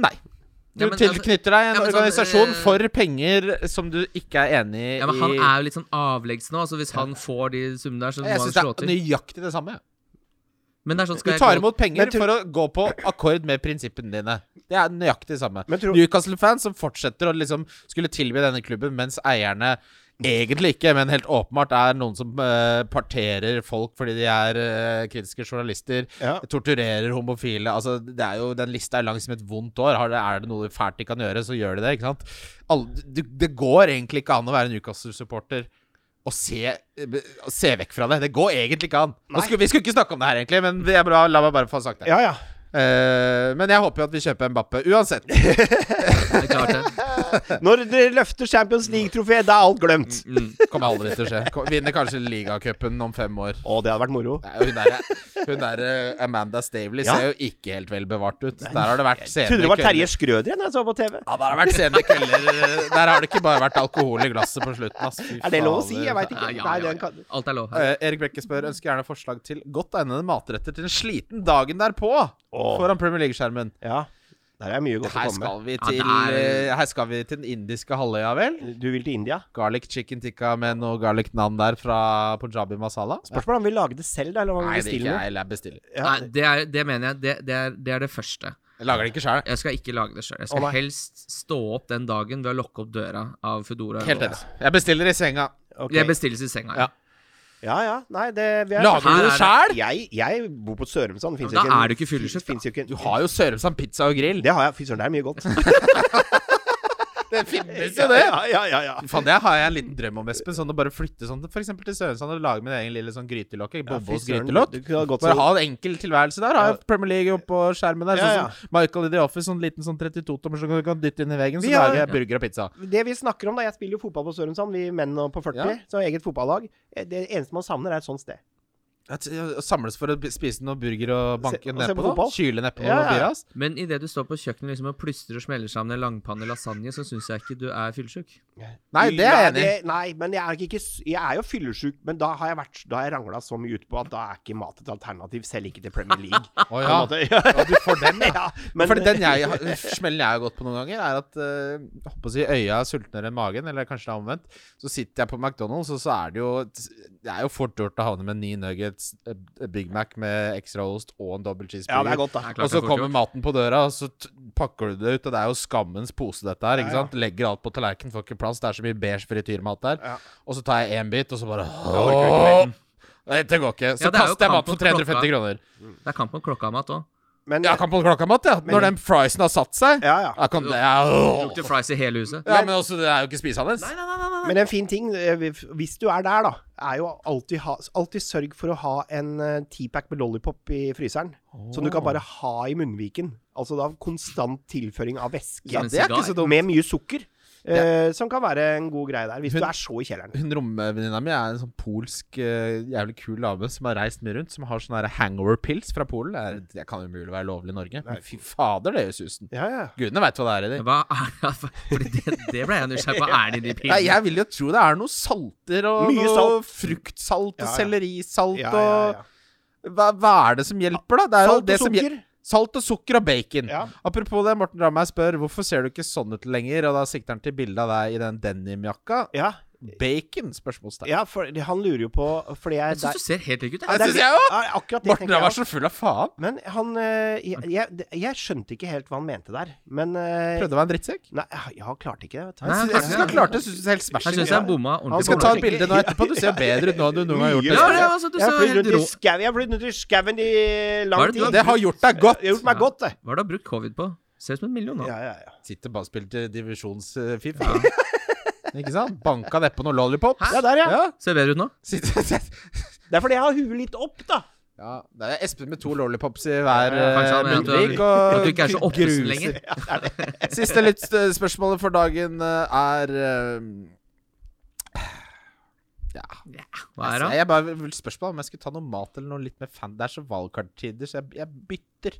[SPEAKER 2] Nei. Du
[SPEAKER 3] Ja, men altså-
[SPEAKER 2] tilknytter deg en
[SPEAKER 3] Ja, men sånn,
[SPEAKER 2] organisasjon
[SPEAKER 3] eh,
[SPEAKER 2] for penger som du ikke er enig i.
[SPEAKER 3] Ja, men Han er jo litt sånn avleggs nå. Altså Hvis han får de summene der, så må
[SPEAKER 2] jeg
[SPEAKER 3] han
[SPEAKER 2] syns
[SPEAKER 3] slå
[SPEAKER 2] det er
[SPEAKER 3] til.
[SPEAKER 2] nøyaktig det samme.
[SPEAKER 3] Men det er sånn
[SPEAKER 2] Du
[SPEAKER 3] skal
[SPEAKER 2] tar
[SPEAKER 3] jeg gå-
[SPEAKER 2] imot penger
[SPEAKER 4] Men tror-
[SPEAKER 2] for å gå på akkord med prinsippene dine. Det er nøyaktig det samme.
[SPEAKER 4] Men tror-
[SPEAKER 2] Newcastle-fans som fortsetter å liksom skulle tilby denne klubben, mens eierne egentlig ikke, men helt åpenbart er noen som eh, parterer folk fordi de er eh, kritiske journalister,
[SPEAKER 4] Ja.
[SPEAKER 2] torturerer homofile Altså, det er jo, den lista er lang som et vondt år. Har det, er det noe fælt de kan gjøre, så gjør de det, ikke sant? Alle, det, det går egentlig ikke an å være Newcastle-supporter å se, eh, å se vekk fra det. Det går egentlig ikke an. Nå Skulle, vi skulle ikke snakke om det her, egentlig, men det er bra, la meg bare få sagt det.
[SPEAKER 4] Ja, ja.
[SPEAKER 2] Eh, men jeg håper jo at vi kjøper Mbappe uansett.
[SPEAKER 3] Det er klart det.
[SPEAKER 4] Når dere løfter Champions
[SPEAKER 2] Mm.
[SPEAKER 4] League-trofé, da er alt glemt.
[SPEAKER 2] Kommer aldri til å skje. Kom- Vinner kanskje ligacupen om fem år.
[SPEAKER 4] Å, det hadde vært moro.
[SPEAKER 2] Nei, Hun der, hun der eh, Amanda Stavely
[SPEAKER 4] Ja.
[SPEAKER 2] ser jo ikke helt vel bevart ut. Der har det vært sene
[SPEAKER 4] Trodde det var Terje
[SPEAKER 2] kvelder.
[SPEAKER 4] Skrøder igjen jeg så på TV.
[SPEAKER 2] Ja, der har det vært sene kvelder. eh, Der har det ikke bare vært alkohol i glasset på slutten. Ass. Fy
[SPEAKER 4] Er det lov å si?
[SPEAKER 2] fader.
[SPEAKER 4] Jeg veit
[SPEAKER 3] Ja,
[SPEAKER 4] ikke.
[SPEAKER 3] ja,
[SPEAKER 4] Nei,
[SPEAKER 3] ja,
[SPEAKER 4] den kan...
[SPEAKER 3] ja. Alt er lov her.
[SPEAKER 2] Eh, Erik Brekke spør ønsker gjerne forslag til godt egnede matretter til en sliten dagen derpå
[SPEAKER 4] Åh.
[SPEAKER 2] foran Premier League-skjermen.
[SPEAKER 4] ja. Der er mye godt å
[SPEAKER 2] Her
[SPEAKER 4] komme med.
[SPEAKER 2] skal, vi
[SPEAKER 3] Ja,
[SPEAKER 2] til,
[SPEAKER 3] det
[SPEAKER 2] eh, her skal vi til den indiske halvøya, vel?
[SPEAKER 4] Du vil til India?
[SPEAKER 2] Garlic chicken tikka med noe garlic naan der fra punjabi masala?
[SPEAKER 4] Spørsmålet er om vi lager det selv, da, eller om
[SPEAKER 2] Nei, det er
[SPEAKER 4] vi
[SPEAKER 2] ikke
[SPEAKER 4] bestiller noe.
[SPEAKER 2] jeg. Jeg bestiller.
[SPEAKER 4] Ja,
[SPEAKER 3] Nei, det, er, det mener jeg. Det, det, er, det er det første.
[SPEAKER 2] Jeg lager det ikke sjøl.
[SPEAKER 3] Jeg skal ikke lage det sjøl. Jeg
[SPEAKER 4] Å,
[SPEAKER 3] skal
[SPEAKER 4] nei.
[SPEAKER 3] helst stå opp den dagen ved å lokke opp døra av Foodora.
[SPEAKER 2] Helt enig. Jeg bestiller i senga.
[SPEAKER 4] ok.
[SPEAKER 3] Jeg bestilles i senga.
[SPEAKER 2] Ja.
[SPEAKER 3] Ja.
[SPEAKER 4] ja, ja. Nei, det vi er
[SPEAKER 2] Lager du
[SPEAKER 3] Her er
[SPEAKER 2] det
[SPEAKER 3] det.
[SPEAKER 2] sjæl?
[SPEAKER 4] Jeg, jeg bor på Sørumsand. finnes
[SPEAKER 3] Ja,
[SPEAKER 4] jo
[SPEAKER 3] men da
[SPEAKER 4] en-
[SPEAKER 3] er du ikke fyllesyk,
[SPEAKER 4] finnes jo ikke en-
[SPEAKER 2] Du har jo Sørumsand pizza og grill.
[SPEAKER 4] Det har jeg. Fy søren, det er mye godt.
[SPEAKER 2] Det finnes
[SPEAKER 4] Ja, ja, ja, ja.
[SPEAKER 2] Faen, det har jeg en liten drøm om, Espen. Sånn å bare flytte sånn for eksempel til Sørumsand og lage min egen lille sånn grytelokk.
[SPEAKER 4] Ja, fy
[SPEAKER 2] Bobbos
[SPEAKER 4] søren,
[SPEAKER 2] grytelokk.
[SPEAKER 4] Du kunne ha gått
[SPEAKER 2] Bare
[SPEAKER 4] så-
[SPEAKER 2] ha en enkel tilværelse der. Ha
[SPEAKER 4] Ja.
[SPEAKER 2] Premier League oppå skjermen der.
[SPEAKER 4] Ja,
[SPEAKER 2] Sånn som Michael i The Office, sånn liten sånn 32-tommer som du kan dytte inn i veggen. Så
[SPEAKER 4] Vi har-
[SPEAKER 2] lager jeg burger og pizza.
[SPEAKER 4] Det vi snakker om, da Jeg spiller jo fotball på Sørumsand, vi menn og på 40,
[SPEAKER 2] Ja.
[SPEAKER 4] så har eget fotballag. Det eneste man savner, er et sånt sted.
[SPEAKER 2] Jeg t- jeg Samles for å b- spise noe burger og
[SPEAKER 4] Se-
[SPEAKER 2] banke
[SPEAKER 4] og se på
[SPEAKER 2] nedpå noe.
[SPEAKER 4] fotball.
[SPEAKER 2] Kyle nedpå
[SPEAKER 4] Ja,
[SPEAKER 2] noe
[SPEAKER 4] ja.
[SPEAKER 2] birra. ass.
[SPEAKER 3] Men idet du står på kjøkkenet liksom og plystrer og smeller sammen en langpanne lasagne, så syns jeg ikke du er fyllesyk.
[SPEAKER 2] Nei, det er jeg enig i.
[SPEAKER 4] det- Nei, men jeg er, ikke, s- jeg er jo fyllesyk, men da har jeg, vært- da har jeg rangla så mye utpå at da er ikke mat et alternativ, selv ikke til Premier League.
[SPEAKER 2] Å
[SPEAKER 4] på en
[SPEAKER 2] ja.
[SPEAKER 4] måte. Ja,
[SPEAKER 2] ja. Du får den, ja.
[SPEAKER 4] ja,
[SPEAKER 2] Men,
[SPEAKER 4] men,
[SPEAKER 2] Fordi den jeg, har- smellen jeg har gått på noen ganger, er at eh, jeg håper å si øya er sultnere enn magen, eller kanskje det er omvendt. Så sitter jeg på McDonald's, og så er det jo Det er jo fort gjort å havne med ni nuggets, eh, Big Mac med ekstra ost og en double
[SPEAKER 4] ja, det er
[SPEAKER 2] cheeseburger.
[SPEAKER 4] godt,
[SPEAKER 3] Det
[SPEAKER 4] da.
[SPEAKER 3] er klart
[SPEAKER 2] og så
[SPEAKER 3] det er fort
[SPEAKER 2] kommer
[SPEAKER 3] gjort.
[SPEAKER 2] maten på døra, og så t pakker du det ut. Og det er jo skammens pose, dette her. ikke
[SPEAKER 4] Ja, ja.
[SPEAKER 2] sant? Legger alt på tallerkenen, får ikke plass. Det er så mye beige frityrmat der.
[SPEAKER 4] Ja.
[SPEAKER 2] Og så tar jeg én bit, og så bare
[SPEAKER 4] orker
[SPEAKER 2] Åh, Dette går ikke. Så
[SPEAKER 3] Ja, det er jo
[SPEAKER 2] kaster jeg
[SPEAKER 3] kamp
[SPEAKER 2] mat for
[SPEAKER 3] mot klokka.
[SPEAKER 2] 350 kroner.
[SPEAKER 3] Det er kamp om klokka mat òg.
[SPEAKER 4] Men,
[SPEAKER 2] Ja,
[SPEAKER 4] ja,
[SPEAKER 2] kan på klokka mat, ja. Når den friesen har satt seg.
[SPEAKER 4] ja.
[SPEAKER 2] Ja, kan det, ja, åh.
[SPEAKER 3] Dr. Fries i hele huset.
[SPEAKER 2] ja, men også, det er jo ikke spisende.
[SPEAKER 4] Men en fin ting, eh, hvis du er der, da, er jo alltid, ha, alltid sørg for å ha en eh, teapack med lollipop i fryseren. Som du kan bare ha i munnviken. Altså da konstant tilføring av væske.
[SPEAKER 2] Ja,
[SPEAKER 3] Som en
[SPEAKER 2] det er ikke
[SPEAKER 3] sigar.
[SPEAKER 2] så dumt.
[SPEAKER 4] med mye sukker. eh, Som kan være en god greie der, hvis
[SPEAKER 2] Hun-
[SPEAKER 4] du er så i kjelleren.
[SPEAKER 2] Hun romvenninna mi er en sånn polsk eh, jævlig kul dame som har reist mye rundt, som har sånne her hangover pills fra Polen. Det, er, det kan umulig være lovlig i Norge. Men fy fader, det gjør susen.
[SPEAKER 4] Ja, ja.
[SPEAKER 2] Gudene veit hva det er i de.
[SPEAKER 3] Hva er Fordi det? Det ble jeg nysgjerrig på. Er det i de
[SPEAKER 2] Nei,
[SPEAKER 3] pillene?
[SPEAKER 2] jeg vil jo tro det er noe salter og
[SPEAKER 4] Mye
[SPEAKER 2] noe
[SPEAKER 4] salt.
[SPEAKER 2] fruktsalt og
[SPEAKER 4] Ja, ja.
[SPEAKER 2] sellerisalt
[SPEAKER 4] ja, ja, ja.
[SPEAKER 2] og hva, hva er det som hjelper, da? Det er jo
[SPEAKER 4] Salt
[SPEAKER 2] det
[SPEAKER 4] og
[SPEAKER 2] som
[SPEAKER 4] sukker.
[SPEAKER 2] Salt og sukker og bacon.
[SPEAKER 4] Ja.
[SPEAKER 2] Apropos det, Morten Rammeig spør hvorfor ser du ikke sånn ut lenger, og da sikter han til bildet av deg i den denimjakka.
[SPEAKER 4] Ja,
[SPEAKER 2] Bacon? spørsmålstegn.
[SPEAKER 4] ja for det- han lurer jo på Fordi jeg
[SPEAKER 3] Jeg syns du ser helt lik ut.
[SPEAKER 2] Ja,
[SPEAKER 3] jeg.
[SPEAKER 2] det synes jeg også.
[SPEAKER 4] Ja, akkurat det
[SPEAKER 2] Morten
[SPEAKER 4] tenker jeg
[SPEAKER 2] Rammeig er
[SPEAKER 4] også.
[SPEAKER 2] så full av faen.
[SPEAKER 4] Men han eh, jeg, jeg, jeg skjønte ikke helt hva han mente der. Men eh,
[SPEAKER 2] Prøvde å være en drittsekk.
[SPEAKER 4] Nei, jeg klarte ikke det. Vet du.
[SPEAKER 2] Jeg
[SPEAKER 3] Nei, faktisk
[SPEAKER 2] synes
[SPEAKER 3] ikke.
[SPEAKER 2] han klarte det. Synes det er helt
[SPEAKER 3] Jeg
[SPEAKER 2] smashing.
[SPEAKER 3] syns jeg bomma
[SPEAKER 4] Han
[SPEAKER 2] Vi
[SPEAKER 3] ordentlig.
[SPEAKER 2] skal
[SPEAKER 3] på
[SPEAKER 2] ta
[SPEAKER 3] det.
[SPEAKER 2] et bilde nå etterpå. Du ser bedre ut nå enn du noen gang har gjort.
[SPEAKER 4] Mye
[SPEAKER 3] Ja,
[SPEAKER 2] det.
[SPEAKER 3] ja,
[SPEAKER 4] bedre.
[SPEAKER 3] altså, du
[SPEAKER 4] jeg har
[SPEAKER 3] ser
[SPEAKER 4] flydd
[SPEAKER 3] helt
[SPEAKER 4] rundt i
[SPEAKER 3] rå-
[SPEAKER 4] skau- jeg har flydd rundt i skauen i
[SPEAKER 3] Hva
[SPEAKER 4] lang
[SPEAKER 3] er det du
[SPEAKER 4] tid.
[SPEAKER 3] har-
[SPEAKER 2] Det har gjort deg godt.
[SPEAKER 4] Jeg har gjort meg
[SPEAKER 3] Ja.
[SPEAKER 4] godt, det.
[SPEAKER 3] Hva har du brukt covid på? Ser ut som en million nå.
[SPEAKER 4] Ja, ja, ja.
[SPEAKER 2] Sitter bare og spiller eh, divisjonsfif. Ikke sant? Banka nedpå noen lollipops.
[SPEAKER 4] Ja, der, ja.
[SPEAKER 2] Ja.
[SPEAKER 3] Ser bedre ut nå.
[SPEAKER 2] Sitter,
[SPEAKER 4] Det er fordi jeg har huet litt opp, da.
[SPEAKER 2] ja. Det er Espen med to lollipops i hver
[SPEAKER 3] Ja, kanskje
[SPEAKER 2] eh,
[SPEAKER 3] han mener at du er-
[SPEAKER 2] munnvik.
[SPEAKER 3] At
[SPEAKER 2] og
[SPEAKER 3] du ikke er så
[SPEAKER 2] gruser.
[SPEAKER 3] oppesen lenger.
[SPEAKER 2] Siste litt eh, spørsmålet for dagen eh, er eh, Ja.
[SPEAKER 3] Hva er
[SPEAKER 2] altså,
[SPEAKER 3] det?
[SPEAKER 2] jeg bare vil spørsmål om jeg skulle ta noe mat eller noe litt med fan. Det er så valgkarttider, så jeg, jeg bytter.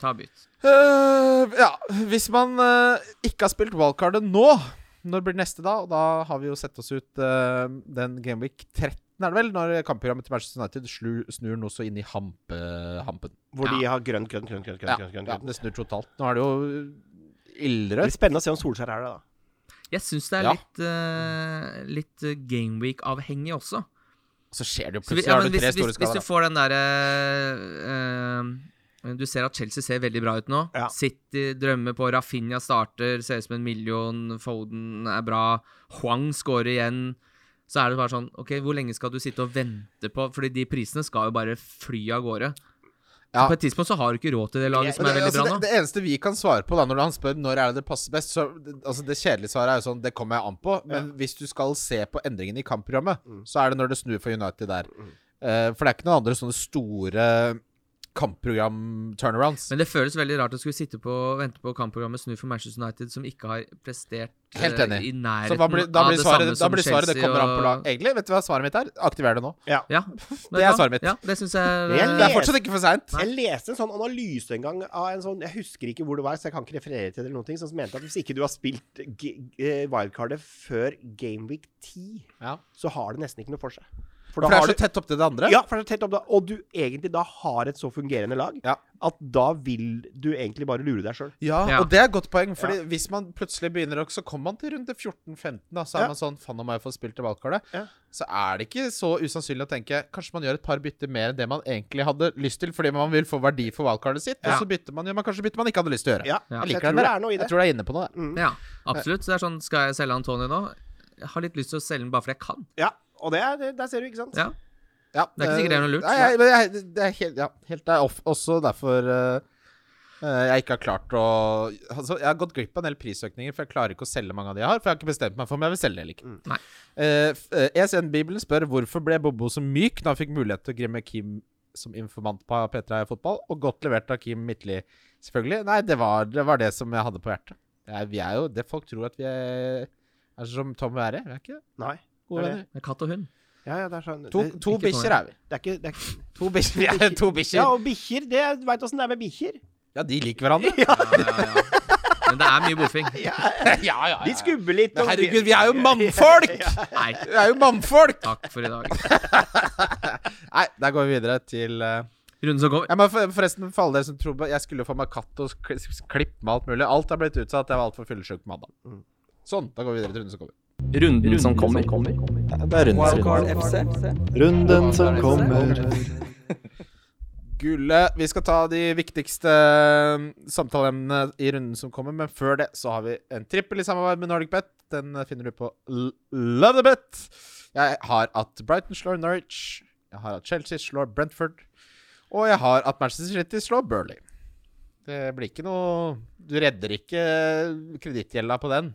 [SPEAKER 3] Ta bytt.
[SPEAKER 2] Eh, ja, hvis man eh, ikke har spilt wildcardet nå, når blir neste da? Og da har vi jo sett oss ut eh, den Gameweek 13, er det vel? Når kampprogrammet til Manchester United slu, snur noe så inn i hampe, hampen.
[SPEAKER 4] Hvor de har grønt, grønt, grønt, grønt. grønt,
[SPEAKER 2] Ja,
[SPEAKER 4] grønt, grønt,
[SPEAKER 2] ja,
[SPEAKER 4] grønt.
[SPEAKER 2] det snur totalt. Nå er det jo eh,
[SPEAKER 4] Det
[SPEAKER 2] ildrødt.
[SPEAKER 4] blir spennende å se om Solskjær er det, da.
[SPEAKER 3] Jeg syns det er
[SPEAKER 2] Ja.
[SPEAKER 3] litt, eh, litt eh, Gameweek-avhengig også.
[SPEAKER 2] Så skjer det jo
[SPEAKER 3] Så vi,
[SPEAKER 2] plutselig
[SPEAKER 3] ja,
[SPEAKER 2] har
[SPEAKER 3] men
[SPEAKER 2] du
[SPEAKER 3] hvis,
[SPEAKER 2] tre
[SPEAKER 3] hvis,
[SPEAKER 2] store
[SPEAKER 3] hvis du
[SPEAKER 2] skader. da.
[SPEAKER 3] får den derre eh, eh, Du ser at Chelsea ser veldig bra ut nå.
[SPEAKER 4] Ja.
[SPEAKER 3] City drømmer på, Rafinha starter, ser ut som en million, Foden er bra, Huang scorer igjen. Så er det bare sånn Ok, hvor lenge skal du sitte og vente på Fordi de prisene skal jo bare fly av gårde.
[SPEAKER 2] Ja.
[SPEAKER 3] På et tidspunkt så har du ikke råd til det laget som
[SPEAKER 2] Men det,
[SPEAKER 3] er veldig
[SPEAKER 2] altså,
[SPEAKER 3] bra
[SPEAKER 2] det,
[SPEAKER 3] nå.
[SPEAKER 2] det eneste vi kan svare på da når han spør når er det det passer best så, det- altså, Det kjedelige svaret er jo sånn Det kommer jeg an på. Men hvis du skal se på endringene i kampprogrammet,
[SPEAKER 4] Mm.
[SPEAKER 2] så er det når det snur for United der. Eh, for det er ikke noen andre sånne store kampprogram-turnarounds.
[SPEAKER 3] Men det føles veldig rart å skulle sitte på og vente på kampprogrammet Snu for Manchester United, som ikke har prestert eh,
[SPEAKER 2] Helt enig.
[SPEAKER 3] i nærheten
[SPEAKER 2] Så hva blir, da
[SPEAKER 3] av
[SPEAKER 2] blir
[SPEAKER 3] det
[SPEAKER 2] svaret,
[SPEAKER 3] samme
[SPEAKER 2] da
[SPEAKER 3] som
[SPEAKER 2] blir svaret det
[SPEAKER 3] Chelsea
[SPEAKER 2] kommer an på
[SPEAKER 3] og-
[SPEAKER 2] lag. Egentlig, vet du hva svaret mitt er? Aktiver det nå.
[SPEAKER 3] Ja.
[SPEAKER 2] Det er svaret mitt.
[SPEAKER 3] Ja, det syns jeg
[SPEAKER 4] Jeg
[SPEAKER 2] Det er
[SPEAKER 4] leser-
[SPEAKER 2] fortsatt ikke for seint.
[SPEAKER 4] Jeg leste en sånn analyse en gang av en sånn Jeg husker ikke hvor det var, så jeg kan ikke referere til det eller noen ting, som mente at hvis ikke du har spilt g- eh, wildcardet før Gameweek 10,
[SPEAKER 2] Ja.
[SPEAKER 4] så har det nesten ikke noe for seg. For
[SPEAKER 2] For
[SPEAKER 4] da
[SPEAKER 2] det er
[SPEAKER 4] har
[SPEAKER 2] så
[SPEAKER 4] du
[SPEAKER 2] tett opptil det andre.
[SPEAKER 4] ja, for det er tett opp da, og du egentlig da har et så fungerende lag
[SPEAKER 2] Ja.
[SPEAKER 4] at da vil du egentlig bare lure deg sjøl.
[SPEAKER 2] Ja,
[SPEAKER 3] Ja.
[SPEAKER 2] og det er et godt poeng, Fordi hvis man plutselig begynner å Så kommer man til runde 14-15, da, så er
[SPEAKER 4] Ja.
[SPEAKER 2] man sånn Faen om jeg får spilt til valgkartet.
[SPEAKER 4] Ja.
[SPEAKER 2] Så er det ikke så usannsynlig å tenke Kanskje man gjør et par bytter mer enn det man egentlig hadde lyst til, fordi man vil få verdi for valgkartet sitt,
[SPEAKER 4] Ja.
[SPEAKER 2] og så bytter man, gjør man kanskje bytter man ikke hadde lyst til å gjøre.
[SPEAKER 4] Ja,
[SPEAKER 3] Ja.
[SPEAKER 4] så jeg
[SPEAKER 2] liker den der,
[SPEAKER 4] tror det er noe i det.
[SPEAKER 2] Jeg tror det er inne på noe, det.
[SPEAKER 3] Ja, absolutt. Så det er sånn, skal jeg selge Antony nå? Jeg har litt lyst til å selge den bare fordi jeg kan.
[SPEAKER 4] Ja, og det er, det, der ser du, ikke sant?
[SPEAKER 3] Ja.
[SPEAKER 2] Ja,
[SPEAKER 3] Det er ikke sikkert det er noe lurt.
[SPEAKER 2] Nei, jeg, men jeg, det er helt, ja, helt det er off, også derfor eh, eh, jeg ikke har klart å altså, Jeg har gått glipp av en del prisøkninger, for jeg klarer ikke å selge mange av de jeg har. For jeg har ikke bestemt meg for om jeg vil selge eller ikke.
[SPEAKER 4] Mm.
[SPEAKER 3] Nei.
[SPEAKER 2] Eh, f- eh, ESN-bibelen spør hvorfor ble Bobo så myk da han fikk mulighet til å grimme Kim som informant på P3 fotball, og godt levert av Kim Midtly, selvfølgelig. Nei, det var, det var det som jeg hadde på hjertet. Jeg- vi er jo det folk tror at vi er, er som Tom og Ære. Vi er ikke det.
[SPEAKER 4] Nei.
[SPEAKER 2] gode
[SPEAKER 4] Det er
[SPEAKER 2] venner.
[SPEAKER 3] Det er katt og hund.
[SPEAKER 4] Ja, ja, det er sånn
[SPEAKER 2] To,
[SPEAKER 4] det,
[SPEAKER 2] to
[SPEAKER 3] ikke Tom og
[SPEAKER 2] bikkjer
[SPEAKER 3] Ære.
[SPEAKER 2] er vi.
[SPEAKER 4] det er ikke det er, ikke-
[SPEAKER 2] To bikkjer. Vi er to bikkjer.
[SPEAKER 4] Ja, og bikkjer. Det veit åssen det er med bikkjer.
[SPEAKER 2] Ja, de liker hverandre.
[SPEAKER 3] Ja, ja, ja. Men det er mye boffing.
[SPEAKER 2] ja, ja, ja.
[SPEAKER 4] De skubber litt.
[SPEAKER 2] Men
[SPEAKER 4] og-
[SPEAKER 2] herregud, vi er jo mannfolk!
[SPEAKER 3] Nei,
[SPEAKER 2] Vi er jo mannfolk!
[SPEAKER 3] takk for i dag.
[SPEAKER 2] Nei, der går vi videre til eh,
[SPEAKER 3] Runden som kommer.
[SPEAKER 2] Jeg må for- forresten for alle dere som tror på Jeg skulle jo få meg katt og kli- klipp med alt mulig. Alt er blitt utsatt. Jeg var altfor fyllesyk på mandag. Sånn. Da går vi videre til runden som kommer.
[SPEAKER 5] Runden som kommer.
[SPEAKER 1] Det er Wildcard FC.
[SPEAKER 5] Runden som kommer.
[SPEAKER 2] Gulle, vi skal ta de viktigste eh, samtaleemnene i runden som kommer, men før det så har vi en trippel i samarbeid med Nordic Bet. Den eh, finner du på L- Love the Bet. Jeg har at Brighton slår Norwich. Jeg har at Chelsea slår Brentford. Og jeg har at Manchester City slår Burley. Det blir ikke noe Du redder ikke eh, kredittgjelda på den.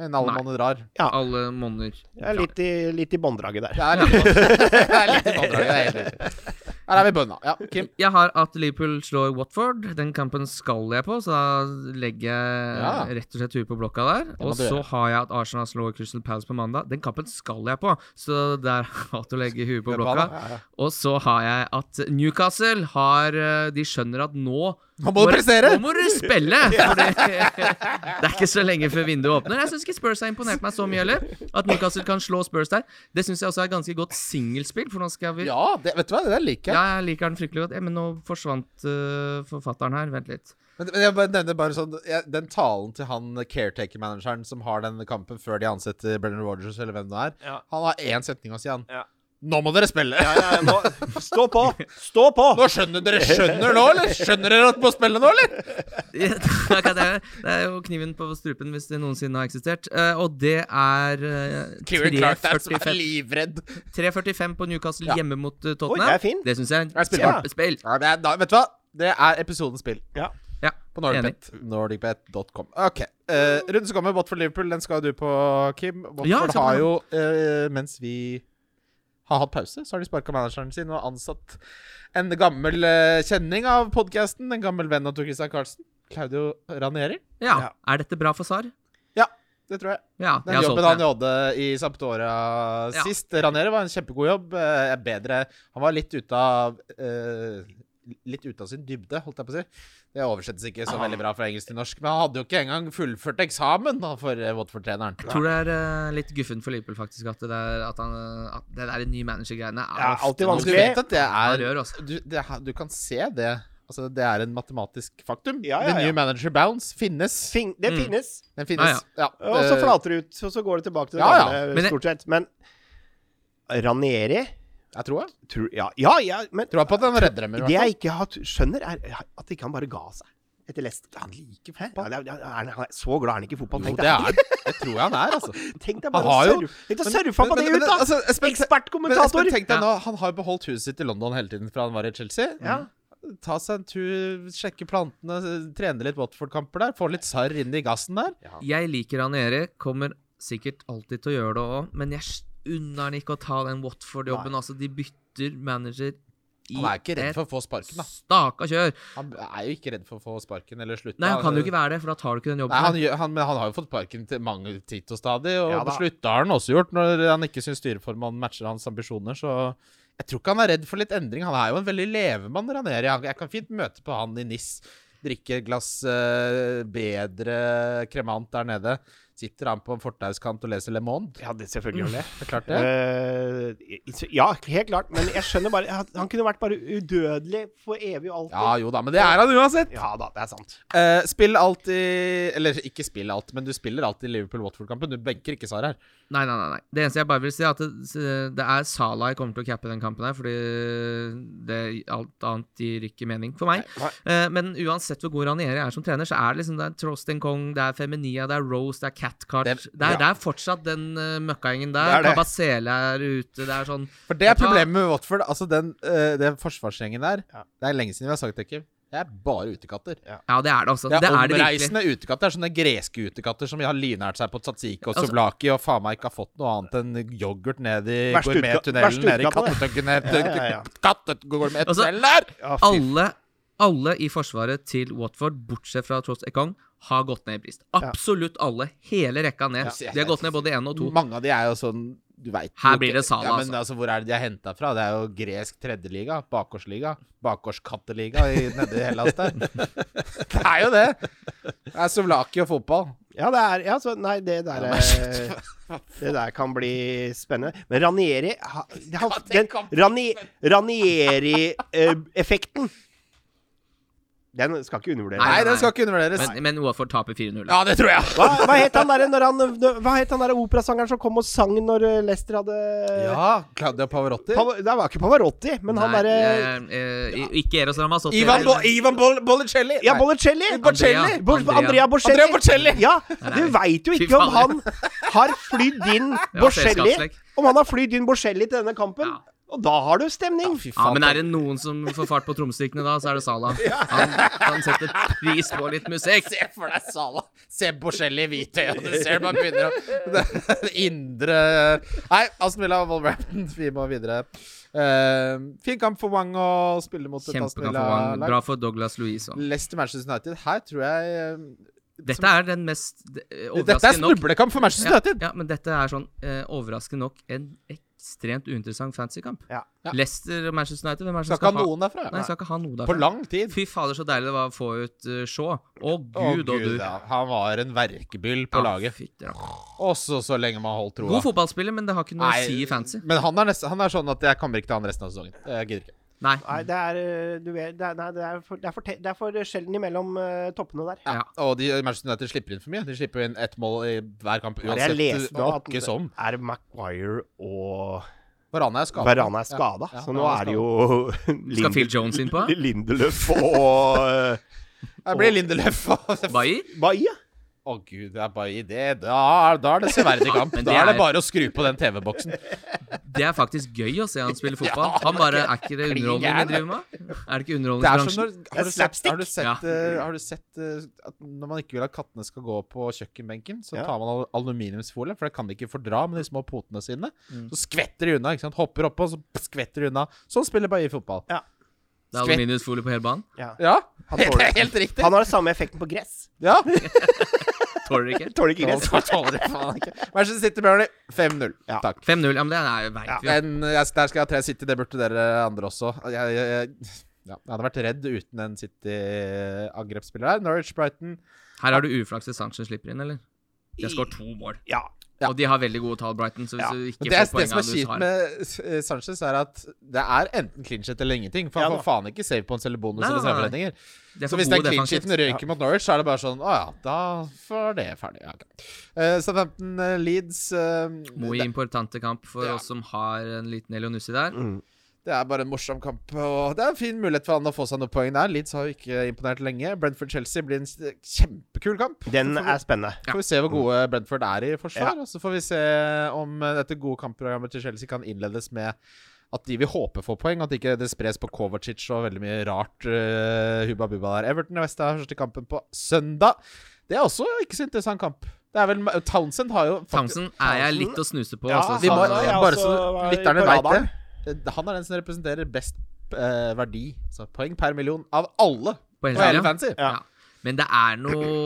[SPEAKER 2] Men alle
[SPEAKER 3] Nei.
[SPEAKER 2] mann drar.
[SPEAKER 3] Alle måneder.
[SPEAKER 4] Jeg er litt i, litt i bånddraget der.
[SPEAKER 2] Det er litt det er litt i bånddraget, det er helt Mm. riktig. Her er vi bønna. Ja, Kim.
[SPEAKER 3] Jeg har at Liverpool slår Watford. Den kampen skal jeg på, så da legger jeg
[SPEAKER 2] Ja.
[SPEAKER 3] rett og slett huet på blokka der.
[SPEAKER 2] må
[SPEAKER 3] Og
[SPEAKER 2] du
[SPEAKER 3] så
[SPEAKER 2] gjøre.
[SPEAKER 3] har jeg at Arsenal slår Crystal Palace på mandag. Den kampen skal jeg på, så der har jeg at å legge huet på blokka.
[SPEAKER 2] Ja, ja.
[SPEAKER 3] Og så har jeg at Newcastle har eh, De skjønner at nå
[SPEAKER 2] Nå må du prestere!
[SPEAKER 3] Nå må du spille! Fordi det er ikke så lenge før vinduet åpner. Jeg syns ikke Spurs har imponert meg så mye heller. At Newcastle kan slå Spurs der. Det syns jeg også er ganske godt singelspill, for nå skal vi
[SPEAKER 2] Ja, det, vet du hva, det der liker jeg.
[SPEAKER 3] Ja, jeg liker den fryktelig godt. Ja, men nå forsvant eh, forfatteren her. Vent litt.
[SPEAKER 2] Men, men jeg bare nevner bare sånn jeg, Den talen til han caretaker-manageren som har denne kampen før de ansetter Brennan Rogers eller hvem det er,
[SPEAKER 4] Ja.
[SPEAKER 2] han har én setning å si, han.
[SPEAKER 4] Ja.
[SPEAKER 2] Nå må dere spille!
[SPEAKER 4] Ja, ja, ja, nå, stå på! Stå på!
[SPEAKER 2] Nå skjønner Dere skjønner nå, eller? Skjønner dere at dere må spille nå, eller?
[SPEAKER 3] Ja, det er- det er jo kniven på strupen hvis det noensinne har eksistert. Eh, og det er eh,
[SPEAKER 2] Kieran Clark der som er
[SPEAKER 3] 3.45
[SPEAKER 2] livredd.
[SPEAKER 3] 3.45 på Newcastle
[SPEAKER 2] Ja.
[SPEAKER 3] hjemme mot eh,
[SPEAKER 4] Oi,
[SPEAKER 3] Tottenham.
[SPEAKER 4] det er fin.
[SPEAKER 3] Det syns jeg er
[SPEAKER 2] er
[SPEAKER 3] et
[SPEAKER 2] spillbart.
[SPEAKER 3] kjempespill.
[SPEAKER 2] Ja, det er, da, vet du hva? Det er episodens spill.
[SPEAKER 4] Ja.
[SPEAKER 3] Ja,
[SPEAKER 2] På NordicBet. Nordicbet.com. OK. Uh, runden som kommer, Watford Liverpool, den skal du på, Kim. Watford
[SPEAKER 3] Ja, jeg skal på
[SPEAKER 2] har
[SPEAKER 3] den.
[SPEAKER 2] jo, eh, mens vi har hatt pause, så har de sparka manageren sin og ansatt en gammel eh, kjenning av podkasten, en gammel venn av Tor Christian Carlsen. Claudio Ranieri.
[SPEAKER 3] Ja.
[SPEAKER 4] Ja.
[SPEAKER 3] Er dette bra for SAR?
[SPEAKER 2] Det tror jeg.
[SPEAKER 3] Ja,
[SPEAKER 2] Den
[SPEAKER 3] jeg har
[SPEAKER 2] jobben
[SPEAKER 3] solgt
[SPEAKER 2] han
[SPEAKER 3] den.
[SPEAKER 2] gjorde i Sampdoria
[SPEAKER 3] Ja.
[SPEAKER 2] sist, Ranieri, var en kjempegod jobb. eh, er bedre Han var litt ute av eh, Litt ute av sin dybde, holdt jeg på å si. Det oversettes ikke så veldig bra fra engelsk til norsk. Men han hadde jo ikke engang fullført eksamen da, for eh, Watford-treneren.
[SPEAKER 3] Jeg tror det er eh, litt guffen for Liverpool, faktisk, at det der, at han, eh, at det der nye manager-greiene er
[SPEAKER 4] Ja,
[SPEAKER 3] ofte
[SPEAKER 4] alltid
[SPEAKER 3] noe
[SPEAKER 2] Du
[SPEAKER 4] vanskelig.
[SPEAKER 2] vet at det
[SPEAKER 3] Han
[SPEAKER 2] er
[SPEAKER 3] rør, altså.
[SPEAKER 2] du, det, er- du kan se det. Altså, det er en matematisk faktum.
[SPEAKER 4] Ja, ja,
[SPEAKER 2] The
[SPEAKER 4] ja.
[SPEAKER 2] new manager bounce finnes.
[SPEAKER 4] Fing, det
[SPEAKER 3] Mm.
[SPEAKER 4] finnes.
[SPEAKER 2] Den finnes. Ja,
[SPEAKER 4] Og så
[SPEAKER 2] eh,
[SPEAKER 4] flater det ut, og så går det tilbake til det
[SPEAKER 2] Ja, ja.
[SPEAKER 3] Men
[SPEAKER 4] gamle,
[SPEAKER 3] det-
[SPEAKER 4] stort sett. Men Ranieri
[SPEAKER 2] Jeg tror jeg.
[SPEAKER 4] tror, ja, ja, ja, men
[SPEAKER 2] Tror jeg på at han redder dem. i hvert
[SPEAKER 4] det
[SPEAKER 2] fall.
[SPEAKER 4] jeg ikke har, skjønner, er at ikke han bare ga seg etter Leicester. Han liker fotball. Ja, det er- er han- han er så glad er han ikke i fotball.
[SPEAKER 2] Jo,
[SPEAKER 4] Tenk
[SPEAKER 2] det
[SPEAKER 4] deg
[SPEAKER 2] er Det tror jeg han er, altså.
[SPEAKER 4] tenk deg
[SPEAKER 2] Han
[SPEAKER 4] bare
[SPEAKER 2] har
[SPEAKER 4] å
[SPEAKER 2] jo-
[SPEAKER 4] surfe- tenk deg å
[SPEAKER 2] Men-
[SPEAKER 4] surfe på
[SPEAKER 2] men-
[SPEAKER 4] det
[SPEAKER 2] men-
[SPEAKER 4] ut, da!
[SPEAKER 2] altså, Espen- Men
[SPEAKER 4] Ekspertkommentator!
[SPEAKER 2] Espen, tenk deg
[SPEAKER 3] Ja.
[SPEAKER 2] nå, han har jo beholdt huset sitt i London hele tiden fra han var i Chelsea. Mm.
[SPEAKER 4] Ja.
[SPEAKER 2] Ta seg en tur, sjekke plantene, trene litt Watford-kamper der. Få litt sarr inn i gassen der.
[SPEAKER 3] Jeg liker han Erik, kommer sikkert alltid til å gjøre det òg, men jeg s- unner han ikke å ta den Watford-jobben. Altså, de bytter manager i
[SPEAKER 2] Han er ikke redd
[SPEAKER 3] et
[SPEAKER 2] for å få sparken, da.
[SPEAKER 3] staka kjør.
[SPEAKER 2] Han er jo ikke redd for å få sparken eller slutte.
[SPEAKER 3] Nei, han kan jo ikke være det, for da tar du ikke den
[SPEAKER 2] Nei, han,
[SPEAKER 3] jobben.
[SPEAKER 2] gjør- han, men han har jo fått sparken til mange titt og stadig, og
[SPEAKER 4] Ja da.
[SPEAKER 2] slutta har han også gjort når han ikke syns styreformannen matcher hans ambisjoner, så jeg tror ikke han er redd for litt endring. Han er jo en veldig levemann, Raneri. Han- Jeg kan fint møte på han i NIS, drikke et glass eh, bedre kremant der nede, Sitter han på en fortauskant og leser Le Monde?
[SPEAKER 4] Ja, det selvfølgelig gjør han det.
[SPEAKER 2] Det er klart det.
[SPEAKER 4] Eh, i- ja, helt klart. Men jeg skjønner bare Han han kunne vært bare udødelig for evig og alltid.
[SPEAKER 2] Ja jo da, men det er han uansett.
[SPEAKER 4] Ja da, det er sant.
[SPEAKER 2] Eh, spill alltid Eller ikke spill alt, men du spiller alltid Liverpool-Watford-kampen. Du benker ikke Sara her.
[SPEAKER 3] Nei, nei, nei. nei. Det eneste jeg bare vil si, er at det, det er Salah jeg kommer til å cappe den kampen her, fordi det, alt annet gir ikke mening for meg.
[SPEAKER 4] Nei,
[SPEAKER 3] Eh, men uansett hvor god Ranieri er som trener, så er det liksom det er Trosten Kong, det er Feminia, det er Rose, det er Catcart det,
[SPEAKER 2] Det-
[SPEAKER 3] er-
[SPEAKER 4] ja.
[SPEAKER 3] det er fortsatt den uh, møkkagjengen
[SPEAKER 4] Det er
[SPEAKER 3] der.
[SPEAKER 4] det.
[SPEAKER 3] Kabasele er ute, det er sånn
[SPEAKER 2] For det er
[SPEAKER 3] Vet du hva?
[SPEAKER 2] problemet med Watford. Altså den, eh, den forsvarsgjengen der
[SPEAKER 4] Ja.
[SPEAKER 2] Det er lenge siden vi har sagt det, Kim. Det er bare utekatter.
[SPEAKER 3] Ja, det er det også.
[SPEAKER 2] Det er,
[SPEAKER 3] det er det virkelig.
[SPEAKER 2] omreisende utekatter. Det er sånne greske utekatter som har livnært seg på tzatziki og
[SPEAKER 3] Altså-
[SPEAKER 2] souvlaki og faen meg ikke har fått noe annet enn yoghurt ned i
[SPEAKER 4] Verste
[SPEAKER 2] gourmettunnelen
[SPEAKER 4] uteka-
[SPEAKER 2] nede i
[SPEAKER 4] verste
[SPEAKER 2] kattetøkken
[SPEAKER 4] Ja, ja, ja.
[SPEAKER 3] Altså-
[SPEAKER 2] Kattetgourmettunnelen der!
[SPEAKER 4] ja, fy-
[SPEAKER 3] alle, alle i forsvaret til Watford, bortsett fra Tross Ekong, har gått ned i pris. Absolutt alle. Hele rekka ned.
[SPEAKER 2] Ja.
[SPEAKER 3] De har gått ned både én og to.
[SPEAKER 2] Mange av de er jo sånn Du veit
[SPEAKER 3] Her blir det Salah,
[SPEAKER 2] ja, men, altså. Hvor er det de er henta fra? Det er jo gresk tredjeliga. Bakgårdsliga. Bakgårdskatteliga i- nede i Hellas der. Det er jo det! Det er souvlaki og fotball.
[SPEAKER 4] ja, det er ja, så, Nei, det der eh, Det der kan bli spennende. Men Ranieri ha- han, Den Rani, Ranieri-effekten Den skal ikke undervurderes.
[SPEAKER 2] Nei,
[SPEAKER 3] nei,
[SPEAKER 2] den
[SPEAKER 3] nei.
[SPEAKER 2] skal ikke undervurderes.
[SPEAKER 3] Men, men Watford taper 4-0.
[SPEAKER 2] Ja, det tror jeg.
[SPEAKER 4] Hva, hva het han derre når han Hva het han derre operasangeren som kom og sang når eh, Lester hadde
[SPEAKER 2] Ja, Claudia Pavarotti.
[SPEAKER 4] Pava- Det var ikke Pavarotti, men han
[SPEAKER 3] Nei,
[SPEAKER 4] derre
[SPEAKER 3] eh, eh, Ikke Eros Ramazzotti.
[SPEAKER 2] Ivan, Bo
[SPEAKER 3] eller-
[SPEAKER 2] Ivan Bol Bolicelli.
[SPEAKER 4] Ja,
[SPEAKER 2] Nei.
[SPEAKER 4] Bolicelli!
[SPEAKER 2] Bocelli.
[SPEAKER 4] Bo
[SPEAKER 3] Andrea.
[SPEAKER 4] Andrea, Bocelli.
[SPEAKER 2] Andrea Bocelli.
[SPEAKER 4] Ja,
[SPEAKER 3] Nei.
[SPEAKER 4] du veit jo
[SPEAKER 3] Fy
[SPEAKER 4] ikke om han
[SPEAKER 3] faen.
[SPEAKER 4] har flydd inn
[SPEAKER 3] Ja,
[SPEAKER 4] Bocelli
[SPEAKER 3] selskapslek.
[SPEAKER 4] Om han har flydd inn Bocelli til denne kampen.
[SPEAKER 3] Ja.
[SPEAKER 4] Og da har du stemning.
[SPEAKER 2] Fy faen,
[SPEAKER 3] Ja, men er det noen som får fart på trommestykkene da, så er det Salah. Han, han setter pris på litt musikk.
[SPEAKER 2] Se for deg Sala. Se Bocelli i hvitøy, og du ser man begynner å det Indre Nei, Aston Villa og Wolverhampton, vi må videre. Eh, fin kamp for Wang å spille mot et Aston
[SPEAKER 3] Kjempekamp for
[SPEAKER 2] Villa-lag.
[SPEAKER 3] Wang. Bra for Douglas Louise òg.
[SPEAKER 2] Leicester Manchester United. Her tror jeg eh,
[SPEAKER 3] Dette
[SPEAKER 2] som-
[SPEAKER 3] er den mest eh,
[SPEAKER 2] Dette er
[SPEAKER 3] overraskende nok
[SPEAKER 2] snublekamp for Manchester
[SPEAKER 3] Ja,
[SPEAKER 2] United.
[SPEAKER 3] ja, men dette er sånn eh, overraskende nok en ekstremt uinteressant fancykamp.
[SPEAKER 4] Ja.
[SPEAKER 2] Ja.
[SPEAKER 3] Leicester og Manchester United, hvem er det
[SPEAKER 2] Skal
[SPEAKER 3] som
[SPEAKER 2] ikke
[SPEAKER 3] skal,
[SPEAKER 2] ha noen derfra.
[SPEAKER 3] ha Nei, skal ikke ha noe
[SPEAKER 2] På
[SPEAKER 3] derfra.
[SPEAKER 2] lang tid.
[SPEAKER 3] Fy fader, så deilig det var å få ut uh, Shaw. Å
[SPEAKER 2] Å,
[SPEAKER 3] gud og du.
[SPEAKER 2] ja. Han var en verkebyll på
[SPEAKER 3] Ja,
[SPEAKER 2] laget.
[SPEAKER 3] fytti rakkeren.
[SPEAKER 2] Også så lenge man holdt troa.
[SPEAKER 3] God fotballspiller, men det har ikke noe å
[SPEAKER 2] Nei,
[SPEAKER 3] si i fancy.
[SPEAKER 2] Men han er, nest, han er sånn at jeg kommer ikke til han resten av sesongen. Jeg gidder ikke.
[SPEAKER 3] Nei.
[SPEAKER 4] Nei, det er, eh, du vet, det er, nei, det er, for, det er, for, te- det er for sjelden imellom eh, toppene der.
[SPEAKER 3] Ja.
[SPEAKER 2] Og de, Manchester United slipper inn for mye. De slipper inn ett mål i hver kamp
[SPEAKER 4] Men jeg
[SPEAKER 2] uansett.
[SPEAKER 4] leste da at
[SPEAKER 2] Åkke som.
[SPEAKER 3] sånn.
[SPEAKER 4] er Maguire og
[SPEAKER 2] Varane er skada.
[SPEAKER 4] Verana er skada, så nå er det jo
[SPEAKER 3] Skal Phil Jones inn på?
[SPEAKER 4] Lindeløf og eh,
[SPEAKER 2] Det blir Lindeløf og Å,
[SPEAKER 3] Bailly?
[SPEAKER 4] Bailly.
[SPEAKER 2] gud, det er bare i det. Da, er- da er det severdig kamp.
[SPEAKER 3] Men
[SPEAKER 2] Da
[SPEAKER 3] det
[SPEAKER 2] er det
[SPEAKER 3] er-
[SPEAKER 2] bare å skru på den TV-boksen.
[SPEAKER 3] Det er faktisk gøy å se han spille fotball.
[SPEAKER 2] Ja,
[SPEAKER 3] Han bare er ikke det
[SPEAKER 2] klin
[SPEAKER 3] underholdning vi
[SPEAKER 2] gæren.
[SPEAKER 3] driver med? Er det ikke
[SPEAKER 2] Det er som
[SPEAKER 3] underholdningsbransjen?
[SPEAKER 2] når Har du sett, har du sett,
[SPEAKER 3] Ja.
[SPEAKER 2] eh, har du sett eh, at når man ikke vil at kattene skal gå på kjøkkenbenken, så
[SPEAKER 4] Ja.
[SPEAKER 2] tar man al- aluminiumsfolie, for det kan de ikke fordra med de små potene sine.
[SPEAKER 3] Mm.
[SPEAKER 2] Så skvetter de unna. ikke sant? Hopper oppå, så skvetter de unna. Sånn spiller Bailly fotball.
[SPEAKER 3] Det er aluminiumsfolie på hele banen?
[SPEAKER 2] Ja,
[SPEAKER 4] Han
[SPEAKER 2] det
[SPEAKER 4] tåler
[SPEAKER 2] er helt riktig.
[SPEAKER 4] Han har den samme effekten på gress.
[SPEAKER 2] Ja.
[SPEAKER 3] Tåler ikke?
[SPEAKER 4] Tåler ikke gress.
[SPEAKER 2] Han tåler det faen ikke. Manchester City Burnley 5-0.
[SPEAKER 4] Ja.
[SPEAKER 2] Takk.
[SPEAKER 3] 5-0, ja, men det er jo veit vi jo.
[SPEAKER 2] Men jeg, der skal jeg ha tre City. Det burde dere andre også. Jeg, jeg, jeg, ja, jeg hadde vært redd uten en City-angrepsspiller her. Norwich Brighton.
[SPEAKER 3] Her har du uflaks til Sanchez slipper inn, eller? De har skåret to mål.
[SPEAKER 4] Ja.
[SPEAKER 2] Ja.
[SPEAKER 3] Og de har veldig gode tall, Brighton, så hvis
[SPEAKER 4] Ja.
[SPEAKER 3] du ikke
[SPEAKER 2] Men det, er,
[SPEAKER 3] får
[SPEAKER 2] det som
[SPEAKER 3] poengene
[SPEAKER 2] er
[SPEAKER 3] du
[SPEAKER 2] kjipt
[SPEAKER 3] har
[SPEAKER 2] med eh, Sanchez, er at det er enten clean shit eller ingenting. For han
[SPEAKER 4] Ja
[SPEAKER 2] får faen ikke save points eller bonus
[SPEAKER 3] Nei,
[SPEAKER 2] eller
[SPEAKER 3] nei, nei.
[SPEAKER 2] serveredninger.
[SPEAKER 3] Det er
[SPEAKER 2] Så
[SPEAKER 3] for
[SPEAKER 2] hvis den
[SPEAKER 3] gode
[SPEAKER 2] clean
[SPEAKER 3] defensivt.
[SPEAKER 2] sheeten røyker mot Norwich, så er det bare sånn Å ja, da var det ferdig. Ja, okay. uh, Southampton eh, Leeds eh,
[SPEAKER 3] Muy
[SPEAKER 2] det,
[SPEAKER 3] importante kamp for
[SPEAKER 2] Ja. Mm.
[SPEAKER 3] oss som har en liten Elionussi der.
[SPEAKER 2] det er bare en morsom kamp, og det er en fin mulighet for han å få seg noen poeng der. Leeds har jo ikke imponert lenge. Brentford-Chelsea blir en s- kjempekul kamp.
[SPEAKER 4] Den
[SPEAKER 2] Så får vi-
[SPEAKER 4] er spennende.
[SPEAKER 2] får vi se
[SPEAKER 4] Mm.
[SPEAKER 2] hvor gode Brentford er i forsvar. Og så får vi se om eh, dette gode kampprogrammet til Chelsea kan innledes med at de vil håpe får poeng, at ikke det spres på Kovacic og veldig mye rart eh, hubba bubba der. Everton og West er første kampen på søndag. Det er også ikke så interessant kamp. Det er vel Townsend har jo faktisk-
[SPEAKER 3] Townsend er jeg litt å snuse på.
[SPEAKER 4] Ja,
[SPEAKER 3] altså,
[SPEAKER 2] Vi må,
[SPEAKER 4] Han er
[SPEAKER 3] så,
[SPEAKER 4] jeg
[SPEAKER 2] bare så
[SPEAKER 4] også var
[SPEAKER 2] lytterne
[SPEAKER 4] på
[SPEAKER 2] veit det.
[SPEAKER 4] radaren.
[SPEAKER 2] Eh, Han er den som representerer best eh, verdi, altså poeng per million, av alle
[SPEAKER 3] på
[SPEAKER 2] på hele
[SPEAKER 3] Helgelia.
[SPEAKER 2] Fancy.
[SPEAKER 4] Ja.
[SPEAKER 3] Men det er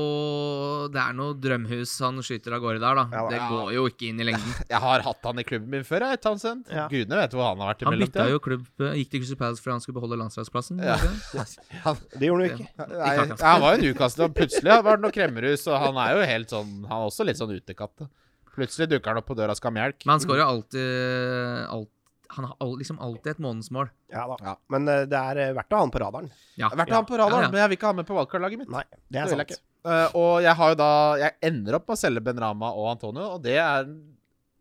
[SPEAKER 3] noe Det er noe drømhus han skyter av gårde der, da.
[SPEAKER 4] Ja,
[SPEAKER 3] det
[SPEAKER 2] ja.
[SPEAKER 3] går jo ikke inn i lengden.
[SPEAKER 2] Jeg har hatt han i klubben min før, jeg, Townsend.
[SPEAKER 4] Ja.
[SPEAKER 2] Gudene vet hvor han har vært
[SPEAKER 3] Han
[SPEAKER 2] imellom.
[SPEAKER 3] bytta jo klubb eh, Gikk til Crystal Palace fordi han skulle beholde landslagsplassen?
[SPEAKER 2] Ja.
[SPEAKER 3] ikke det?
[SPEAKER 2] han,
[SPEAKER 4] Det gjorde han jo ikke.
[SPEAKER 2] nei, ja, han var jo Newcastle, og plutselig var det noe kremmerhus, og han er jo helt sånn Han er også litt sånn utekatt. da. Plutselig dukker han opp på døra og skal ha melk.
[SPEAKER 3] Men han skårer jo alltid eh, alt, Han har al- liksom alltid et månedgsmål.
[SPEAKER 4] Ja da.
[SPEAKER 2] Ja.
[SPEAKER 4] Men eh, det er eh, verdt å ha han på radaren.
[SPEAKER 3] Ja.
[SPEAKER 2] Jeg har vært han på radaren,
[SPEAKER 3] Ja, ja.
[SPEAKER 2] men jeg vil ikke ha med på valgkartlaget mitt.
[SPEAKER 4] Nei, det er
[SPEAKER 2] Det vil jeg
[SPEAKER 4] sant.
[SPEAKER 2] ikke. Eh, og jeg har jo da Jeg ender opp med å selge Benrama og Antonio, og det er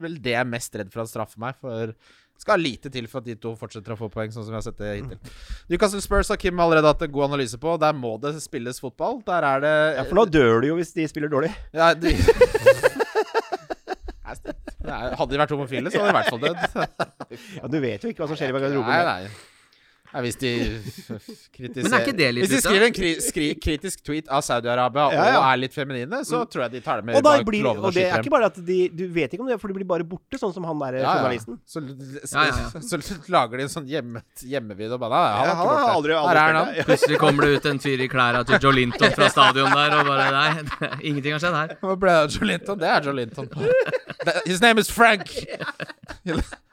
[SPEAKER 2] vel det jeg er mest redd for at straffer meg, for det skal lite til for at de to fortsetter å få poeng, sånn som vi har sett det hittil. Newcastle Spurs har Kim allerede hatt en god analyse på. Der må det spilles fotball. Der er det
[SPEAKER 4] Ja, for nå dør du jo hvis de spiller dårlig.
[SPEAKER 2] Ja, de... Nei, Hadde de vært homofile, så hadde de i hvert fall dødd.
[SPEAKER 4] Ja, du vet jo ikke hva som skjer i garderoben.
[SPEAKER 2] Nei, nei. nei hvis de kritiserer
[SPEAKER 3] Men er ikke det litt
[SPEAKER 2] Hvis de
[SPEAKER 3] ut, da?
[SPEAKER 2] skriver en kri skri kritisk tweet av Saudi-Arabia
[SPEAKER 4] Ja, ja. Mm.
[SPEAKER 2] og er litt feminine, så tror jeg de tar det med
[SPEAKER 4] Og, da
[SPEAKER 2] bak
[SPEAKER 4] blir,
[SPEAKER 2] låven
[SPEAKER 4] og det er
[SPEAKER 2] skyter
[SPEAKER 4] ikke
[SPEAKER 2] dem.
[SPEAKER 4] bare at de Du vet ikke om det, for de blir bare borte, sånn som han der
[SPEAKER 2] Ja, ja.
[SPEAKER 4] journalisten.
[SPEAKER 2] Så, så,
[SPEAKER 3] Ja, ja, ja.
[SPEAKER 2] så, lager de en sånn hjemme, hjemmevideo og bare Nei,
[SPEAKER 4] Ja,
[SPEAKER 2] han har ikke gjort det.
[SPEAKER 4] aldri- aldri
[SPEAKER 2] Her er
[SPEAKER 4] spilt
[SPEAKER 2] han.
[SPEAKER 4] det.
[SPEAKER 3] Plutselig kommer det ut en fyr i klærne til Jolinton fra stadion der, og bare Nei, det- ingenting har skjedd her.
[SPEAKER 2] Hva ble det av Joe Linton? Det er Joe Linton. That- His name is Frank.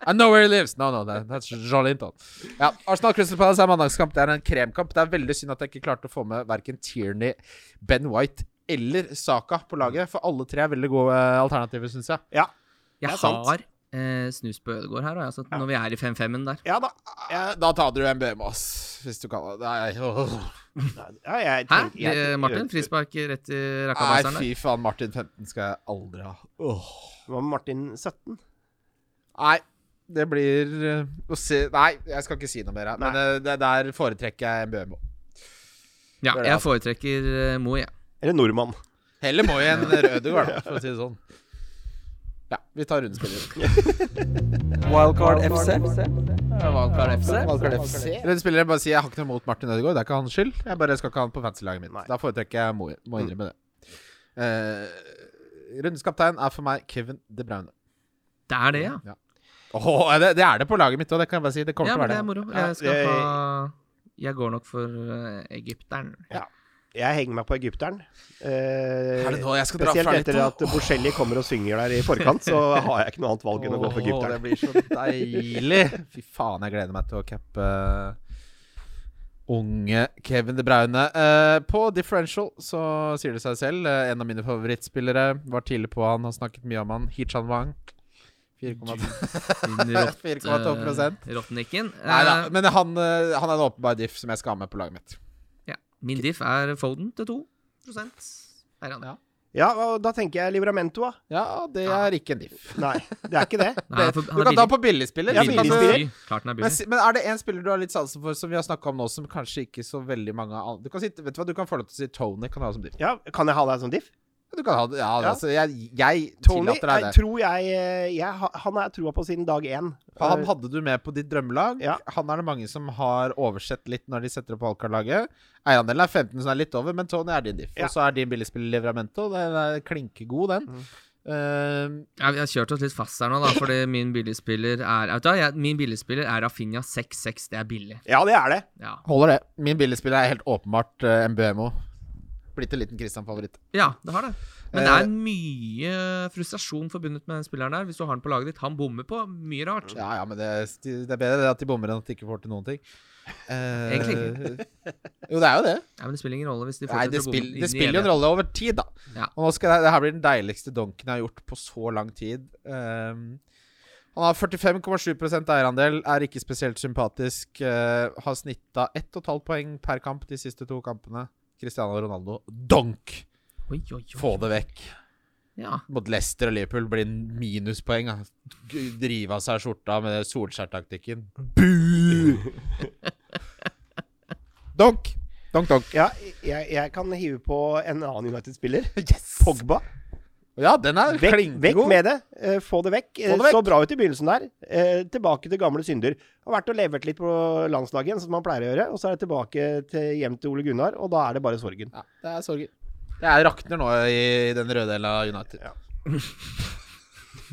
[SPEAKER 2] I know where he lives. No, no, that, that's Joe Linton. Ja, Arsenal Crystal Palace er mandagskamp. Det er en kremkamp. Det er veldig synd at jeg ikke klarte å få med verken Tierney, Ben White eller Saka på laget, for alle tre er veldig gode eh, alternativer, syns jeg.
[SPEAKER 4] Ja.
[SPEAKER 3] Jeg
[SPEAKER 4] Det er sant.
[SPEAKER 3] har eh, snus på Ødegaard her, og jeg, så når vi er i 5-5-en der.
[SPEAKER 4] Ja da.
[SPEAKER 2] Da tar du en BM, ass, hvis du kan. Nei, åh.
[SPEAKER 4] Ja, jeg
[SPEAKER 3] Hæ?
[SPEAKER 4] tenker- jeg-
[SPEAKER 3] Eh, Martin? Frispark rett i
[SPEAKER 2] Nei,
[SPEAKER 3] rakkabaseren der.
[SPEAKER 2] fy faen. Martin 15 skal jeg aldri ha. Åh.
[SPEAKER 4] Det var Martin 17.
[SPEAKER 2] Nei, det blir eh, å se Nei, jeg skal ikke si noe mer. her, Men eh, det der foretrekker jeg en BMO.
[SPEAKER 3] Ja,
[SPEAKER 2] Det er det,
[SPEAKER 3] jeg
[SPEAKER 2] altså.
[SPEAKER 3] foretrekker eh, Mo, jeg.
[SPEAKER 4] Eller nordmann.
[SPEAKER 2] Heller må jeg en Rødegård, for å si det sånn. Ja, vi tar rundespillere.
[SPEAKER 1] Wildcard FC.
[SPEAKER 3] Valgkar
[SPEAKER 2] Valgkart FC. Rundespillere bare sier jeg har ikke noe mot Martin Ødegaard, det er ikke hans skyld. Jeg bare skal ikke ha han på fancy-laget mitt.
[SPEAKER 4] Nei.
[SPEAKER 2] Da foretrekker jeg Moer. Må innrømme det. Uh, Rundens kaptein er for meg Kevin De Bruyne.
[SPEAKER 3] Det er det, ja.
[SPEAKER 2] Åh, det, det er det på laget mitt òg, det kan jeg bare si. Det kommer
[SPEAKER 3] Ja,
[SPEAKER 2] til å
[SPEAKER 3] men
[SPEAKER 2] være
[SPEAKER 3] det er
[SPEAKER 2] det.
[SPEAKER 3] moro.
[SPEAKER 4] Ja,
[SPEAKER 3] Jeg skal
[SPEAKER 4] det-
[SPEAKER 3] ha Jeg går nok for eh, egypteren.
[SPEAKER 4] Jeg henger meg på egypteren. Eh,
[SPEAKER 2] Er det nå jeg skal dra
[SPEAKER 4] Spesielt
[SPEAKER 2] fra litt?
[SPEAKER 4] etter at Bocelli kommer og synger der i forkant, så har jeg ikke noe annet valg enn å gå for
[SPEAKER 2] Åh, Det
[SPEAKER 4] egypteren.
[SPEAKER 2] blir så deilig. Fy faen, jeg gleder meg til å cappe eh, unge Kevin De Bruyne. Eh, på differential så sier det seg selv. Eh, en av mine favorittspillere var tidlig på han, har snakket mye om han. Hichan Wang. 4,2
[SPEAKER 3] Din rått,
[SPEAKER 2] 4,2
[SPEAKER 3] eh, Rottenikken. Eh,
[SPEAKER 2] Nei da, men han, eh, han er en åpenbar diff som jeg skal ha med på laget mitt.
[SPEAKER 3] ja. Min diff er Foden til 2 Der er han.
[SPEAKER 2] Ja.
[SPEAKER 4] Ja, og da tenker jeg Livramento, da.
[SPEAKER 2] Ja, det er ikke en diff.
[SPEAKER 4] Nei, det er ikke det.
[SPEAKER 3] Nei, han er
[SPEAKER 2] du
[SPEAKER 3] for- han er
[SPEAKER 2] kan ta
[SPEAKER 3] billig.
[SPEAKER 2] på billigspiller.
[SPEAKER 4] Ja,
[SPEAKER 2] så kan
[SPEAKER 3] Billig
[SPEAKER 2] du-
[SPEAKER 4] billigspiller.
[SPEAKER 3] fly. Klart den er
[SPEAKER 2] Men,
[SPEAKER 3] billig.
[SPEAKER 2] si- men er det en spiller du har litt sansen for, som vi har snakka om nå, som kanskje ikke så veldig mange an- Du kan, si, vet du hva, du kan få lov til å si Tony kan ha som diff.
[SPEAKER 4] Ja, Kan jeg ha deg som diff?
[SPEAKER 2] Du kan ha det, ja,
[SPEAKER 4] Ja.
[SPEAKER 2] altså, jeg, jeg
[SPEAKER 4] Tony
[SPEAKER 2] tillater deg
[SPEAKER 4] jeg
[SPEAKER 2] det.
[SPEAKER 4] tror jeg, eh, jeg ha- Han har jeg troa på siden dag én. Eh,
[SPEAKER 2] Han hadde du med på ditt drømmelag.
[SPEAKER 4] Ja.
[SPEAKER 2] Han er det mange som har oversett litt når de setter opp valgkartlaget. Eierandelen er 15, så den er litt over, men Tony er din diff.
[SPEAKER 4] Ja.
[SPEAKER 2] Og så er din billigspiller Livramento. Den er klinkegod, den.
[SPEAKER 4] Mm.
[SPEAKER 2] Eh,
[SPEAKER 3] Ja, vi har kjørt oss litt fast her nå, da, fordi min billigspiller er Vet du hva, jeg- Min billigspiller er Rafinha 6-6. Det er billig.
[SPEAKER 4] Ja, det er det.
[SPEAKER 3] Ja.
[SPEAKER 2] holder det. Min billigspiller er helt åpenbart eh, MBMO. Blitt en liten Christian-favoritt.
[SPEAKER 3] Ja, det har det. Men
[SPEAKER 2] Eh.
[SPEAKER 3] det er mye frustrasjon forbundet med den spilleren der. Hvis du har den på laget ditt. Han bommer på mye rart.
[SPEAKER 2] Ja, ja, men det, det er bedre det at de bommer enn at de ikke får til noen ting. Eh,
[SPEAKER 3] Egentlig
[SPEAKER 2] Jo, det er jo det.
[SPEAKER 3] Ja, men det spiller ingen rolle hvis de
[SPEAKER 2] Nei,
[SPEAKER 3] fortsetter
[SPEAKER 2] det,
[SPEAKER 3] å bomme.
[SPEAKER 2] spill,
[SPEAKER 3] inn i
[SPEAKER 2] det spiller jo en
[SPEAKER 3] evigheten.
[SPEAKER 2] rolle over tid, da.
[SPEAKER 3] Ja.
[SPEAKER 2] Og nå skal jeg, det her blir den deiligste donken jeg har gjort på så lang tid. Ehm, han har 45,7 eierandel, er ikke spesielt sympatisk. eh, har snitta 1,5 poeng per kamp de siste to kampene. Cristiano Ronaldo, donk!
[SPEAKER 3] Oi, oi, oi.
[SPEAKER 2] Få det vekk.
[SPEAKER 3] Ja.
[SPEAKER 2] Mot Leicester og Liverpool blir det minuspoeng. da. G- Drive av seg skjorta med Solskjær-taktikken. Bu! donk! Donk, donk.
[SPEAKER 4] Ja, jeg, jeg kan hive på en annen United-spiller.
[SPEAKER 2] Yes!
[SPEAKER 4] Pogba.
[SPEAKER 2] Ja, den er
[SPEAKER 4] Vekk, vekk
[SPEAKER 2] klinkegod.
[SPEAKER 4] med det. Eh, Få det vekk.
[SPEAKER 2] Få det
[SPEAKER 4] Så bra ut i begynnelsen der. Eh, Tilbake til gamle synder. Har vært og levert litt på landslaget igjen, som man pleier å gjøre. Og så er det tilbake til hjem til Ole Gunnar, og da er det bare sorgen.
[SPEAKER 2] Ja, det er sorger. Jeg rakner nå i den røde delen av United.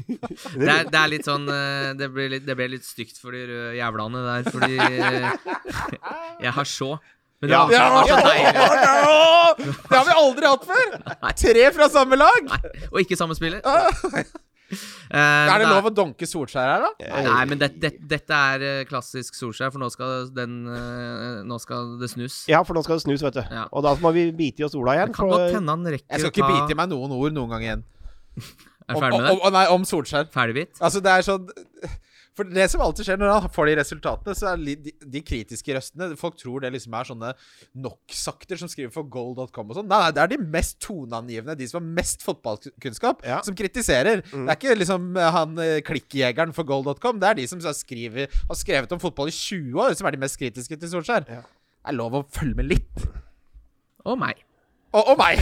[SPEAKER 3] Det er, det er litt sånn eh, det ble litt, det ble litt stygt for de røde jævlene der, fordi eh, Jeg har så Men det
[SPEAKER 4] Ja.
[SPEAKER 3] var, det var så deilig.
[SPEAKER 2] Det har vi aldri hatt før! Tre fra samme lag!
[SPEAKER 3] Og ikke samme spiller.
[SPEAKER 2] Ah.
[SPEAKER 3] Eh,
[SPEAKER 2] Er det
[SPEAKER 3] da-
[SPEAKER 2] lov å donke Solskjær her, da?
[SPEAKER 3] Nei, men det, det, dette er eh, klassisk Solskjær, for nå skal, den, eh, nå skal det snus.
[SPEAKER 4] Ja, for nå skal det snus, vet du.
[SPEAKER 3] Ja.
[SPEAKER 4] Og da må vi bite i oss Ola
[SPEAKER 3] Det
[SPEAKER 4] igjen.
[SPEAKER 3] kan
[SPEAKER 4] for-
[SPEAKER 3] godt hende han rekker
[SPEAKER 2] Jeg skal
[SPEAKER 3] å
[SPEAKER 2] ikke
[SPEAKER 3] ta
[SPEAKER 2] bite i meg noen ord noen gang igjen.
[SPEAKER 3] Er
[SPEAKER 2] Om,
[SPEAKER 3] ferdig
[SPEAKER 2] om,
[SPEAKER 3] med det?
[SPEAKER 2] om- nei, om Solskjær.
[SPEAKER 3] Ferdigbit?
[SPEAKER 2] Altså, det er sånn For det som alltid skjer når han får de resultatene, så er li- de, de kritiske røstene Folk tror det liksom er sånne nok-sakter som skriver for goal.com og sånn. Nei, nei, det er de mest toneangivende, de som har mest fotballkunnskap,
[SPEAKER 4] Ja.
[SPEAKER 2] som kritiserer.
[SPEAKER 3] Mm.
[SPEAKER 2] Det er ikke liksom eh, han eh, klikkjegeren for goal.com. Det er de som så skriver, har skrevet om fotball i 20 år, som er de mest kritiske til Solskjær.
[SPEAKER 4] Ja.
[SPEAKER 2] Det er lov å følge med litt.
[SPEAKER 3] Og meg.
[SPEAKER 2] Og, og meg!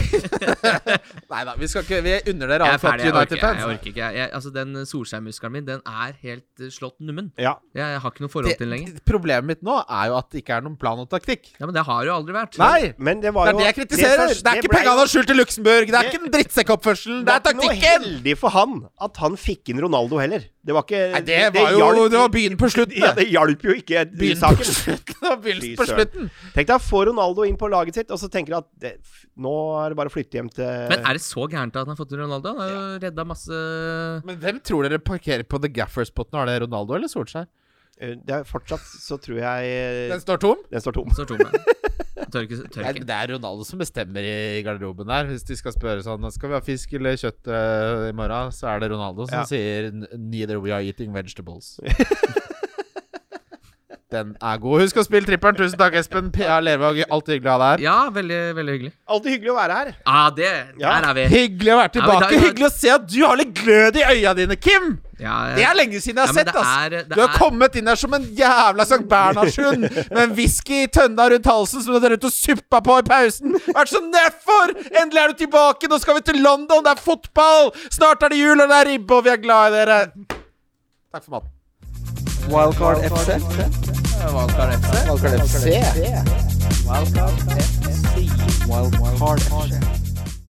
[SPEAKER 2] Nei da, vi skal ikke Vi unner dere alle
[SPEAKER 3] Jeg er ferdig.
[SPEAKER 2] flotte
[SPEAKER 3] Jeg orker, jeg
[SPEAKER 2] United-fans.
[SPEAKER 3] orker ikke. Jeg, jeg, altså, den Solskjær-muskelen min, den er helt eh, slått nummen.
[SPEAKER 4] Ja.
[SPEAKER 3] Jeg, jeg har ikke noe forhold
[SPEAKER 2] Det-
[SPEAKER 3] til den lenger.
[SPEAKER 2] det- Problemet mitt nå er jo at det ikke er noen plan og taktikk.
[SPEAKER 3] Ja, Men det har jo aldri vært.
[SPEAKER 2] Nei!
[SPEAKER 4] Men det
[SPEAKER 2] Det
[SPEAKER 4] var
[SPEAKER 2] er
[SPEAKER 4] jo
[SPEAKER 2] det jeg kritiserer! Det er ikke pengene han har skyldt til Luxembourg! Det er ikke den drittsekkoppførselen! Det er
[SPEAKER 4] Det var ikke
[SPEAKER 2] taktikken!
[SPEAKER 4] noe heldig for han at han fikk inn Ronaldo heller. Det var ikke
[SPEAKER 2] Nei, det var jo Det var byen på slutten,
[SPEAKER 4] Ja,
[SPEAKER 2] det.
[SPEAKER 4] det hjalp jo ikke
[SPEAKER 2] Byen på
[SPEAKER 4] saken.
[SPEAKER 2] slutten og begynnelsen
[SPEAKER 4] Fy
[SPEAKER 2] på
[SPEAKER 4] søren.
[SPEAKER 2] slutten.
[SPEAKER 4] Tenk deg å få Ronaldo inn på laget sitt, og så tenker du at det, f- nå er det bare å flytte hjem til
[SPEAKER 3] Men
[SPEAKER 2] Eh.
[SPEAKER 3] er det så gærent at han har fått inn Ronaldo? Han har jo redda masse
[SPEAKER 2] Men hvem tror dere parkerer på The Gaffers-potten? Er det Ronaldo eller Solskjær?
[SPEAKER 4] Eh, det er Fortsatt så tror jeg
[SPEAKER 2] Den
[SPEAKER 4] eh,
[SPEAKER 2] står tom?
[SPEAKER 4] den står tom.
[SPEAKER 3] Står tom her. Tør ikke. Tør
[SPEAKER 2] Nei,
[SPEAKER 3] ikke.
[SPEAKER 2] Det er Ronaldo som bestemmer i garderoben der. Hvis de skal spørre sånn Skal vi ha fisk eller kjøtt eh, i morgen, så er det Ronaldo som
[SPEAKER 4] Ja.
[SPEAKER 2] sier "N- Neither we are eating vegetables. Den er god. Husk å spille tripperen. Tusen takk, Espen. PA Lervåg, alltid hyggelig å ha deg her.
[SPEAKER 3] Ja, veldig, veldig hyggelig.
[SPEAKER 4] Alltid hyggelig å være her.
[SPEAKER 3] Ah, det!
[SPEAKER 4] Ja.
[SPEAKER 3] Der er vi.
[SPEAKER 2] Hyggelig å være
[SPEAKER 3] Ja, men
[SPEAKER 2] tilbake.
[SPEAKER 3] da- da-
[SPEAKER 2] Hyggelig å se at du har litt glød i øya dine, Kim!
[SPEAKER 3] Ja,
[SPEAKER 2] Det er lenge siden jeg
[SPEAKER 3] Ja,
[SPEAKER 2] har
[SPEAKER 3] men
[SPEAKER 2] sett,
[SPEAKER 3] det
[SPEAKER 2] ass.
[SPEAKER 3] er- det
[SPEAKER 2] Du har
[SPEAKER 3] er-
[SPEAKER 2] kommet inn der som en jævla Sankt Bernhardshund med en whisky i tønna rundt halsen som du har drevet og suppa på i pausen. Vært så nedfor! Endelig er du tilbake! Nå skal vi til London, det er fotball! Snart er det jul, og det er ribbe, og vi er glad i dere. Takk for maten.
[SPEAKER 1] Wildcard FC. Wildcard FC. Wildcard FC. Wildcard FC.